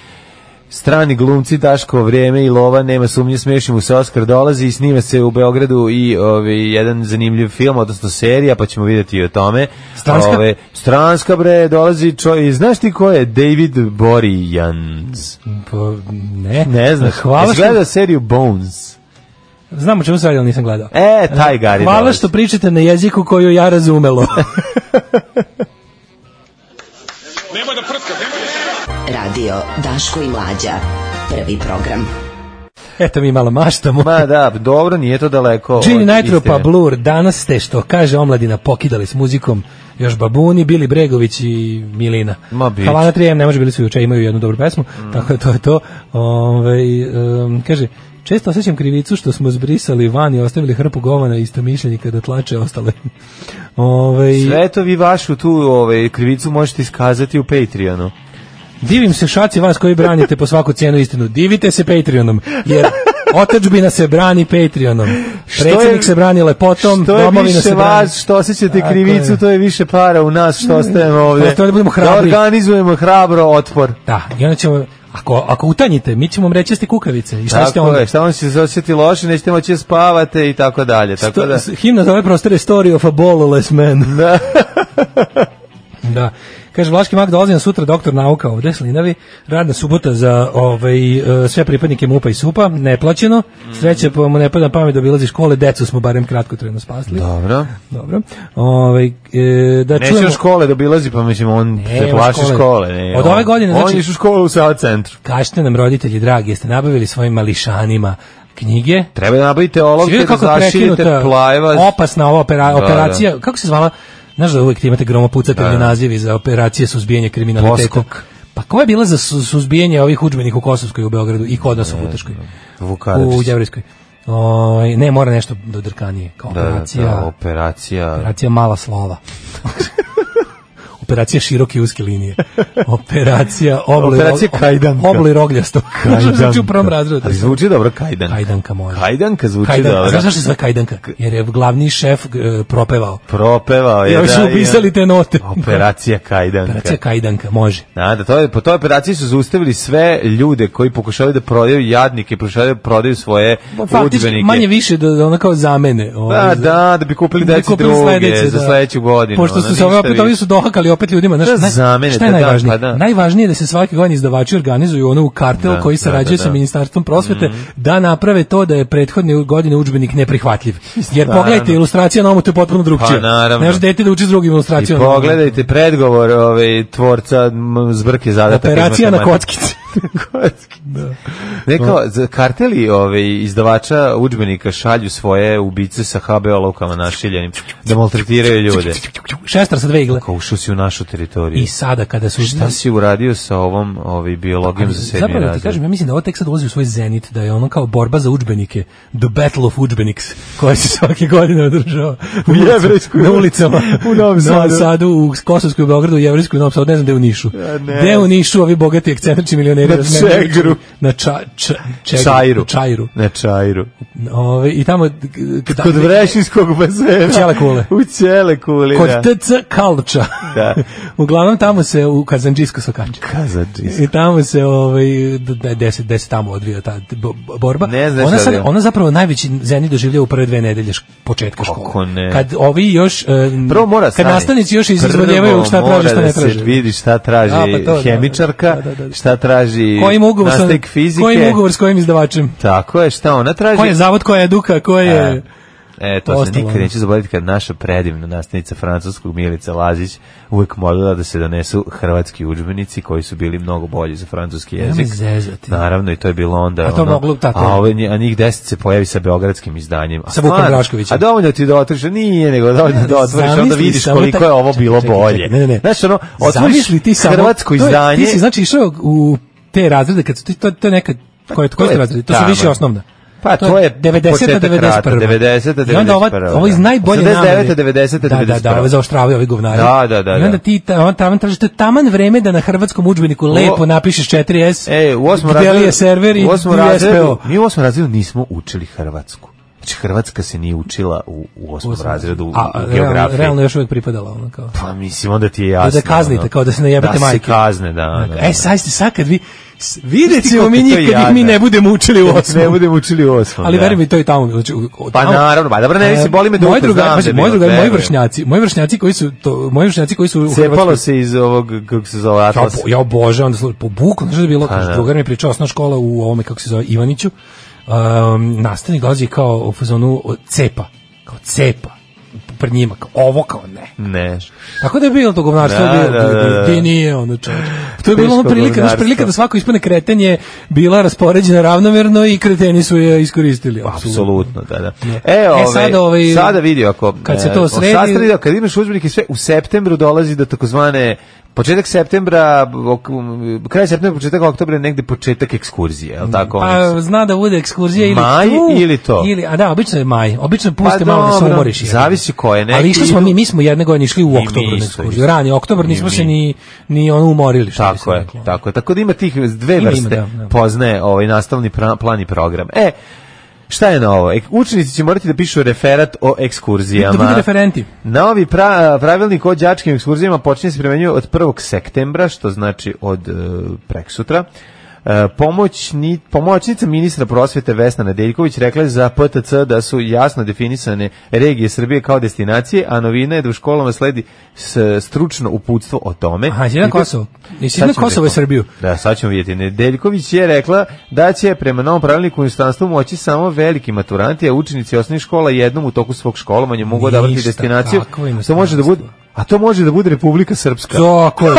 strani glumci, Daško, vrijeme i lova, nema sumnje, smiješim mu se, Oskar dolazi i snima se u Beogradu i ovaj, jedan zanimljiv film, odnosno serija, pa ćemo vidjeti i o tome.
Stranska?
Ovaj, stranska, bre, dolazi čovjek, znaš ti ko je? David Borijans.
Pa, ne.
Ne znaš,
Hvala
Jesi
što...
gledao seriju Bones.
Znam o čemu se radi, ali nisam gledao.
E, taj Gari
Hvala
dolazi.
što pričate na jeziku koju ja
<laughs>
razumelo.
Radio Daško i Mlađa. Prvi program.
Eto mi malo maštamo.
Ma da, dobro, nije to daleko.
Gini
od
Nitro pa
istine.
Blur, danas ste što kaže omladina pokidali s muzikom još Babuni, Bili Bregović i Milina.
Ma, Mm. bit će.
Havana 3M ne može bili su juče, imaju jednu dobru pesmu, tako da to je to. Ovaj, em, kaže, često osjećam krivicu što smo zbrisali van i ostavili hrpu govana i istomišljenika da tlače ostale. <laughs> Ovaj,
Sve to vi vašu tu ovaj, krivicu možete iskazati u Patreonu.
Divim se šaci vas koji branite po svaku cijenu istinu. Divite se Patreonom, jer otačbina se brani Patreonom.
Što je-
Predsjednik se brani lepotom,
što je
domovina
više
se brani.
vas, što osjećate
Tako
krivicu,
je.
to je više para u nas što ostajemo ovde.
Ostaje da budemo hrabri.
Da organizujemo hrabro otpor.
Da, i onda ćemo, ako, ako utanjite, mi ćemo vam reći da ste kukavice. I šta ste
Tako
onda?
je, šta vam se osjeti loše, nećete moći da spavate i tako dalje. Tako
Sto,
da,
s- Himna za ove prostore Story of a Ballless
<laughs>
Man. Da. <laughs> da. Kaže, Vlaški mak dolazi na sutra doktor nauka ovde, Slinavi, radna subota za ovaj, e, sve pripadnike MUPA i SUPA, neplaćeno, sreće pa mu ne pada na pamet da obilazi škole, decu smo barem kratkotrajno spasli.
dobro.
Dobro. Ovaj, e, da
Neće
čujemo...
u škole da obilazi, pa mislim, on se
on
plaši
škole.
škole. ne,
Od
on-
ove godine,
On
znači-
je išao u školu u Sava centru.
Kažite nam, roditelji dragi, jeste nabavili svojim mališanima knjige?
Treba da nabavite olovke,
Vidio
da
Znači, kako je
zaširite
prekinuta
plajeva.
opasna ova opera-
Da, da.
operacija, kako se zvala, znaš da uvek imate gromopucatelji nazivi za operacije suzbijanja kriminaliteta.
Poskok.
Pa koja je bila za su- suzbijanje ovih udžbenih u Kosovskoj i u Beogradu i kod nas u Futaškoj?
Vukanović.
U Đevrijskoj. Ovaj, ne, mora nešto do drkanije, kao operacija,
Da, da,
<laughs>
operacija.
operacija mala slova. operacija široke i uske linije. Operacija obli,
Operacija kajdanka.
obli rogljasto. <laughs> Znači u prvom razredu.
Ali zvuči dobro kajdanka.
Kajdanka može.
Kajdanka zvuči
Kajdan,
dobro.
a Znaš zašto se zove Kajdanka? Jer je glavni šef e, propevao.
Propevao Pa je.
I ovi
da,
su
je.
upisali te note.
Operacija kajdanka.
Operacija Kajdanka, može.
Da, da, to je, po toj operaciji su zaustavili sve ljude koji pokušavaju da prodaju jadnike, pokušavaju da prodaju svoje
Pa Faktički,
udžbenike. Pa
manje više da, da ono kao zamene. ovaj,
Da,
za-
da, da bi kupili
da
deci
kupili
druge
sledeće,
za
da.
sledeću godinu.
Pošto
ono,
su se
ništa
ove opet,
više.
ovi su dohakali opet ljudima. Znaš,
Da,
naj-
zamene
šta je
te, da,
najvažnije?
pa da.
Najvažnije je da se svake godine izdavači organizuju ono u kartel
Da,
koji
da,
sarađuje
da,
sa
da. Mhm.
Ministarstvom prosvete da naprave to da je prethodne godine udžbenik neprihvatljiv. Jer
<laughs> Naravno.
pogledajte, ilustracija na ovom je potpuno drugčija.
Pa, naravno.
Ne može dete da uči s drugim
I
ilustracijom.
pogledajte predgovor ove, tvorca m, zbrke zadataka. iz
Operacija na
matematike.
kockici.
da. Neko, za- karteli ove, izdavača udžbenika šalju svoje ubice sa HBO lukama našiljenim da maltretiraju ljude.
Šestar sa dve igle.
Kao ušao si u našu teritoriju.
I sada kada su
Šta si uradio sa ovom ovaj, biologijom za sedmi
Zapravo da ti
razred?
kažem, ja mislim da ovo tek sad ulazi u svoj zenit, da je ono kao borba za udžbenike, the battle of udžbeniks, koja se svake godine održava u
Jevrejskoj
na ulicama,
<laughs> u Novom Sadu.
Sadu, u Kosovskoj, u Beogradu, u Jevrejskoj, u Novom Sadu, ne znam gde je u Nišu.
ne.
Gde je u Nišu ovi bogati akcentrični milioneri?
Na
razmenjuju-
Čegru.
Na ča, ča, čegru,
Čajru.
na Čajru.
Na čajru.
Ove, I tamo...
Kod Vrešinskog bazena.
U Ćelekule.
U Ćelekuli,
Kod
da.
TC Kalča.
Da.
Uglavnom tamo se u Kazanđisko sokače.
Kazadžis.
I tamo se ovaj 10 10 tamo odvija ta bo- bo- borba.
Ne znaš
ona
šta
sad,
da je.
ona zapravo najveći zeni doživljava u prve dve nedelje šk- početka
Kako
škole.
ne?
Kad ovi još e,
Prvo mora
kad
stani.
nastavnici još
Prvo
izvodjevaju šta traže šta
mora
ne
da
traže.
se vidi šta traži
A, pa to, da.
hemičarka,
Da, da, da.
šta traži traži
Kojim ugovor sa
nastavnik fizike.
Kojim ugovor s kojim izdavačem?
Tako je, šta ona traži?
Ko je zavod, koja je eduka, ko je...
E, to se
Ostalo,
nikad
ono.
neće zaboraviti kad naša predivna nastavnica francuskog Milica Lazić uvek molila da se donesu hrvatski udžbenici koji su bili mnogo bolji za francuski
Nemoj
jezik.
zezati.
Naravno, i to je bilo onda. ono,
A to moglo, tako
A,
je.
ove, nje- a njih deset se pojavi sa beogradskim izdanjima. A
Sa Vukom
stvarno,
Draškovićem.
A dovoljno ti da otvoriš, nije nego dovoljno da otvoriš, onda
Zamisli
vidiš
samo
koliko
taj-
je ovo
Čekaj,
bilo
čekaj,
bolje.
čekaj, Ne, ne, ne.
Znaš, ono,
Zamisli
otvoriš
ti samo,
hrvatsko
to je-
izdanje,
Ti si znači išao u te razrede kad su ti to to je neka koje koje
Pa to je
su razrede? To su
tamo.
više osnovna.
Pa to je
90
početak rata,
91.
90-ta,
I onda ova,
91.,
ovo iz
da.
najbolje
89-ta, 90-ta,
Da, da, da,
91..
ovo zaoštravaju ovi govnari.
Da, da, da,
I
da.
onda ti ta, on taman traži, to je taman vreme da na hrvatskom udžbeniku lepo napišeš 4S.
E, u osmom
gde li
razredu,
je server i
u osmom
gde je
razredu,
SPO.
mi u osmom razredu nismo učili Hrvatsku. Znači, Hrvatska se nije učila u, u osmom razredu u,
A,
u
realno,
geografiji.
realno još uvek pripadala ono kao.
Pa mislim, onda ti je jasno.
da kaznite,
ono.
kao da se ne jebete
Da se
majke.
kazne, Pa, da. da, da.
E, sad ste, sad kad vi, s- vidjet
Znaš ti
ćemo mi
koliko je
njih
to
kad ih mi
jadno?
ne budemo učili u osmom.
Ne budemo učili u osmom,
Ali
da.
verujem i to i tamo. Znači, u- u-
Pa
tamo- E,
naravno, pa dobro, ne, mislim, boli me
Moji
dupe,
drugari-
znam
pazi,
da mi
moji drugari, moji
verujem.
vršnjaci, moji vršnjaci koji su to, moji vršnjaci koji su u
Cepalo
Hrvatskoj-
se iz ovog, kako se zove,
Ja,
Atlas.
bo- ja bože, onda slušaj, po buku, znaš da je bilo, kaže,
da.
drugar mi je pričao, osnovna škola u ovome, kako se zove, Ivaniću, um, nastavnik dolazi kao u fazonu o, cepa, kao cepa, pred njima, kao ovo, kao ne.
Ne.
Tako da je bilo to govnarstvo,
Da,
da, bilo,
da, da, da.
gdje nije ono čovječ. To je
Teško
bilo ono prilika, znaš,
govnarstvo.
prilika da svako ispane kretenje bila raspoređena ravnomerno i kreteni su je iskoristili.
Apsolutno, da, da.
Ne.
E,
E,
ove,
sad, ovaj,
sada vidi ako...
kad se
e,
to
o,
sredi-
sastavi, da, kad imaš udžbenike sve, u septembru dolazi do takozvane Početak septembra, ok- m, kraj septembra, početak oktobra je negde početak ekskurzije, je li tako? Oni
Pa
su-
zna da bude ekskurzija ili
Maj
tu,
ili to?
Ili, a da, obično je maj. Obično puste
Pa
malo da se
dobro,
umoriš. jebote.
zavisi ko je, neki
Ali išli smo
idu-
mi, mi smo jedne godine išli u
mi
oktobru na
isto,
ekskurziju.
isto.
Rani oktobar
I
nismo se
mi.
ni, ni ono umorili. Što bi se
Tako je,
reklo.
tako je. Tako da ima tih dve
Ima, ima,
vrste
da, da.
poznaje ovaj nastavni pra- plan i program. E, šta je novo? Ek- Učenici će morati da pišu referat o
Da
ekskurzijama.
budu referenti.
Novi pra, pravilnik o đačkim ekskurzijama počinje se primenjuje od 1. septembra, što znači od e, preksutra. E, pomoćni, pomoćnica ministra prosvete Vesna Nedeljković rekla je za PTC da su jasno definisane regije Srbije kao destinacije, a novina je da u školama sledi s, stručno uputstvo o tome.
Aha, jesi
I
na
to-
Kosovo? Jesi
Sad
na
ćemo
Kosovo i
vidjeti.
Srbiju?
Da, sad ćemo vidjeti. Nedeljković je rekla da će prema novom pravilniku u instanstvu moći samo veliki maturanti, a učenici osnovnih škola jednom u toku svog školovanja mogu odabrati
Ništa,
destinaciju.
kakvo
To
inostranstvo.
može da bude A to može da bude Republika Srpska.
Tako
<laughs>
je.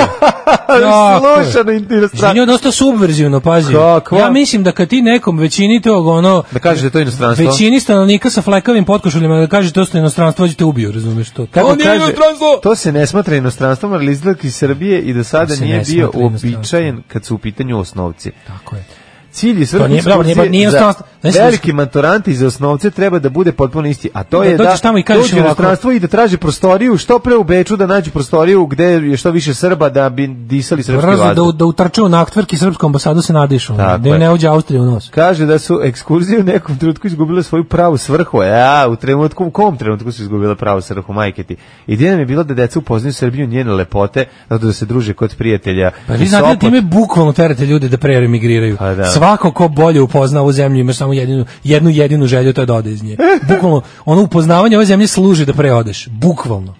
Tako je.
Slušano inostranstvo.
Izvinio, dosta subverzivno, pazi.
Kako?
Ja mislim da kad ti nekom većini tog, ono,
Da kaže da je to inostranstvo.
većini stanovnika sa flekavim potkošuljima da kaže to ste inostranstvo, hoćete ubiju, razumeš to.
Kako
to nije
kaže,
inostranstvo!
To se ne smatra inostranstvom, ali izgledak iz Srbije i da sada
To se
nije
ne
bio
smatra
uobičajen kad su u pitanju osnovci.
Tako je.
Cilj i svrha
To nije- dobro, nije-
ekskurzije
nije
za
inostranstvo. Znaš,
veliki maturanti za osnovce treba da bude potpuno isti, a to
Da
je da
dođeš tamo i kažeš
dođu u
ovako.
inostranstvo i da traže prostoriju, što pre u Beču da nađu prostoriju gde je što više Srba da bi disali srpski
Brzo
vazduh.
da, u- da utrče u naktvrki srpskom ambasadu se nadišu.
Tako
Da im
je.
ne uđe Austrija u nos.
Kaže da su ekskurzije u nekom trenutku izgubile svoju pravu svrhu. Ja, u trenutku, u kom trenutku su izgubile pravu svrhu, majke ti? Ideja nam je bila da deca upoznaju Srbiju, njene lepote, zato da se druže kod prijatelja.
Pa
u
vi znate da
Sopot.
time bukvalno terate ljude da preemigriraju.
Pa da.
Svako ko bolje upozna ovu zemlju ima samo jedinu, jednu jedinu želju, to je da ode
<laughs>
iz nje. Bukvalno, ono upoznavanje ove zemlje služi da preodeš. Bukvalno.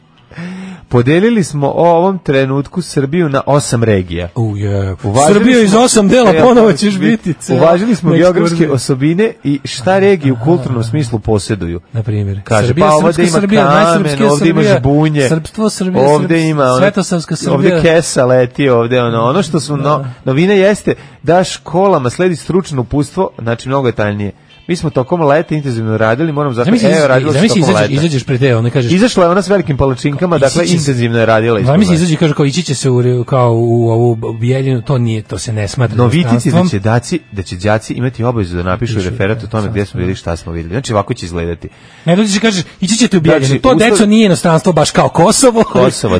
Podelili smo o ovom trenutku Srbiju na osam regija.
U je.
Uvažili
Srbija
smo-
iz osam dela
E,
ponovo ćeš biti. ceo.
Uvažili smo
Na
geografske
ekskurziji.
osobine i šta regije u kulturnom smislu posjeduju.
Na primjer.
Kaže,
Srbija,
pa ovde
srpska
ima
Srbija,
kamen,
najsrpskija
ovde ima
Srbija,
žbunje,
srpstvo, Srbija,
ovde
srps-
ima, ono-
svetosavska Srbija.
ovde kesa leti, ovde ono, ono što su no, novine jeste da školama sledi stručno upustvo, znači mnogo je tajnije. Mi smo tokom leta intenzivno radili, moram zato,
Zamisli,
evo, radili smo
zamisli
tokom
izađeš,
leta.
izađeš pred te, ono kažeš,
Izašla je ona s velikim palačinkama, dakle,
Izaći će se-
intenzivno je radila. ispod
Zamisli
leta.
izađe i kaže kao ići će se u, re- kao u ovu bijeljinu, to nije, to se ne smatra.
No vidite da
inostranstvom.
će daci, da će đaci imati obavezu da napišu
Pišu,
referat o
da,
tome
sad
gdje smo bili, šta smo vidjeli. Znači ovako će izgledati.
Ne dođeš i kažeš, ići ćete u bijeljinu.
Znači,
to
uslov-
deco nije inostranstvo baš kao Kosovo.
Kosovo,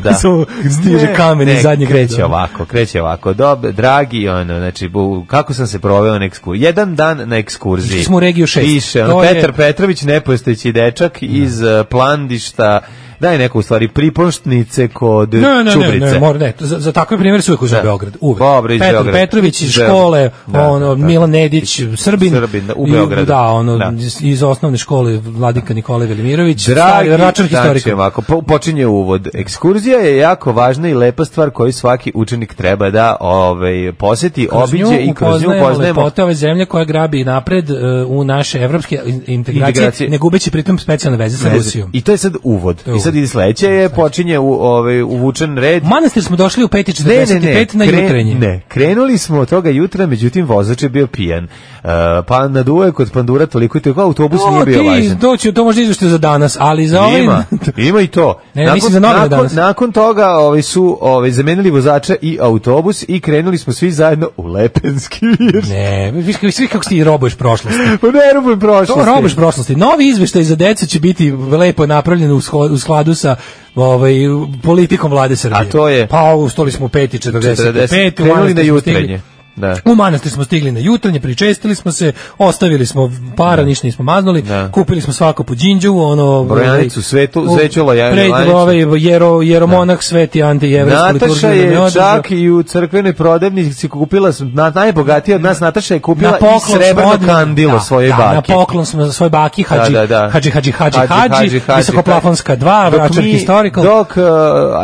<laughs>
da.
Samo stiže
Ne,
kamen
ne,
iz zadnjeg
kreće
reda.
ovako, kreće ovako. Dob, dragi, ono, znači, bu, kako sam se proveo na ekskurziji? Jedan dan na ekskurziji.
Išli smo u regiju šest.
Piše, ono,
To je-
Petar Petrović, nepostojeći dečak iz eh, Plandišta, daj neko u stvari pripoštnice kod
Ne, ne, ne,
čubrice.
ne, mora, ne, za, za takve primjere su uvek uzeo
Da.
Beograd, uvek.
Dobro, iz
Petar
Beograda.
Petrović iz
Iz Beograda.
škole,
Da,
ono,
da, da.
Milan Nedić, Srbin,
Srbin, da, u
i-
Beogradu.
Da, ono,
Da.
iz, iz osnovne škole Vladika Nikolaj Velimirović,
Dragi,
stari račar
znači,
historika.
ovako, po- počinje uvod. Ekskurzija je jako važna i lepa stvar koju svaki učenik treba da ovaj, poseti, obiđe i kroz nju upoznajemo.
lepote ove zemlje koja grabi napred e, u naše evropske in- integracije,
Integracije.
ne gubeći pritom specijalne veze sa Rusijom.
I to je sad uvod.
je
I sad
uvod.
ide sledeće je, počinje u, ovaj, uvučen red.
U manastir smo došli u 5.45 na
kre-
jutrenje.
Ne, krenuli smo od toga jutra, međutim vozač je bio pijan. Uh, pa na duve kod pandura toliko i toliko, autobus
To
nije bio
ti,
važan.
doći, to možda izvešte za danas, ali za ovaj... <laughs>
Ima, ima i to.
Ne, mislim za novine
nakon,
danas.
nakon toga ovaj, su ovaj, zamenili vozača i autobus i krenuli smo svi zajedno u Lepenski vir. Pa
Ne, viš, viš, viš kako ti robuješ
<laughs>
prošlosti.
U nervu
To
prošlosti.
robuješ prošlosti. Novi izveštaj za decu će biti lepo napravljen u, sho- u skladu sa ovaj, politikom vlade Srbije.
A to je?
Pa ustali smo u 5.45.
40.
u
Krenuli
manastir
na
smo
jutrenje.
stigli-
Da.
U manastir smo stigli na jutranje, pričestili smo se, ostavili smo para, ništa nismo maznuli,
Da.
kupili smo svako po džinđu, ono...
Brojanicu,
ovaj,
svetu-
u-
sveću loja-
pred-
lajnicu.
ovaj, jero, jeromonak, sveti anti-jevrijsku
Nataša
liturgiju. nam
je
održao.
čak i u crkvenoj prodavnici kupila, s- na, najbogatija od nas Nataša je kupila
na
i
poklon
srebrno
smo odneli-
kandilo
da,
svoje
da,
bake.
Na poklon smo za svoje baki Hadži
Da, da, da.
Hadži Hadži Hadži
Hadži,
Hadži,
Hadži,
Visokoplafonska 2,
Dok
Vračar
mi-
Historical.
Dok uh,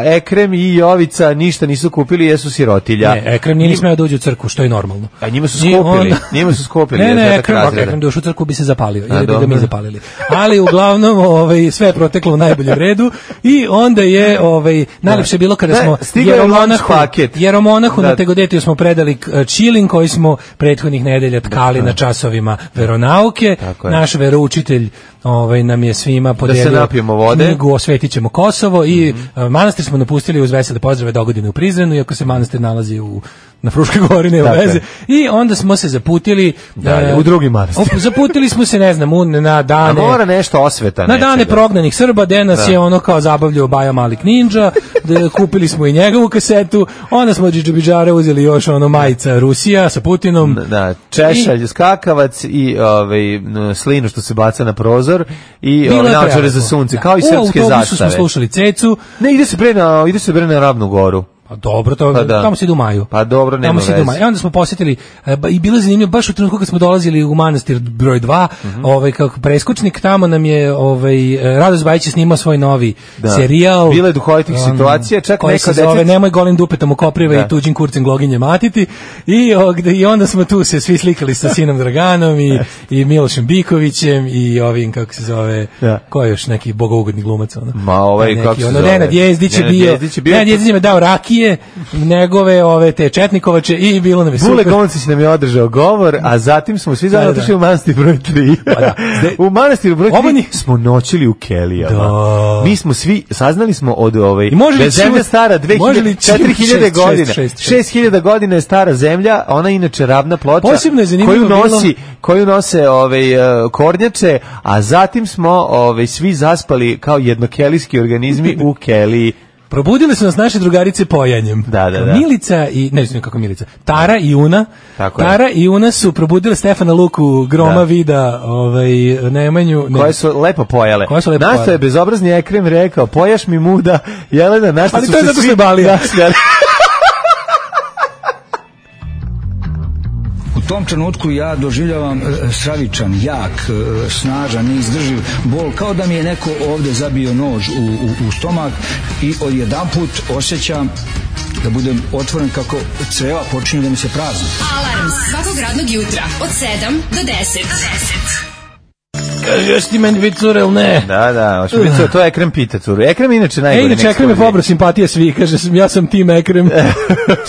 Ekrem i Jovica ništa nisu kupili, jesu sirotilja.
Ne, Ekrem nije ni smeo da uđe u crkvu, što je normalno.
A njima su
Ni
skupili,
onda-
njima su skupili.
Ne, ne,
rezultat
Ekrem, ako
razreda.
Ekrem došao u crkvu bi se zapalio, ili bi ga
dobro.
mi zapalili. Ali uglavnom, ovaj, sve je proteklo u najboljem redu i onda je, ovaj, najlepše je bilo kada
Ne,
smo
stigao je lunch paket.
jeromonahu
Da.
na Tegodetiju smo predali k- čilin koji smo prethodnih nedelja tkali na časovima veronauke.
Tako je.
Naš veroučitelj ovaj, nam je svima podelio
napijemo vode.
knjigu Osvetit ćemo Kosovo i
Mhm.
e, manastir smo napustili uz vesele pozdrave dogodine u Prizrenu, iako se manastir nalazi u na Fruškoj gori, nema
Tako je.
veze. I onda smo se zaputili
Dakle. Dalje,
e,
u drugi manastir.
op- zaputili smo se, ne znam, u, na
A
dane...
mora nešto osveta.
Na dane
nečega.
prognanih Srba, gde nas je ono kao zabavljao Baja Malik Ninja, da kupili smo i njegovu kasetu, onda smo od Džidžabidžara uzeli još ono majica Rusija sa Putinom.
Da, češalj, skakavac i ovaj, n- slinu što se baca na prozor i
Bilo
ovaj,
je
naočare
prelepo.
za sunce,
Da.
kao i srpske
U autobusu smo
zastave.
slušali Cecu,
Ne, ide se bre na, ide se bre na Ravnu goru.
Pa dobro, to,
Pa da.
tamo se ide u maju.
Pa dobro, nema
tamo se ide u
veze.
maju. E, onda smo posjetili, e, ba- i bilo je zanimljivo, baš u trenutku kad smo dolazili u manastir broj 2,
Mhm.
ovaj, kako preskučnik, tamo nam je ovaj, e, Radost Bajić je snimao svoj novi
Da.
serijal.
Bilo je duhovitih
um,
situacija, čak
koji se
neka
zove
deca-
Nemoj golim dupetom u koprive
Da.
i tuđim kurcem gloginje matiti. I, o, gde- I onda smo tu se svi slikali sa
<laughs>
sinom Draganom i, i Milošem Bikovićem i ovim, kako se zove,
Da.
ko je još neki bogougodni glumac. Ono.
Ma, ovaj,
Neki,
kako se
ono,
zove?
Nenad Jezdić je
Nenad
bio,
Jezdić je bio-
Nenad Jezdić je mi dao rakije, njegove ove te četnikovače i bilo nam je
Vule
super.
Goncić nam je održao govor, a zatim smo svi zajedno
Da, da.
otišli u manastir broj 3.
da.
u manastir broj 3
Obani-
smo noćili u Kelijama. Mi smo svi, saznali smo od ove,
I može li
da je zemlja
Ćile-
stara
može li
2000,
Ćile-
4000
šest,
godina.
šest, šest, šest.
6000 godina je stara zemlja, ona je inače ravna ploča
Posebno je zanimljivo
koju
bilo-
nosi, koju nose ove e, kornjače, a zatim smo ove svi zaspali kao jednokelijski organizmi
<laughs>
u Keliji.
Probudili su nas naše drugarice pojanjem.
Da, da, da.
Milica i, ne znam kako Milica, Tara i Una.
Tako je.
Tara i Una su probudile Stefana Luku, Groma
Da.
Vida, ovaj, Nemanju. Ne.
koje su lepo pojale.
Koje su lepo
na što
pojale.
je bezobrazni Ekrem rekao, pojaš mi muda, Jelena, na što
Ali
su
to je
se
zato što
svi
je Balija. <laughs>
nasmijali.
U tom trenutku ja doživljavam e, stravičan, jak, e, snažan, neizdrživ bol, kao da mi je neko ovde zabio nož u, u, u stomak i odjedanput osjećam da budem otvoren kako creva počinju da mi se prazni.
Alarm svakog radnog jutra od 7 do 10.
Kaže, jesi ti meni biti cure ili ne?
Da, da, hoćemo vidjeti, to- to je Ekrem pita curu. Ekrem je inače
E,
najgori.
inače,
na
Ekrem je
ekskurziji.
pobro simpatije svi, kaže, sam- ja sam tim
<laughs>
Ekrem.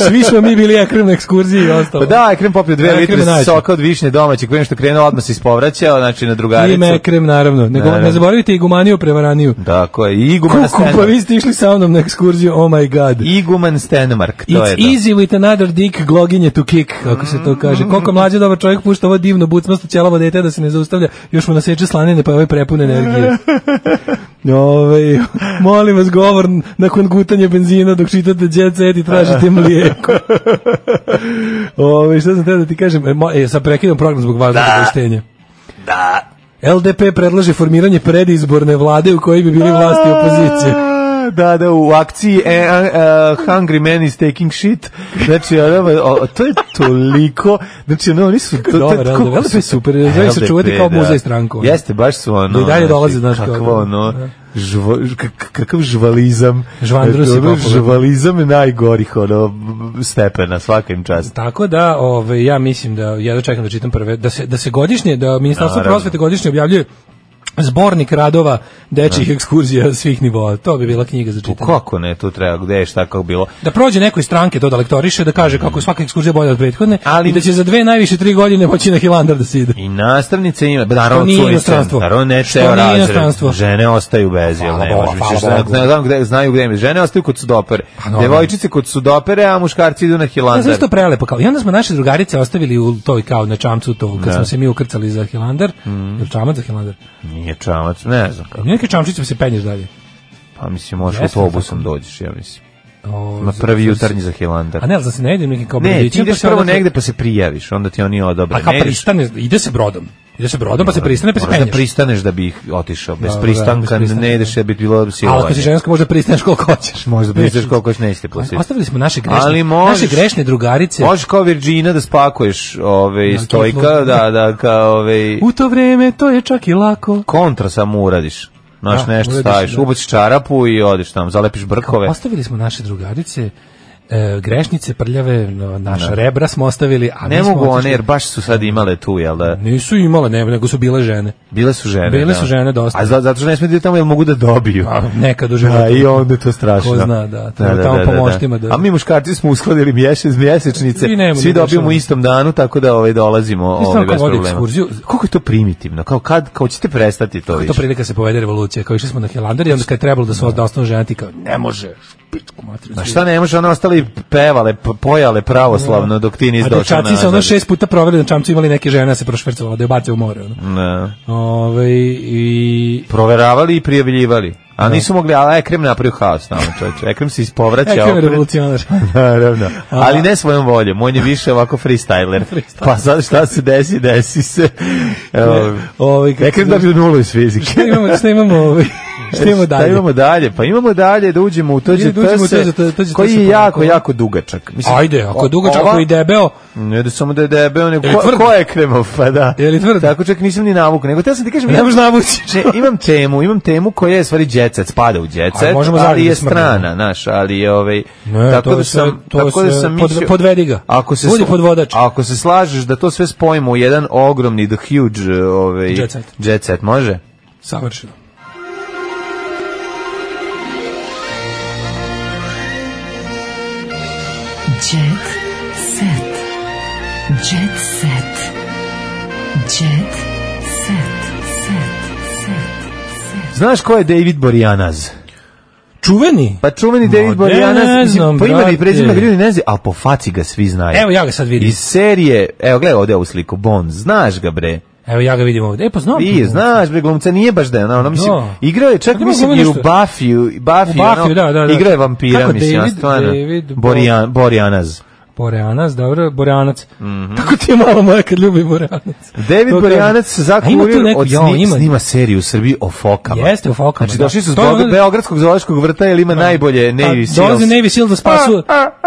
svi smo mi bili Ekrem na ekskurziji i ostalo.
Pa da, Ekrem popio dve
Ekrem
litre
je najjači.
soka od višnje domaće, koje što krenuo odmah se ispovraćao, znači na
I
drugaricu.
Mekrem, naravno. Ne,
Naravno.
ne zaboravite i gumaniju prevaraniju.
Da, ko je Iguman
Kuku, pa
Stenemark.
vi ste išli sa mnom na ekskurziju, oh my god.
Iguman Stenemark, to
It's
je to.
easy with another dick gloginje to kick, kako se to kaže.
Mm.
Koliko mlađi dobar čovjek pušta ovo divno bucmasto ćelavo dete da se ne zaustavlja, još mu naseče slanine pa je ovaj prepun
<laughs>
energije. Ove, molim vas govor nakon gutanja benzina dok čitate Jet Set i
<laughs>
tražite mlijeko. Ovaj, Ove, šta sam teo da ti kažem? E, mo- E, sad prekidam program zbog važnog obaveštenja. Da. LDP predlaže formiranje predizborne vlade u kojoj bi bili vlasti i opozicija.
A, <laughs> Da, da, u akciji e, a, a, Hungry Man is taking shit. Znači, ono, o, to je toliko... Znači, ono, oni su... To, to,
Dobar,
koliko
LDP je
su-
super, želi se
LDP,
čuvati kao
da.
muzej stranku, ono.
Jeste, baš su ono...
Da i dalje dolaze, znaš, kao-
Kakvo ono... Žvo, k- k- kakav žvalizam.
Žvandrus je
Ono,
popularno.
Žvalizam je najgorih, ono, stepena, svaka im čast.
Tako da, ovaj ja mislim da ja da čekam da čitam prve da se da se godišnje da Ministarstvo
Naravno.
prosvete godišnje objavljuje zbornik radova dečjih ekskurzija svih nivoa. To bi bila knjiga za čitanje.
Kako ne, tu treba, gde je šta kako bilo.
Da prođe neko iz stranke to da lektoriše, da kaže kako je svaka ekskurzija bolja od prethodne,
Ali-
ali i da će za dve najviše tri godine moći na Hilandar da se ide.
I nastavnice ima, ba, naravno
Što nije
curice,
inostranstvo.
naravno ne
Što
ceo
nije
razred.
inostranstvo.
Žene ostaju bez, jel
Hvala
ne
Bogu,
možeš,
hvala
misliš,
Bogu. Pa,
ne znam gde, znaju gde, im je. žene ostaju kod sudopere,
normalno.
devojčice kod sudopere, a muškarci idu na
Ja sam
Hilandar.
isto prelepo kao. I onda smo naše drugarice ostavili u toj kao na čamcu to kad
Da. Mhm.
smo se mi ukrcali za Hilandar, mm. čamac za Hilandar.
Nije čamac, ne znam kako.
Neki čamčić se penješ dalje.
Pa mislim, možeš
Jeste,
autobusom
tako.
dođeš, ja mislim.
O,
Na
za-
prvi
za-
jutarnji za Hilandar.
A ne, ali da se ne idem nekim kao
Mhm. Ne, ti
brodićem, pa
ideš
se
prvo
onda-
negde pa se prijaviš, onda ti oni odobre.
A Pa kao
Ne ideš-
pristane, ide se brodom. Ide se brodom, pa se pristane, pa se
Moraš da
penješ.
pristaneš da bi ih otišao. Bez
Da, da, bez
pristanka
pristanka.
ne ideš, ja bi bilo
Ali ako si
silovanje.
ženska, možda pristaneš koliko hoćeš.
Možda pristaneš koliko još nećete
Ali
pustiti.
Ostavili smo naše grešne,
Ali možeš-
naše grešne drugarice.
Možeš kao Virgina da spakuješ ove,
Na
stojka,
kiflu.
da, da, kao ove,
U to vreme to je čak i lako.
kontra samo uradiš. Znaš,
Da,
nešto
uradiš,
staviš,
da. pa,
ubaciš čarapu i odeš tamo, zalepiš brkove.
Ostavili smo naše drugarice, e, grešnice prljave, no, naša rebra smo ostavili, a
Ne
mi smo
mogu one,
pa, otišli-
jer baš su sad imale tu, jel da?
Nisu imale, ne, nego su bile žene.
Bile su žene.
Bile
E, da.
su žene Pa, dosta.
A za- zato što ne smiju da idu tamo, jer mogu da dobiju.
A, nekad u životu.
Da, i onda je to strašno.
Ko zna, da, treba tamo po moštima da-
A mi muškarci smo uskladili mjesec, mjesečnice,
I nema
svi
da
dobijemo u
dešava.
istom danu, tako da ovaj, dolazimo
Mislim,
ovaj,
ako
bez
vodi
problema.
ekskurziju-
Kako je to primitivno? Kao, kad, kao ćete prestati to
To
više?
prilika se povede revolucija, kao išli smo na Hilandar i onda kad je trebalo da se da osnovu žena ti kao, ne može, pičku materiju.
A šta ne može, one ostali pevale, p- pojale pravoslavno dok ti nisi
A
došao
dečaci se ono
nazad.
šest puta proverili na čamcu imali neke žene da se prošvercovala, da je bace u more. Ono.
Ne.
Ove, i...
Proveravali i prijavljivali. A nisu mogli, ali Ekrem napravio haos tamo, čovječe. Ekrem se ispovraća.
Ekrem je
opet.
revolucionar.
<laughs> Naravno.
A-
Ali ne svojom voljom, on je više ovako freestyler. Pa sad šta se desi, desi se. Evo,
Ovaj, kako
Ekrem
se-
dobio nulu iz fizike.
Šta imamo, šta imamo,
<laughs>
ovaj, šta imamo
Šta
dalje?
imamo dalje? Pa imamo dalje da uđemo u tođe
da uđemo u E,
tse,
TZTS,
koji je jako,
polako.
jako dugačak.
Ajde, ako je dugačak,
ova-
ako je i debeo,
Ne da samo da je debeo, nego
Je li
ko,
tvrd?
ko je kremov, pa da.
Je li tvrd?
Tako čak nisam ni navuk, nego te sam ti kažem,
ne
imam,
možeš navući.
ne, imam temu, imam temu koja je stvari djecet, spada u djecet,
Ali možemo
ali
zajedno
je
da smrdimo.
strana, naš, ali je ovaj,
Ne,
tako
to je
da
sve-
sam,
to je
tako da
sve-
sam
pod-
mislio-
podvedi ga.
Ako se,
Budi
sla-
podvodač.
Ako se slažeš da to sve spojimo u jedan ogromni, the huge, ovaj,
Jet set.
jet set, može?
Savršeno.
Jet set. Jet set. Jet set. Set. Set.
Znaš ko je David Borjanaz?
Čuveni?
Pa čuveni David
ne
Borjanaz, mislim,
znam,
po imenu i prezime
brate. E,
ljudi ne znaju, ali po faci ga svi znaju.
Evo ja ga sad vidim.
E. Iz serije, evo gledaj ovdje ovu sliku, Bond, znaš ga bre.
Evo ja ga vidim ovdje. E, pa znam.
Ti je, znaš bre, glumca nije baš da je ono, ono, mislim,
Da.
igrao je čak,
Pa ne
mislim,
mogu
i u
nešto.
Buffy, i Buffy,
U Buffyu,
ono,
da, da, da.
igrao je vampira,
Kako,
mislim,
David-
a stvarno,
David Bo-
Borjan, Borjanaz.
Boreanac, dobro, Boreanac. Tako ti je malo moja kad ljubi Boreanac.
Mhm. David
To
Borjanac se
kažem. A ima tu
zakurio
neko-
od
jao,
sni,
ima-
snima seriju u Srbiji o fokama.
Jeste, o fokama,
Znači,
da.
došli su
To je
zbog
ono-
Beogradskog zoološkog vrta, jer ima najbolje
Pa,
Navy Seals.
Dolaze Navy Seal da spasu,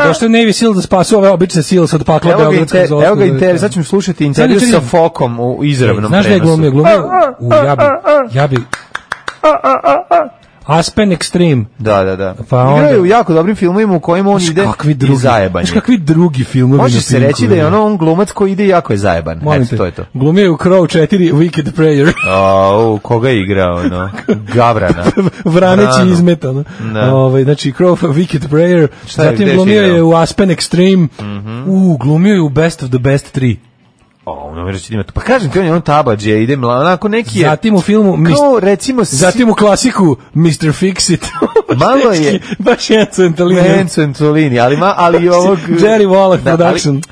došto je Navy Seal da spasu ove obične Seals od pakla
Evo ga,
Beogradskog
inter,
zoološkog
evo ga
vrta.
inter, sad ćemo slušati intervju
Sad je
sa
čini-
Fokom u izravnom
Znaš da je
prenosu.
glumio, glumio, u, ja bi, ja bi, Aspen Extreme.
Da, da, da.
Pa onda-
Igraju u jako dobrim filmovima u kojima on
Znaš
ide
kakvi
i
drugi,
zajeban
znaš
je.
kakvi drugi filmovi na
Može se
Pinku,
reći da je
ono.
ono on glumac koji ide i jako je zajeban.
Molim
Eto,
te,
to je to.
glumio je u Crow 4 Wicked Prayer. <laughs>
Au, koga je igrao, no? Gavrana.
Vraneći
Vranu.
izmet, ono.
Da.
Ovaj, znači, Crow Wicked Prayer.
Šta je, Mhm. gde
Zatim
si
glumio je
igrao?
u Aspen Extreme. U, glumio je u Best of the Best 3.
O, ono mi reći da ima to. Pa kažem ti, on je on tabađe, ide mla, onako neki je...
Zatim u filmu... Mis-
Kao, recimo, si-
Zatim u klasiku Mr. Fix It.
Malo <laughs> je-
Baš jedan centalinac.
Enzo Antolini, ali, ma,
<laughs>
ali i ovog...
Jerry Wallach
Da, ali-
Production.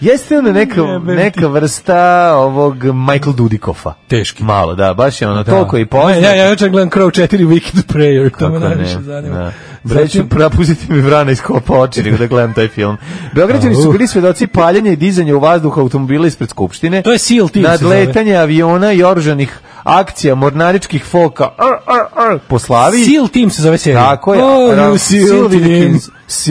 Jeste ono neka,
Jebem ti.
neka vrsta ovog Michael Dudikofa.
Teški.
Malo, da, baš je ono, toliko i poznat.
Ne, Ja, ja jučer gledam Crow 4 Wicked Prayer, to me
Kako
najviše
ne,
zanima.
Da.
Da.
Bre, ću prapustiti mi vrana iz kopa oči, nego da gledam taj film. Beograđani su bili svedoci paljenja i dizanja u vazduh automobila ispred Skupštine.
To je SEAL team se zove.
Nadletanja aviona i oružanih akcija mornaričkih folka ar, ar, ar, po Slaviji.
Seal Team se zove serija.
Tako je.
Oh,
Ra-
you seal
Sylvie the
team.
Kids.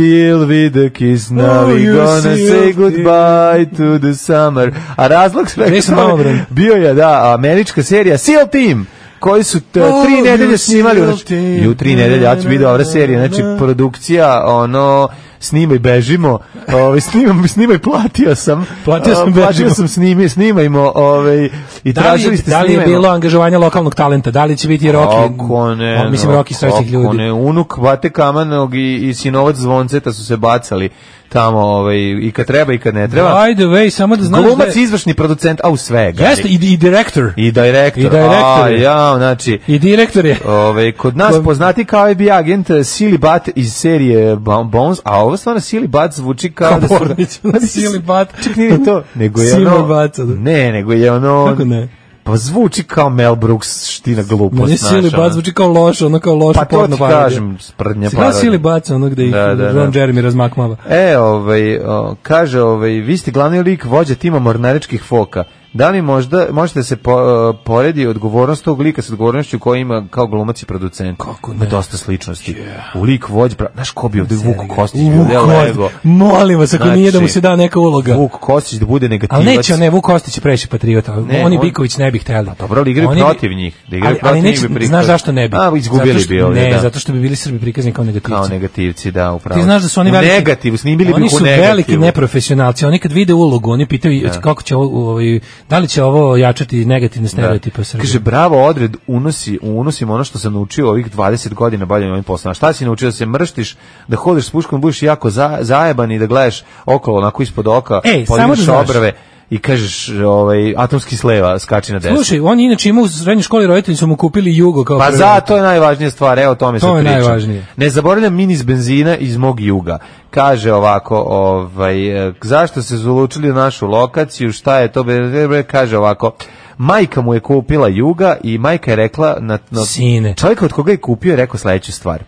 Sylvie the Kids, now
Oh,
we
you
gonna
seal
say
team.
goodbye to the summer. A razlog svega
Jason
tome
Baumgarten.
bio je, da, američka serija Seal Team koji su t-
Oh,
tri
you
nedelje snimali
seal
znači,
team.
i u tri nedelje ja ću video ova serija znači
Na, na, na.
produkcija ono snimaj bežimo ovaj snimam snimaj platio sam
Platio sam,
A, platio
bežimo.
sam snimi snimajmo ovaj i
Da li,
tražili
je-
ste
da li je
snimajmo.
bilo angažovanja lokalnog talenta? Da li će biti Rocky?
Kako ne,
O, mislim,
no,
Rocky starih
kako
ljudi.
ne, unuk Vate Kamanog i, i sinovac Zvonceta su se bacali tamo ovaj, i kad treba i kad ne treba.
By the way, samo da znaš
Glumac,
da je-
izvršni producent, a u svega.
Jeste, i, i direktor.
I direktor.
I direktor
A,
je.
ja, znači,
I direktor je.
Ove, kod nas
Kom-
poznati kao FBI agent eh, Silly Bat iz serije Bon- Bones, a ovo stvarno Silly Bat zvuči kao,
Kao
da su...
<laughs> Pornić, ono Silly Bat.
Čak nije ni to, nego je
Silver
ono...
Bat, da.
Ne, nego je ono...
Kako ne?
Pa zvuči kao Mel Brooks ština glupost.
Meni je
znaš,
Silly
ono.
Bat zvuči kao loše, ono kao loše
Pa to
porno
ti
parodija.
kažem, sprdnja
Si gledao
parodija.
Silly Bat, ono gde ih
Da, da,
Ron
da.
Jeremy razmakmava.
E, ovaj, o, kaže, ovaj, vi ste glavni lik vođa tima mornaričkih foka. Da li možda, možete da se po, e, poredi odgovornost tog lika s odgovornošću koju ima kao glumac i producent? Kako ne? Ima dosta sličnosti. U lik vođa, pra... znaš ko bi ovde Vuk Kostić? bio,
Vuk
ne,
Kostić.
Lego.
Molim vas, ako nije da mu
Znači,
se da neka uloga.
Vuk Kostić da bude negativac.
Ali neće, on, ne, Vuk Kostić će preći patriota.
Ne,
Oni
on- Pa
Biković ne bi hteli.
dobro, ali igraju
Oni bi-
protiv njih. Da igraju
ali,
protiv
ali
njih
neće,
bi prihvatili.
znaš zašto ne bi?
A, izgubili
Zato što-
bi ovdje,
Ne,
da.
zato što bi bili Srbi prikazani kao negativci.
Kao negativci, da, upravo.
Ti znaš da su oni
U
veliki
negativu, snimili bi
Oni
ih u
su
negativu.
veliki neprofesionalci. Oni kad vide ulogu, oni pitaju kako će ovo, ovaj, da li će ovo jačati negativne stereotipe u Srbiji.
Kaže, bravo, odred, unosi, unosim ono što sam naučio ovih 20 godina bavljenja ovim poslom. A šta si naučio? Da se mrštiš, da hodiš s puškom, budeš jako za, zajeban i da gledaš okolo, onako ispod oka,
Ej, E, samo
podigneš
da znaš.
obrve i kažeš, ovaj, atomski sleva, skači na desno.
Slušaj, on je inače imao u srednjoj školi roditelji su mu kupili Jugo kao
Pa
prvi.
zato je najvažnija stvar, evo o tome
To
sad
je
pričam.
najvažnije.
Ne zaboravljam mini iz benzina iz mog juga. Kaže ovako, ovaj, eh, zašto se zulučili na našu lokaciju, šta je to, bre, bre, bre, kaže ovako, majka mu je kupila juga i majka je rekla, na, na,
Sine.
čovjek od koga je kupio je rekao sledeću stvar.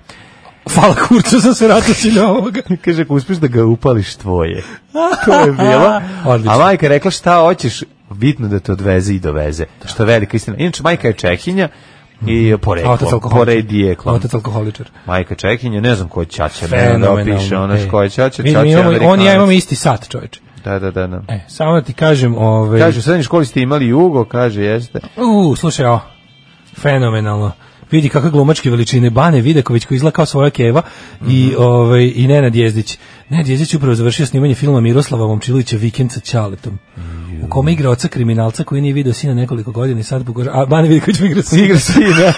<laughs> Hvala kurcu sam se vratio cilj ovoga.
<laughs> Kaže, ako uspeš da ga upališ <laughs> tvoje. To je bilo.
Odlično.
A majka je rekla, šta hoćeš, bitno da te odveze i doveze. Što je velika istina. Inače, majka je Čehinja, I poreklom,
Otac alkoholičar.
poredijeklom.
Otac alkoholičar.
Majka Čekinja, ne znam ko je Ćaća, ne znam da
Fenomenalno.
opiše ono
ej.
ko je Ćaća,
Mi- mi
Ćaća je
imamo- On i ja
Amerikanac.
imamo isti sat, čoveče.
Da, da, da. da.
E, samo da ti kažem, ovaj...
Kaže, u srednjoj školi ste imali jugo, kaže, jeste.
U, slušaj, o, fenomenalno. Vidi kakve glumačke veličine Bane Vidaković koji izgleda kao svoja keva i
Mhm.
ovaj i Nenad Jezdić. Nenad Jezdić je upravo završio snimanje filma Miroslava Momčilovića Vikend sa Ćaletom. U kome igra oca kriminalca koji nije video sina nekoliko godina i sad pogože, a Bane Vidaković mi igra sina.
Igra
<laughs>
sina.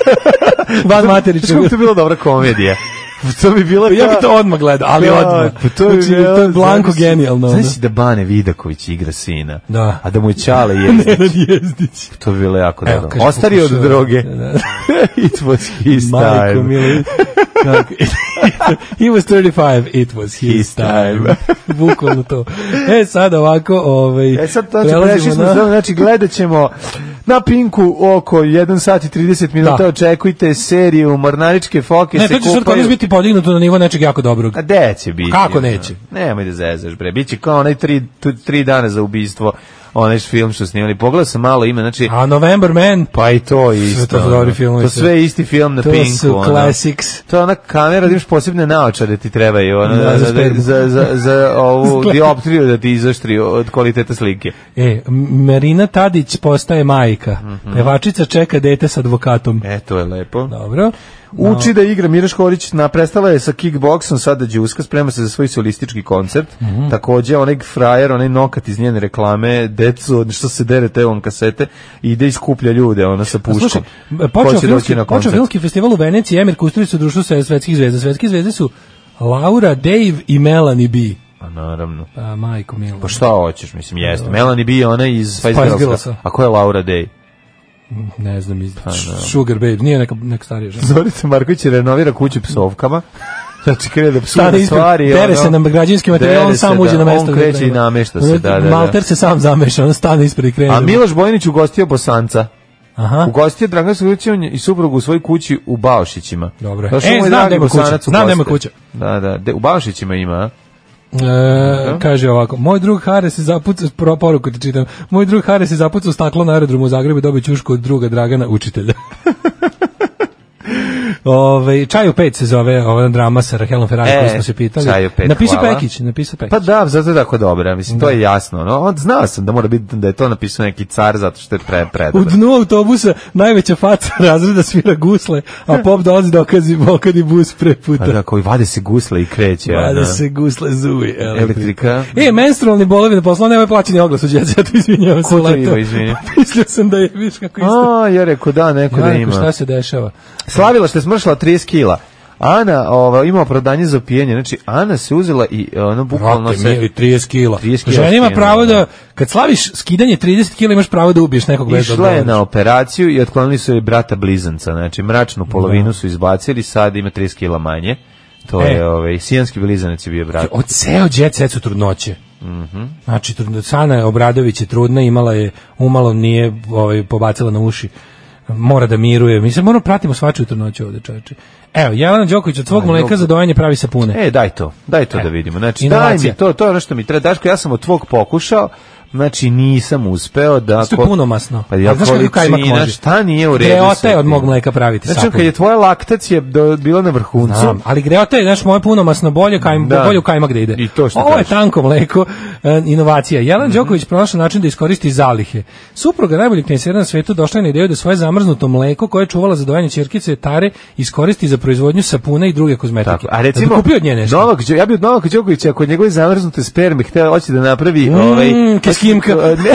Ban Materić.
Što bi to bila dobra komedija? Pa, To bi bilo
Pa, Ja bi to odmah gledao, ali
Da,
odmah.
Pa to je,
Znači, to je blanko genijalno. ono.
Znaš si da Bane Vidaković igra sina,
Da.
a da mu je
<laughs>
Čale
Nenad
Jezdić.
Jezdić.
to bi bilo jako
Evo,
dobro.
kaže,
Ostari od
pokušava-
droge.
Da,
<laughs>
da.
It was his
Majko
time.
mili.
<laughs>
Kako- He was 35, it was his,
His time.
time. <laughs> Bukvalno to. E sad ovako, ovaj
E sad znači
prelazimo
prešli smo,
na-
na... znači gledat ćemo na Pinku oko 1 sat i 30 minuta
Da.
očekujte seriju Mornaričke foke
Ne,
se
to će sad kod
kupaju.
nas biti podignuto na nivo nečeg jako dobrog.
A gde će biti?
Kako
ono?
neće?
Nemoj da zezaš bre, biće kao onaj 3 dana za ubistvo, onaj film što snimali. Pogledao sam malo ime, znači
A November Man,
Pa i to je
Sve
isto.
to su dobri
ono.
filmovi,
To
sve.
sve je isti film na
to
Pinku.
su
ono.
classics.
To je ona kamera, da imaš posebne naočare ti trebaju, ono,
Da, za
za, za,
spermu.
za, za, <laughs> za ovu
Sklep.
dioptriju da ti izaštri od kvaliteta slike.
E, M- Marina Tadić postaje majka. Pevačica čeka dete s advokatom.
Mhm. E, to je lepo.
Dobro.
Uči da igra Mira Škorić, na prestala je sa kickboksom, sada đuska, sprema se za svoj solistički koncert.
Mhm.
Takođe onaj frajer, onaj nokat iz njene reklame, decu, što se dere te on kasete, ide i skuplja ljude, ona sa
A
puškom.
Slušaj,
Ko
počeo
će doći
filmski,
na
počeo
koncert?
filmski festival u Veneciji, Emir Kusturić su društvo sve svetskih zvezda. Svetske zvezde su Laura, Dave i Melanie B.
Pa naravno.
Pa, majko milo.
Pa šta hoćeš, mislim, jeste. Melanie B je ona iz Spice,
Spice
Girlsa.
Girlsa.
A ko je Laura Day?
Ne znam,
Pa,
iz... Sugar Babe, nije neka, neka starija žena.
Zorica Marković renovira kuću psovkama. <laughs> Znači, krene da psuje
Stane ispred,
stvari.
dere
ono.
se na građanski materijal,
Dere
on
se,
sam uđe
da,
na mesto.
On
gde
kreće i
treba.
namešta se, da, da, da.
Malter se sam zameša, on stane ispred i krene.
A Miloš Bojanić ugostio Bosanca.
Aha.
Ugostio Dragan Stojković i suprugu u svojoj kući u Baošićima.
Dobro.
Došao
E,
mu je
znam
dragi
da ima kuća,
Bosanac u
znam da ima
goste.
kuća.
Da, da, de- u Baošićima ima, a?
E, kaže ovako, moj drug Hare se zapucao, pro poruku ti čitam, moj drug Hare se zapucao u staklo na aerodromu u Zagrebu i dobio ćušku od druga Dragana, učitelja. <laughs> Ove, čaj u pet se zove ova drama sa Rahelom Ferrari
E,
koju smo se pitali.
Čaj u pet,
napisao
hvala.
Pekić, napisao Pekić.
Pa da, zato je tako dobra, mislim, to je jasno. No, on, znao sam da mora biti da je to napisao neki car zato što je pre,
U
predobar.
dnu autobusa najveća faca <laughs> razreda svira gusle, a pop dolazi da okazi, okadi bus pre puta.
Pa da, koji vade se gusle i kreće.
Vade
ono.
se gusle zuvi.
Elektrika.
E, menstrualni bolovi na poslu, nemoj plaćeni oglas u djeci, <laughs> ja to izvinjavam se.
Ko to
leto.
ima, izvini?
<laughs> Mislio sam da je, viš kako isto.
A, ja rekao da, neko da
Janko,
ima.
šta se dešava?
Slavila što je smršala 30 kila. Ana ova, ima opravdanje za pijenje. Znači, Ana se uzela i ono bukvalno
Brate, mili,
se...
30 kila.
30 kila
Žena ima
skinu,
pravo
da.
da, kad slaviš skidanje 30 kila, imaš pravo da ubiješ nekog bez
Išla je
odgovora.
na operaciju i otklonili su joj brata blizanca. Znači, mračnu polovinu su izbacili, sad ima 30 kila manje. To
E.
je, ovaj, sijanski blizanac je bio brat.
Od ceo jet set su trudnoće. Znači, trudno- Sana Obradović je trudna, imala je, umalo nije ovaj, pobacila na uši. Mora da miruje. Mi se moramo pratimo svačiju trudnoću ovde, čoveče. Evo, Jelena Đoković od svog mleka za dojenje pravi sapune.
E, daj to, daj to da vidimo. Znači, daj
Inovacija.
mi to, to je ono što mi treba. Daško, ja sam od tvog pokušao, znači nisam uspeo da...
Isto je
ko-
punomasno.
Pa ja
A znaš kako kajmak
količina,
može?
Šta nije u redu?
Greota
sa
je od
tim?
mog mleka praviti
Znači,
sapun.
kad je tvoja laktacija do- bila na vrhuncu,
Znam, ali greota je, znaš, moje punomasno bolje, kajm,
Da.
bolje u kajma gde ide.
I to što
Ovo je
kažeš. Mhm.
tanko mleko, e, inovacija. Jelan Đoković pronašao način da iskoristi zalihe. Supruga najboljeg tenisera na svetu došla je na ideju da svoje zamrznuto mleko koje je čuvala za dojenje ćerkice Tare iskoristi za proizvodnju sapuna i druge kozmetike.
Tako, a
Da bi
recimo,
kupio od nje nešto.
Novak, Đo- ja bi od Novaka Đokovića, ako od njegove zamrznute sperme hteo, hoće da napravi...
Mm,
ovaj,
keskimka.
<laughs> Ne,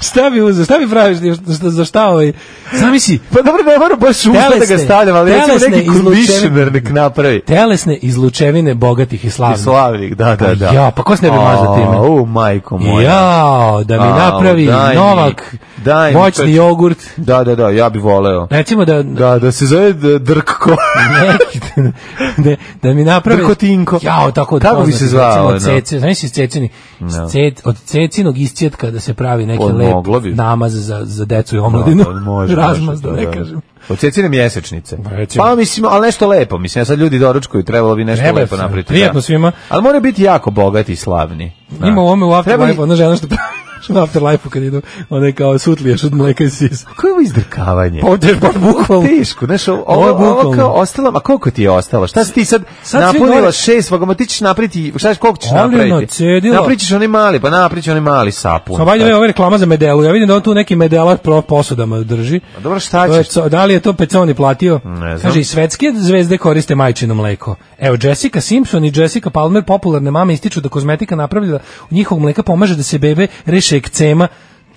Šta bi uzeo? Šta bi praviš? Šta, za šta ovaj? Zamisli,
pa dobro, ne moram baš usta da ga
Telesne-
stavljam, ali recimo
telesne
neki
izlučenje.
conditioner nek napravi.
telesne izlučevine bogatih i
I
slavnih.
slavnik, da, da, da.
Ja, pa ko se ne bi mazao time?
O, majko moja.
Jao, da mi
Au,
napravi
daj mi-
Novak
daj mi
moćni
to-
jogurt.
Da, da, da, ja bi voleo.
Recimo da
Da, da se zove d- Drkko.
<laughs> neki, <laughs> da, da mi napravi
Drkotinko.
Jao, tako
Kako bi se zvao,
Od
ono?
cece, znaš iz cecini,
No.
Cet- od cecinog iscjetka da se pravi neki
Od
lep
moglo bi.
namaz za, za decu i
Da,
omladinu. <laughs>
da, može,
Razmaz, da,
može,
ne kažem.
Od cecine mjesečnice.
recimo.
Pa mislim, ali nešto lepo. Mislim, ja sad ljudi doručkuju, trebalo bi nešto
Treba
lepo
se,
napraviti.
prijatno
da.
svima.
Ali mora biti jako bogati i slavni. Da.
Ima u ovome u
Treba
Afterlife,
li-
ona žena što pravi <laughs> u Afterlife-u kad idu, ona je kao sutliješ od mleka i sisa.
Kako je ovo izdrkavanje?
Pa odeš baš bukvalno.
Teško, znaš, ovo,
Ovo
ovo,
je
ovo
bukvalno.
kao ostalo, ma koliko ti je ostalo? Šta si ti sad,
Sad svi
napunila
gore-
šest vagoma, ti ćeš napriti, šta ćeš, koliko ćeš
Oljeno,
napraviti?
cedilo.
Naprićeš onaj mali, pa naprićeš onaj mali sapun.
Samo valjda je ova reklama za medelu. Ja vidim da on tu neki medelar pro posudama drži.
A dobro, šta
To je
Pa ćeš?
co- da li je to Peconi platio?
Ne znam.
Kaže, i svetske zvezde koriste majčino mleko. Evo, Jessica Simpson i Jessica Palmer, popularne mame, ističu da kozmetika napravljena u njihovog mleka pomaže da se bebe reše ekcema.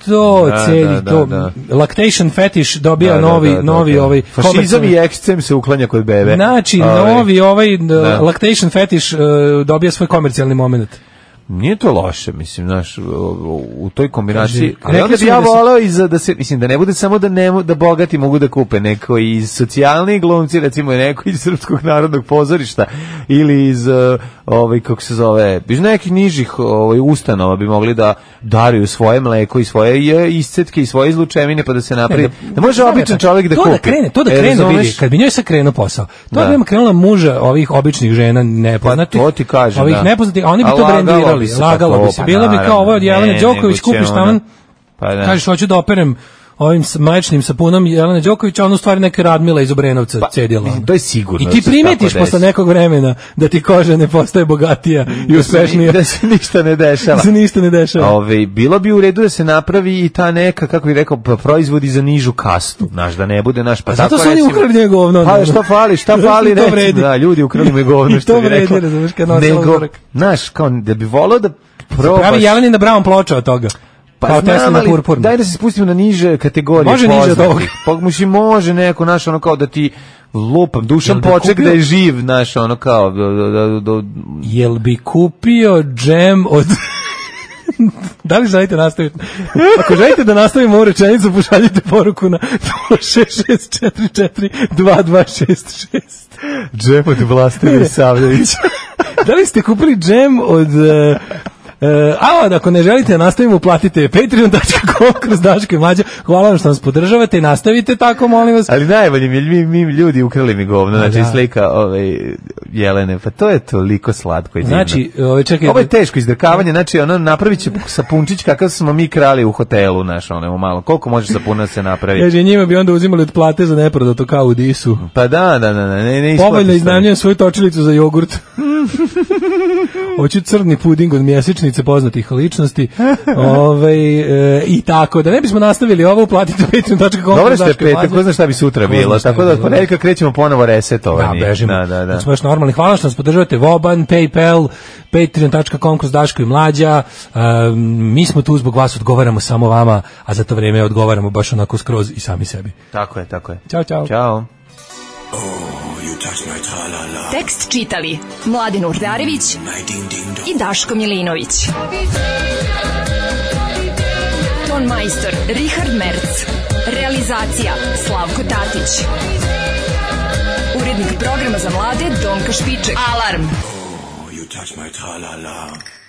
To
Da,
celi,
da, da,
to
da.
lactation fetish dobija
Da, da,
novi,
da, da,
novi
da.
ovaj
Fašizam
komercijalni-
i ekscem se uklanja kod bebe.
Znači,
Ovaj,
novi ovaj n-
Da.
lactation fetish e, dobija svoj komercijalni moment.
Nije to loše, mislim, znaš, u- u- u toj kombinaciji.
Kaže,
Ali
rekli
onda
su
bi
mi
ja
da se-
voleo i za, da se, mislim, da ne bude samo da, ne, mo- da bogati mogu da kupe, neko i socijalni glumci, recimo neko iz Srpskog narodnog pozorišta ili iz, eh, ovaj, kako se zove, iz nekih nižih ovaj, ustanova bi mogli da daruju svoje mleko i svoje je, iscetke i svoje izlučevine pa da se napravi.
Ne,
da, može
znam ja
običan
tako.
čovjek da
to
kupi.
Da krene, to da
E,
krene,
razumeš?
vidi, kad bi njoj sad krenuo posao. To
Da.
bi nam krenula muža ovih običnih žena nepoznatih.
Pa, to ti kažem,
Znači, Ovih
da.
nepoznatih, a oni bi
A
to
lagalo
brendirali,
bi se, pa
lagalo
to,
bi se.
pa
Bilo bi kao
naravno,
ovo od Jelene
ne,
Đoković,
nego će
kupiš
ona-
taman,
Pa da.
kažeš hoću da operem ovim s- majčnim sapunom Jelene Đoković, a on u stvari neka Radmila iz Obrenovca cedila.
mislim, to je sigurno
I
Pa, da
ti
se
primetiš
tako
posle
desi.
nekog vremena da ti koža ne postaje bogatija i uspešnija.
Da se ništa ne dešava.
<laughs> Da se ništa ne dešava.
Ove, bilo bi u redu da se napravi i ta neka, kako bih rekao, pa, proizvodi za nižu kastu, znaš, da ne bude naš, pa
A zato
tako
su oni
recimo-
ukrali njegov govno.
Pa šta fali,
<laughs>
šta
Zato što
fali,
to
recimo,
vredi.
da, ljudi ukrali me govno,
<laughs> I to
što bi
vredi,
rekao.
razumeš, kad nosila uzorak.
znaš, kao da bi volao da probaš.
Pravi Jelenina Brown ploča od toga.
Pa
kao
znam,
Tesla
ali
purpurna.
Daj da se spustimo na niže kategorije.
Može niže od
poznatih.
ovog?
Pa mislim, može neko, naš, ono kao da ti lupam, dušan
Jel bi
poček
kupio?
da je živ, naš, ono kao, da, da, da, da,
Jel bi kupio džem od... <laughs> da li želite
<laughs>
nastaviti? Ako želite da nastavimo ovu rečenicu, pošaljite poruku na 066442266.
<laughs> džep od Vlastimir Savljević.
da li ste kupili džem od... e, E, a onda, ako ne želite, nastavimo, platite patreon.com kroz Daško i Mlađa. Hvala vam što nas podržavate i nastavite tako, molim vas.
Ali najbolje mi, je, mi, mi ljudi ukrali mi govno, znači
da.
slika ovaj, Jelene, pa to je toliko slatko i divno.
Znači, ovaj, čekaj,
Ovo je teško izdrkavanje, znači ono napravit će sapunčić kakav smo mi krali u hotelu, naš ono malo, koliko može sapuna da se napravi?
Kaže, njima bi onda uzimali od plate za neprodato kao u disu.
Pa da, da, da, da, ne, ne isplati
Povoljno
se.
iznajmljujem svoju točilicu za
<laughs>
jogurt. Hoću crni puding od mjesečnice poznatih
<laughs>
ličnosti. Ove, I tako, da ne bismo nastavili ovo, uplatite patreon.com.
Dobro ste
Daško i
petak,
Mlađa.
ko zna šta bi sutra
Ko zna
bilo,
šta bi
tako da od
bilo.
ponedjeljka krećemo ponovo
Da,
resetovanje.
bežimo.
Da, da, da.
Smo još normalni. Hvala što nas podržavate. Voban, Paypal, patreon.com kroz Daško i Mlađa. Um, mi smo tu zbog vas, odgovaramo samo vama, a za to vrijeme odgovaramo baš onako skroz i sami sebi.
Tako je, tako je.
Ćao, čao.
Ćao.
Tekst čitali Mladin Urdarević i Daško Milinović. Ton majstor Richard Merc. Realizacija Slavko Tatić. Urednik programa za mlade Donka Špiček. Alarm!
You touch my tra-la-la.